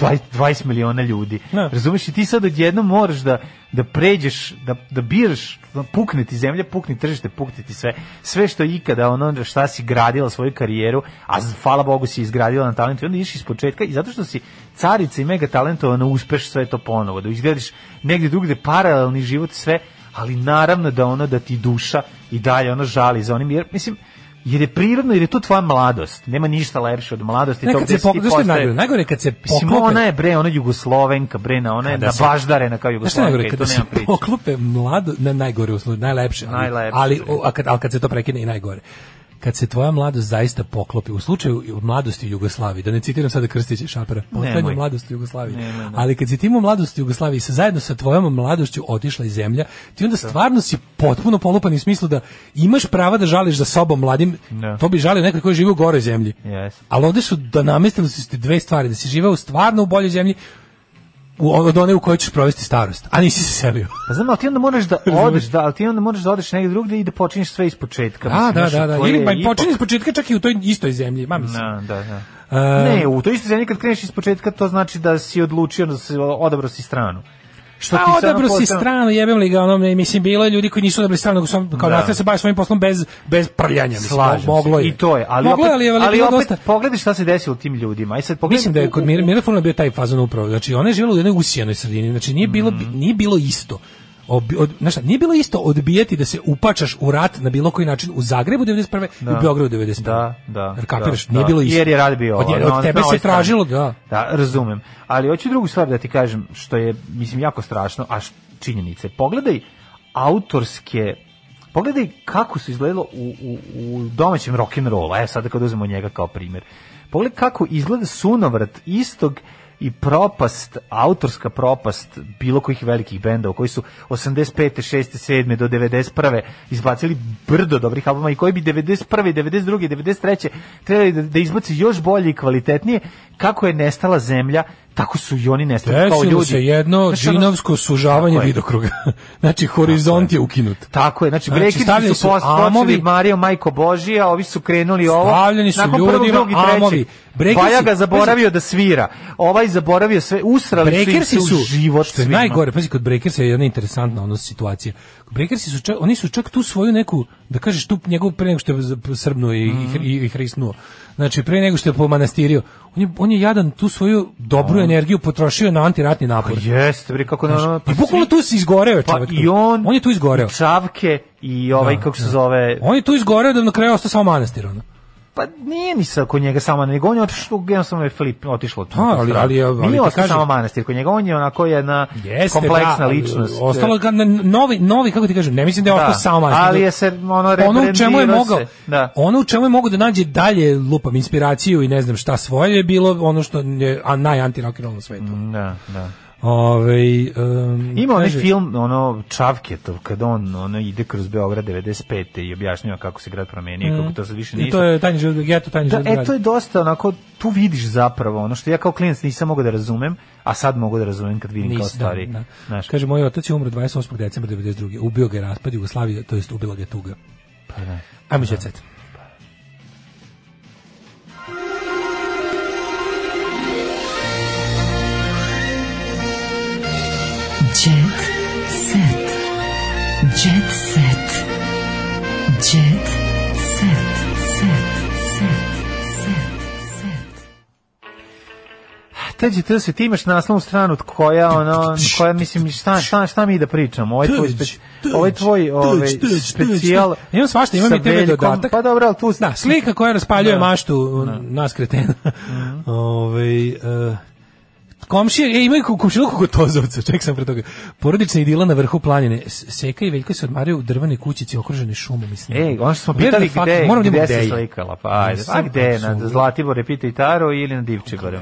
S7: 20, 20 miliona ljudi.
S8: Ne.
S7: Razumeš i ti sad odjednom moraš da, da pređeš, da, da biraš, ono, pukne ti zemlja, pukne tržište, pukne ti sve. Sve što je ikada, ono šta si gradila svoju karijeru, a z- hvala Bogu si izgradila na talentu i onda iš iz početka i zato što si carica i mega talentovana uspeš sve to ponovo, da izgradiš negdje drugde paralelni život sve, ali naravno da ono da ti duša i dalje ono žali za onim, jer mislim, jer je prirodno, jer je to tvoja mladost. Nema ništa lepše od mladosti.
S8: Ne,
S7: to
S8: kad
S7: gde
S8: se
S7: si
S8: pok-
S7: ti
S8: znaš što je
S7: postaje-
S8: najgore? Najgore je kad se
S7: Mislim,
S8: poklope-
S7: ona je bre, ona Jugoslovenka, bre, na ona je
S8: Kada
S7: na
S8: se-
S7: baždarena kao
S8: Znaš šta je najgore?
S7: Jugoslovenka, i to
S8: Kada se
S7: nema priče.
S8: poklope mlado, na najgore uslovi, najlepše. Ali,
S7: Najlepše, da.
S8: Ali,
S7: bre.
S8: o, a kad, ali kad se to prekine i najgore. Kad se tvoja mladost zaista poklopi, u slučaju mladosti u Jugoslaviji, da ne citiram sada Krstića i Šapera, poslednja
S7: Nemoj.
S8: mladost u Jugoslaviji,
S7: Nemoj, da.
S8: ali kad si ti imao mladost u Jugoslaviji, sa, zajedno sa tvojom mladošću otišla iz zemlja, ti onda stvarno si potpuno polupan u smislu da imaš prava da žališ za sobom mladim,
S7: Da.
S8: to bi žalio neko koji živi u goroj zemlji.
S7: Yes.
S8: Ali ovde su da namestili su ti dve stvari, da si živeo stvarno u boljoj zemlji u, od one u kojoj ćeš provesti starost, a nisi se selio.
S7: Pa znam, ali ti onda moraš da odeš, da, ali ti onda moraš da odeš negdje drugdje i da počinješ sve iz početka.
S8: Da,
S7: Mislim,
S8: da,
S7: znaš,
S8: da, da.
S7: to je
S8: Ili pa
S7: ipak-
S8: počinje iz početka čak i u toj istoj zemlji, ma mislim.
S7: Da, da, da.
S8: E,
S7: ne, u toj istoj zemlji kad kreneš iz početka, to znači da si odlučio da se odabrao si stranu. Što
S8: Pa
S7: ti sad
S8: odabro si
S7: postane-
S8: stranu, jebem li ga, ono, mislim, bilo je ljudi koji nisu odabrali stranu, nego sam, kao
S7: Da.
S8: da. se bavi svojim poslom bez, bez prljanja, mislim,
S7: Slažem
S8: moglo
S7: se.
S8: je.
S7: I to je, ali
S8: moglo
S7: opet,
S8: je, ali, je
S7: ali
S8: bilo
S7: opet
S8: dosta.
S7: pogledaj šta se desilo tim ljudima. Aj sad pogledaj.
S8: Mislim da je
S7: Mm.
S8: kod Mir Mirafona bio taj fazon upravo. Znači ona je živjela u jednoj usijanoj sredini. Znači nije bilo nije bilo isto. obi- od, znaš šta, nije bilo isto odbijati da se upačaš u rat na bilo koji način u Zagrebu 91. i u Beogradu 91.
S7: Da, da.
S8: Jer kapiraš,
S7: da,
S8: nije
S7: da.
S8: bilo isto.
S7: Jer je rad bio.
S8: Od,
S7: ovaj,
S8: od
S7: na-
S8: tebe
S7: na ovoj
S8: se
S7: strani.
S8: tražilo, da.
S7: Da, razumem. Ali hoću drugu stvar da ti kažem, što je, mislim, jako strašno, a š- činjenice. Pogledaj autorske Pogledaj kako se izgledalo u, u, u domaćem rock'n'rollu, evo sada E, kad uzmemo njega kao primjer. Pogledaj kako izgleda sunovrat istog i propast, autorska propast bilo kojih velikih bendova koji su 85. 6. 7. do 91. izbacili brdo dobrih albuma i koji bi 91. 92. 93. trebali da, da izbaci još bolje i kvalitetnije kako je nestala zemlja tako su i oni nestali kao
S8: Desilo
S7: ljudi.
S8: se jedno
S7: Znaš, ono-
S8: džinovsko sužavanje
S7: Tako je.
S8: vidokruga. znači, horizont je ukinut.
S7: Tako je, znači,
S8: Znači,
S7: znači
S8: stavljeni
S7: su
S8: su
S7: post počeli
S8: amovi-
S7: Mario Majko Božija, ovi su krenuli ovo.
S8: Stavljeni su
S7: Nakon prvog,
S8: ljudima
S7: drugog i trećeg.
S8: amovi. Breakersi-
S7: Bajaga zaboravio da svira. Ovaj zaboravio sve, usrali su im se
S8: Breakersi
S7: Pa u
S8: su
S7: život
S8: što je
S7: svima.
S8: najgore, pazi kod Breakersa je jedna interesantna ono situacija. Breakersi su čak, oni su čak tu svoju neku da kažeš tu njegovu pre nego što je z- srbnuo i, i, i, i hrisnuo. Znači pre nego što je po manastirio, on je on je jadan tu svoju dobru
S7: Pa.
S8: energiju potrošio na antiratni napor.
S7: Jeste, bre, kako na ono...
S8: I bukvalno tu si izgoreo
S7: Pa
S8: čovjek.
S7: i on,
S8: on je tu izgoreo.
S7: i Čavke, i ovaj,
S8: Da,
S7: kako se zove...
S8: On je tu izgoreo da na kraju ostao samo manastir ono.
S7: Pa nije ni sa kod njega samo, nego on je otišao, jednostavno je Filip otišlo. tu.
S8: A, Pa, ali- ali je- ali ti
S7: nije ostao
S8: kažem-
S7: samo manastir kod njega, on je onako jedna
S8: Jeste,
S7: kompleksna
S8: da, ali
S7: ličnost.
S8: Ostalo ga na- novi, novi, kako ti kažem, ne mislim da je
S7: Da,
S8: ostao samo manastir.
S7: ali je se, ono,
S8: ono u čemu je
S7: rebrendirao
S8: mogao,
S7: se, da.
S8: ono u čemu je mogao da nađe dalje lupam inspiraciju i ne znam šta svoje je bilo ono što je a, najantirokinol na svetu.
S7: Da, da.
S8: Ovaj em,
S7: Ima onaj
S8: kaže-
S7: film, ono, Čavketov, kada on ono, ide kroz Beograd 95. i objašnjava kako se grad promenio, kako to sad više
S8: I
S7: nije.
S8: E, to je Tanji Život, geto Tanji
S7: Da,
S8: Život
S7: e,
S8: grad.
S7: to je dosta, onako, tu vidiš zapravo ono što ja kao klinac nisam mogao da razumem, a sad mogu da razumem kad vidim kao
S8: Nis- da,
S7: stari.
S8: da.
S7: Znaš,
S8: Kaže, moj otac je umro 28. decembra 92. Ubio ga je raspad Jugoslavije, to jest ubila ga je tuga.
S7: pa da.
S8: Ajmo će set.
S10: Jet set. Jet set. Jet set. Set. Set. Set. Set.
S7: Teđe, to se ti imaš naslovnu stranu od koja, ono, koja, mislim, šta, šta, šta mi da pričamo? Ovaj tvoj,
S8: Tuđ,
S7: speci,
S8: tuđ,
S7: ovaj tvoj ovaj,
S8: tuđ, tuđ, tuđ,
S7: specijal...
S8: tuđ. Imam svašta, imam
S7: sa
S8: i TV
S7: Veljkom.
S8: dodatak.
S7: Pa dobro, ali tu...
S8: Da, slika koja raspaljuje
S7: Da. Mhm.
S8: maštu nas kretena. Ovaj e, Komšije, e, imaju ku- komšiluku kod Tozovca, ček sam pre toga. Porodična idila na vrhu planine. S- Seka i Veljko se odmaraju u drvenoj kućici okružene šumom i snijegom.
S7: E, ono što smo
S8: Where the
S7: pitali
S8: fuck-
S7: gde,
S8: moram da
S7: gde
S8: imam
S7: se
S8: je.
S7: slikala, pa ajde. A
S8: Sam
S7: gde, je, na
S8: apsolutno.
S7: Zlatibore pita Taro ili na Divčibaru?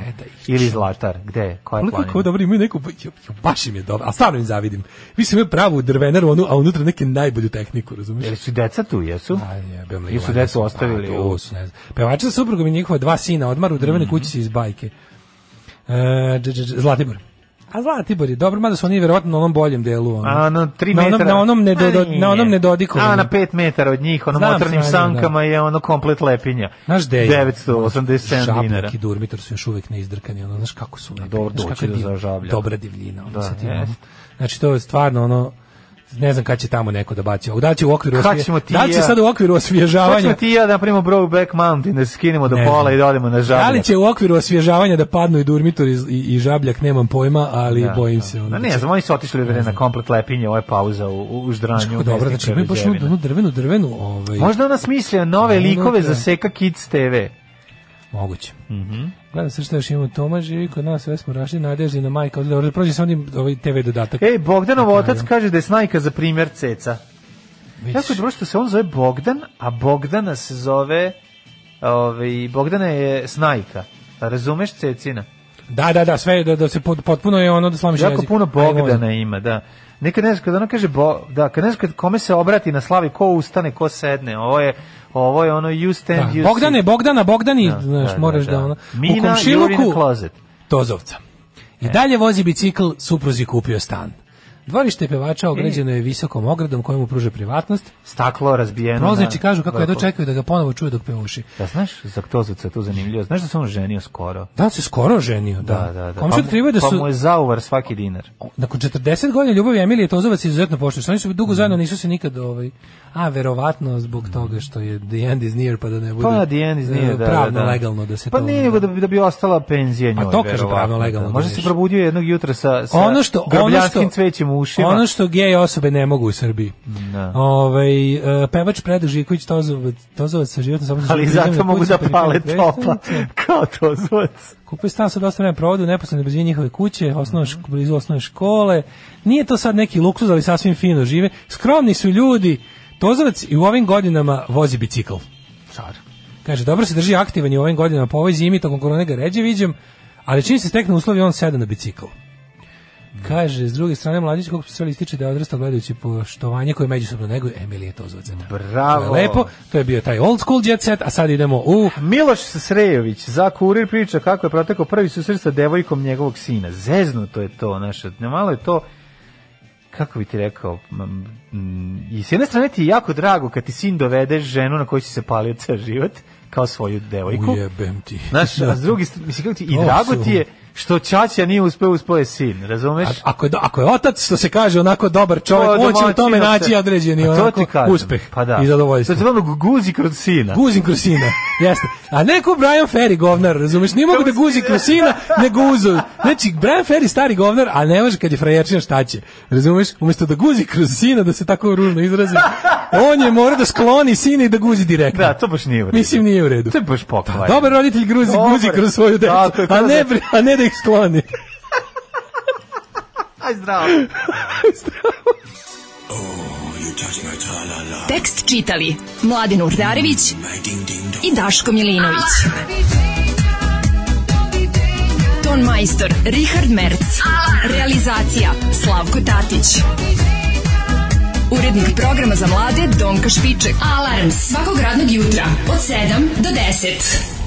S7: Ili Zlatar, gde, koja je
S8: Ono kako je
S7: planina?
S8: dobro, imaju neku, jo, jo, baš im je dobro, a stvarno im zavidim. Mislim, imaju pravu drvenaru, onu, a unutra neke najbolju tehniku, razumiješ?
S7: Jel su i deca tu, jesu?
S8: Da, Jebem li,
S7: Ili su
S8: valjda
S7: decu ostavili? u-
S8: A,
S7: Mhm.
S8: to su, ne znam. Pevača sa suprugom i njihova dva sina odmaru u drvenoj kućici iz bajke. E, dž- dž- dž- Zlatibor. A Zlatibor je dobro, mada su oni verovatno na onom boljem delu. Ono.
S7: A na 3
S8: na onom,
S7: metara.
S8: na onom, nedo,
S7: A, nije.
S8: na onom nedodikovom.
S7: A na 5 metara od njih, ono
S8: Znam,
S7: motornim
S8: znam, da.
S7: sankama je ono komplet lepinja.
S8: Znaš gde je?
S7: 987 dinara.
S8: Žabljak i Durmitor su još uvek neizdrkani, ono, znaš kako su lepi.
S7: Dobro,
S8: znaš kako
S7: doći
S8: je
S7: do
S8: div-
S7: Žabljaka.
S8: Dobra divljina. Ono,
S7: Da,
S8: sa tim, ono.
S7: jeste.
S8: Znači, to je stvarno, ono, ne znam kad će tamo neko da baci ovog. Da li će u okviru
S7: Kad
S8: osvije-
S7: ćemo ti
S8: Da li
S7: i
S8: će
S7: ja?
S8: sad u okviru
S7: Hoćemo
S8: osvježavanja?
S7: ti i ja da napravimo Brokeback Mountain, da se skinemo do
S8: Ne
S7: pola
S8: znam.
S7: i da odemo na žabljak.
S8: Da li će u okviru osvježavanja da padnu i Durmitor i, i, i Žabljak, nemam pojma, ali
S7: Da,
S8: bojim se.
S7: Da,
S8: Ono,
S7: ne znam, oni su otišli bre na komplet lepinje, ovo je pauza u, u, u ždranju.
S8: Kako dobro,
S7: mesnih
S8: znači imaju baš onu,
S7: prerađevina.
S8: onu drvenu, drvenu, ovaj,
S7: Možda ona smislio nove
S8: Ono
S7: likove
S8: da.
S7: za Seka Kids TV.
S8: moguće.
S7: Mhm.
S8: Gledam se šta još imamo, Toma živi kod nas, sve smo rašli, nadeždina majka, ovdje, dobro, da prođe sa onim ovaj TV dodatak.
S7: Ej, Bogdanov otac kaže da je snajka za primjer ceca. Jako je dobro što se on zove Bogdan, a Bogdana se zove... Ovaj, Bogdana je snajka. Razumeš cecina?
S8: Da, da, da, sve, da, da se pod, potpuno je ono da slamiš
S7: Jako
S8: jezik.
S7: puno
S8: Ajmo, ono.
S7: Bogdana ima, da. Nekad ne znaš, kada ona kaže, bo, da, kad ne znaš kad kome se obrati na slavi, ko ustane, ko sedne, ovo je, ovo je ono you stand, you
S8: Da.
S7: sit.
S8: Bogdane, Bogdana, Bogdani,
S7: Da,
S8: znaš,
S7: da,
S8: moraš
S7: da,
S8: da,
S7: da.
S8: ono.
S7: Mina,
S8: u komšiluku,
S7: Jurina Closet.
S8: Tozovca. I
S7: E.
S8: dalje vozi bicikl, supruz je kupio stan. Dvorište pevača
S7: E.
S8: ograđeno je visokom ogradom kojemu pruže privatnost.
S7: Staklo razbijeno.
S8: Proznici
S7: da.
S8: kažu kako
S7: Da,
S8: je dočekaju da ga ponovo čuju dok pevuši.
S7: Da znaš, za Ktozovca je to zanimljivo. Znaš da se on ženio skoro?
S8: Da on se skoro ženio, da.
S7: Da, da, da.
S8: Komšije otkrivaju da
S7: Pa mu
S8: su
S7: je zauvar svaki dinar.
S8: nakon 40 godina ljubavi Emilije Tozovac izuzetno poštuju. Oni su dugo zajedno, nisu se nikad ovaj a verovatno zbog toga što je the end is near pa da ne bude.
S7: Pa the end is
S8: e,
S7: near, da,
S8: pravno
S7: da, da.
S8: legalno da se
S7: pa
S8: to. Pa
S7: nije nego da bi, da bi ostala penzija njoj.
S8: to kaže
S7: verovatno,
S8: pravno
S7: da.
S8: legalno da
S7: Možda se
S8: reši.
S7: probudio jednog jutra sa, sa
S8: Ono što- ono
S7: grbljanskim
S8: što-
S7: cvećem u ušima.
S8: Ono što gej osobe ne mogu u Srbiji.
S7: Da.
S8: Ovaj e, pevač Predrag Žiković Tozovac, Tozovac sa životnom samo
S7: Ali zato mogu da pale topla, kao Tozovac.
S8: pa Kupio stan sa dosta vremena provodi u neposrednoj blizini njihove kuće, osnovne, šk- blizu osnovne škole. Nije to sad neki luksuz, ali sasvim fino žive. Skromni su ljudi. Tozovac i u ovim godinama vozi bicikl. Čar. Kaže, dobro se drži aktivan i u ovim godinama, po ovoj zimi, tokom korone ga ređe viđem, ali čim se stekne uslovi, on seda na bicikl. Kaže, s druge strane, mladić kako se sve ističe da je odrastao gledajući poštovanje koje međusobno neguje Emilije Tozovac.
S7: Bravo.
S8: To je lepo, to je bio taj old school jet set, a sad idemo u...
S7: Miloš Srejović za kurir priča kako je protekao prvi susret sa devojkom njegovog sina. Zeznuto je to, znaš, ne malo je to kako bi ti rekao, mm, mm, i s jedne strane ti je jako drago kad ti sin dovede ženu na koju si se palio ceo život, kao svoju devojku.
S8: Ujebem ti.
S7: Znaš, a s drugi, str- mislim, kako ti, i
S8: To
S7: drago
S8: su-
S7: ti je što Ćaća nije uspeo, uspeo je sin, razumeš?
S8: A- ako je, do- ako je otac, što se kaže, onako dobar čovjek, on će u
S7: domaćino
S8: tome naći
S7: se-
S8: određeni
S7: Pa to
S8: onako,
S7: ti kažem.
S8: uspeh
S7: pa da.
S8: i zadovoljstvo.
S7: To se ono guzi kroz sina.
S8: Guzin krusina, jeste. A neko Brian Ferry govnar, razumeš, nije mogu da guzi krusina, nego uzo. Znači, Brian Ferry stari govnar, a ne može kad je frajerčina šta će, razumeš? Umjesto da guzi krusina, da se tako ružno izrazi, on je mora da skloni sina i da guzi direktno.
S7: Da, to baš nije u redu.
S8: Mislim, nije u redu.
S7: To je baš pokvar.
S8: Dobar roditelj gruzi,
S7: Dobar.
S8: guzi kroz svoju decu,
S1: 아, 그,
S7: Tako Da, je,
S8: a, ne,
S7: kroz-
S8: bri- a ne da ih skloni.
S7: Aj, zdravo.
S10: Tekst čitali Mladin Urdarević i Daško Milinović. Ton majstor Richard Merc. Realizacija Slavko Tatić. Urednik programa za mlade Donka Špiček. Alarms svakog radnog jutra od 7 do 10.